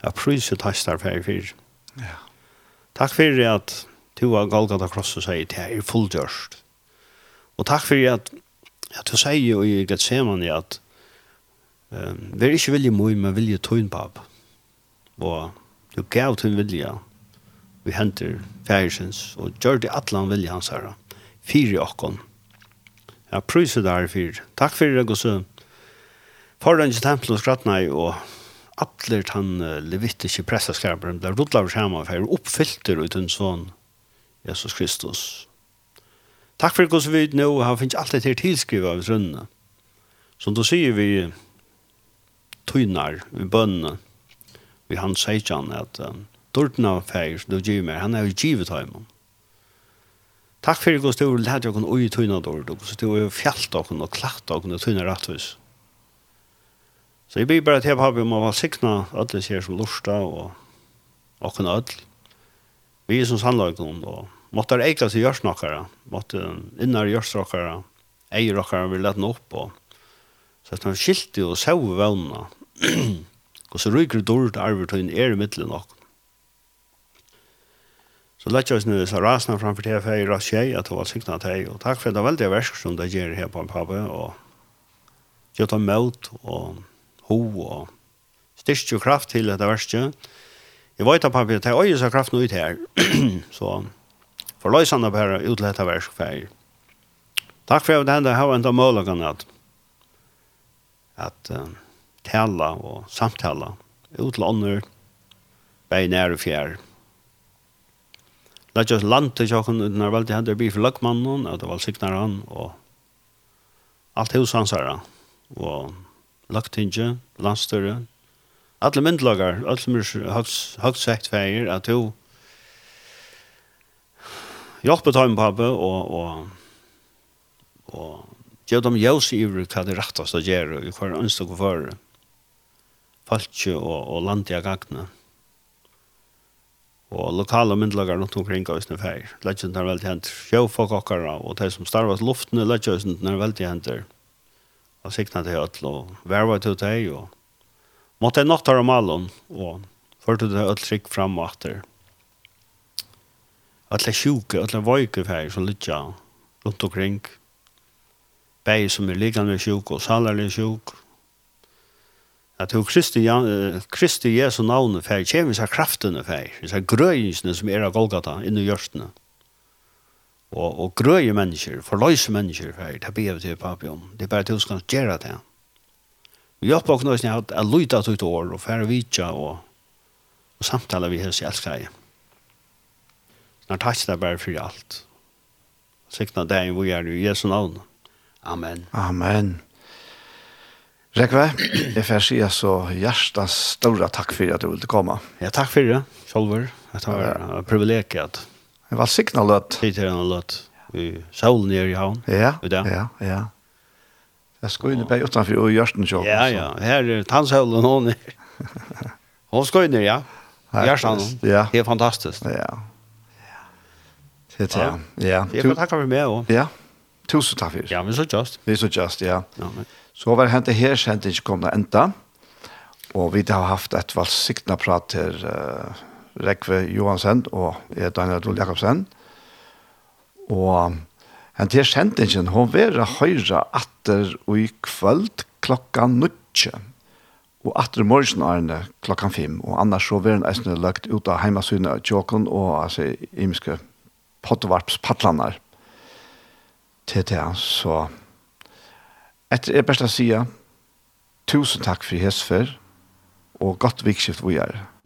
Jeg prøyser takk til her fyrt.
Ja.
Takk for det at du av Golgata Kross og sier til her er fullgjørst. Og takk for det at, at du sier jo i Gethsemane at um, det er ikke vilje mye, men vilje tøyn, pap. Og du gav til vilje vi henter færisens og gjør det atlan vilje hans herre. Fyre okkon. Jeg pryser det her fyr. Takk for det, Gosse. Foran til tempelen og skrattnei og atler han eh, levittiske prestaskaperen ble rodla over skjermen for jeg oppfylter ut en sånn Jesus Kristus. Takk for Gosse vid nå har finnes alt dette her tilskrivet av rønne. Som du sier vi tøynar, vi bønner, vi han sier ikke han at um, dårten av feir som du gir meg, han er jo givet av ham. Takk for det, Gostor, det hadde jeg kun ui tøyna dårlig, og Gostor, jeg fjallt av henne og klatt av henne og tøyna ratthus. Så jeg blir bare til um pappi om å være sikna alle sier som lorsta og og henne ødel. Vi er som sannlagen, og måtte det eikast i gjørsnakere, måtte innar gjørsnakere, eier okkara vil lette opp, og så at han skilte og sau vevna, og så ryker dårlig arvetøyen er i middelen nok. Så lett jeg oss nu så rasna framfor til for jeg rast jeg at det var sikna til jeg, og takk for det veldig versk som det gjør her på en pappa, og gjør det møt og ho og styrst jo kraft til dette verset. Jeg vet at pappa, det er øye så kraften ut her, så for løsene bare ut til dette versk for jeg. Takk for det enda har enda målagene at at uh, tala og samtala ut til ånder, bare nær og fjær. Lett oss er land til sjokken uten er veldig hendt bli for løkmannen, at det var sikner han, og alt hos hans herre, og løktinge, landstørre, alle myndelager, alle er myrs høgt sekt feier, at jo hjelpe til ham, pappa, og, og, og gjør dem jøs i ivrig hva det rettast å gjøre, i hver ønske og føre, falskje og, og land i agagnet og lokale myndelagar rundt omkring av sin feir. Legend er veldig hent. Sjøfolk okkara og de som starvas luftene, legend er veldig hent. Og sikna til øtl og verva til deg og måtte jeg nåttar om allen og førte til øtl trygg fram og atter. Øtl er sjuke, øtl er voike feir som lytja rundt omkring. Beg som er liggande sjuk og salerlig sjuk. At hun Kristi, eh, Kristi Jesu navnet fer, kjemisk av kraftene fer, disse grøyingsene som er av Golgata, inni hjørstene. Og, og grøye mennesker, forløse mennesker, her, det ber vi til papi om. Det er bare til skal gjøre det. Vi hjelper oss nøysen at jeg lytter til et år, og færre vidtja, og, og samtaler vi hans i elskar Når takk deg bare for alt. Sikna deg hvor jeg er i Jesu navn. Amen.
Amen. Rekve, jeg får si så hjertens store takk for at du ville komme.
Ja, takk for det, Kjolver. Det var et privilegium at
Det var signaløt.
tid til en løtt i solen nere er i havn.
Ja,
I dag.
ja, ja. Jeg skulle inn i bæg utenfor og gjørsten sjåk.
Ja, ja. Her er tannsølen hon er. Hon skal inn, ja. Gjerstaden.
Ja.
Det er fantastisk.
Ja. Ja. Det er det, ja.
Jeg
Tu-
får takke for meg også.
Ja. Tusen takk for det.
Ja, men så just.
Det er så just, ja.
Ja, men.
Så var det hentet her, kjent ikke kom det enda. Og vi har haft et valgsiktende prat til uh, Rekve Johansen og jeg, Daniel Adol Jakobsen. Og hentet her, kjent ikke, hun var høyre atter og i kvöld klokka nødtje. Og atter i morgen er det klokka fem. Og annars så var det eisende lagt ut av heimasynet av Tjåkon og altså, imiske pottevarpspatlanar. Til det, så... Etter er best å si tusen takk for hesfer, og godt vikskift vi er.
er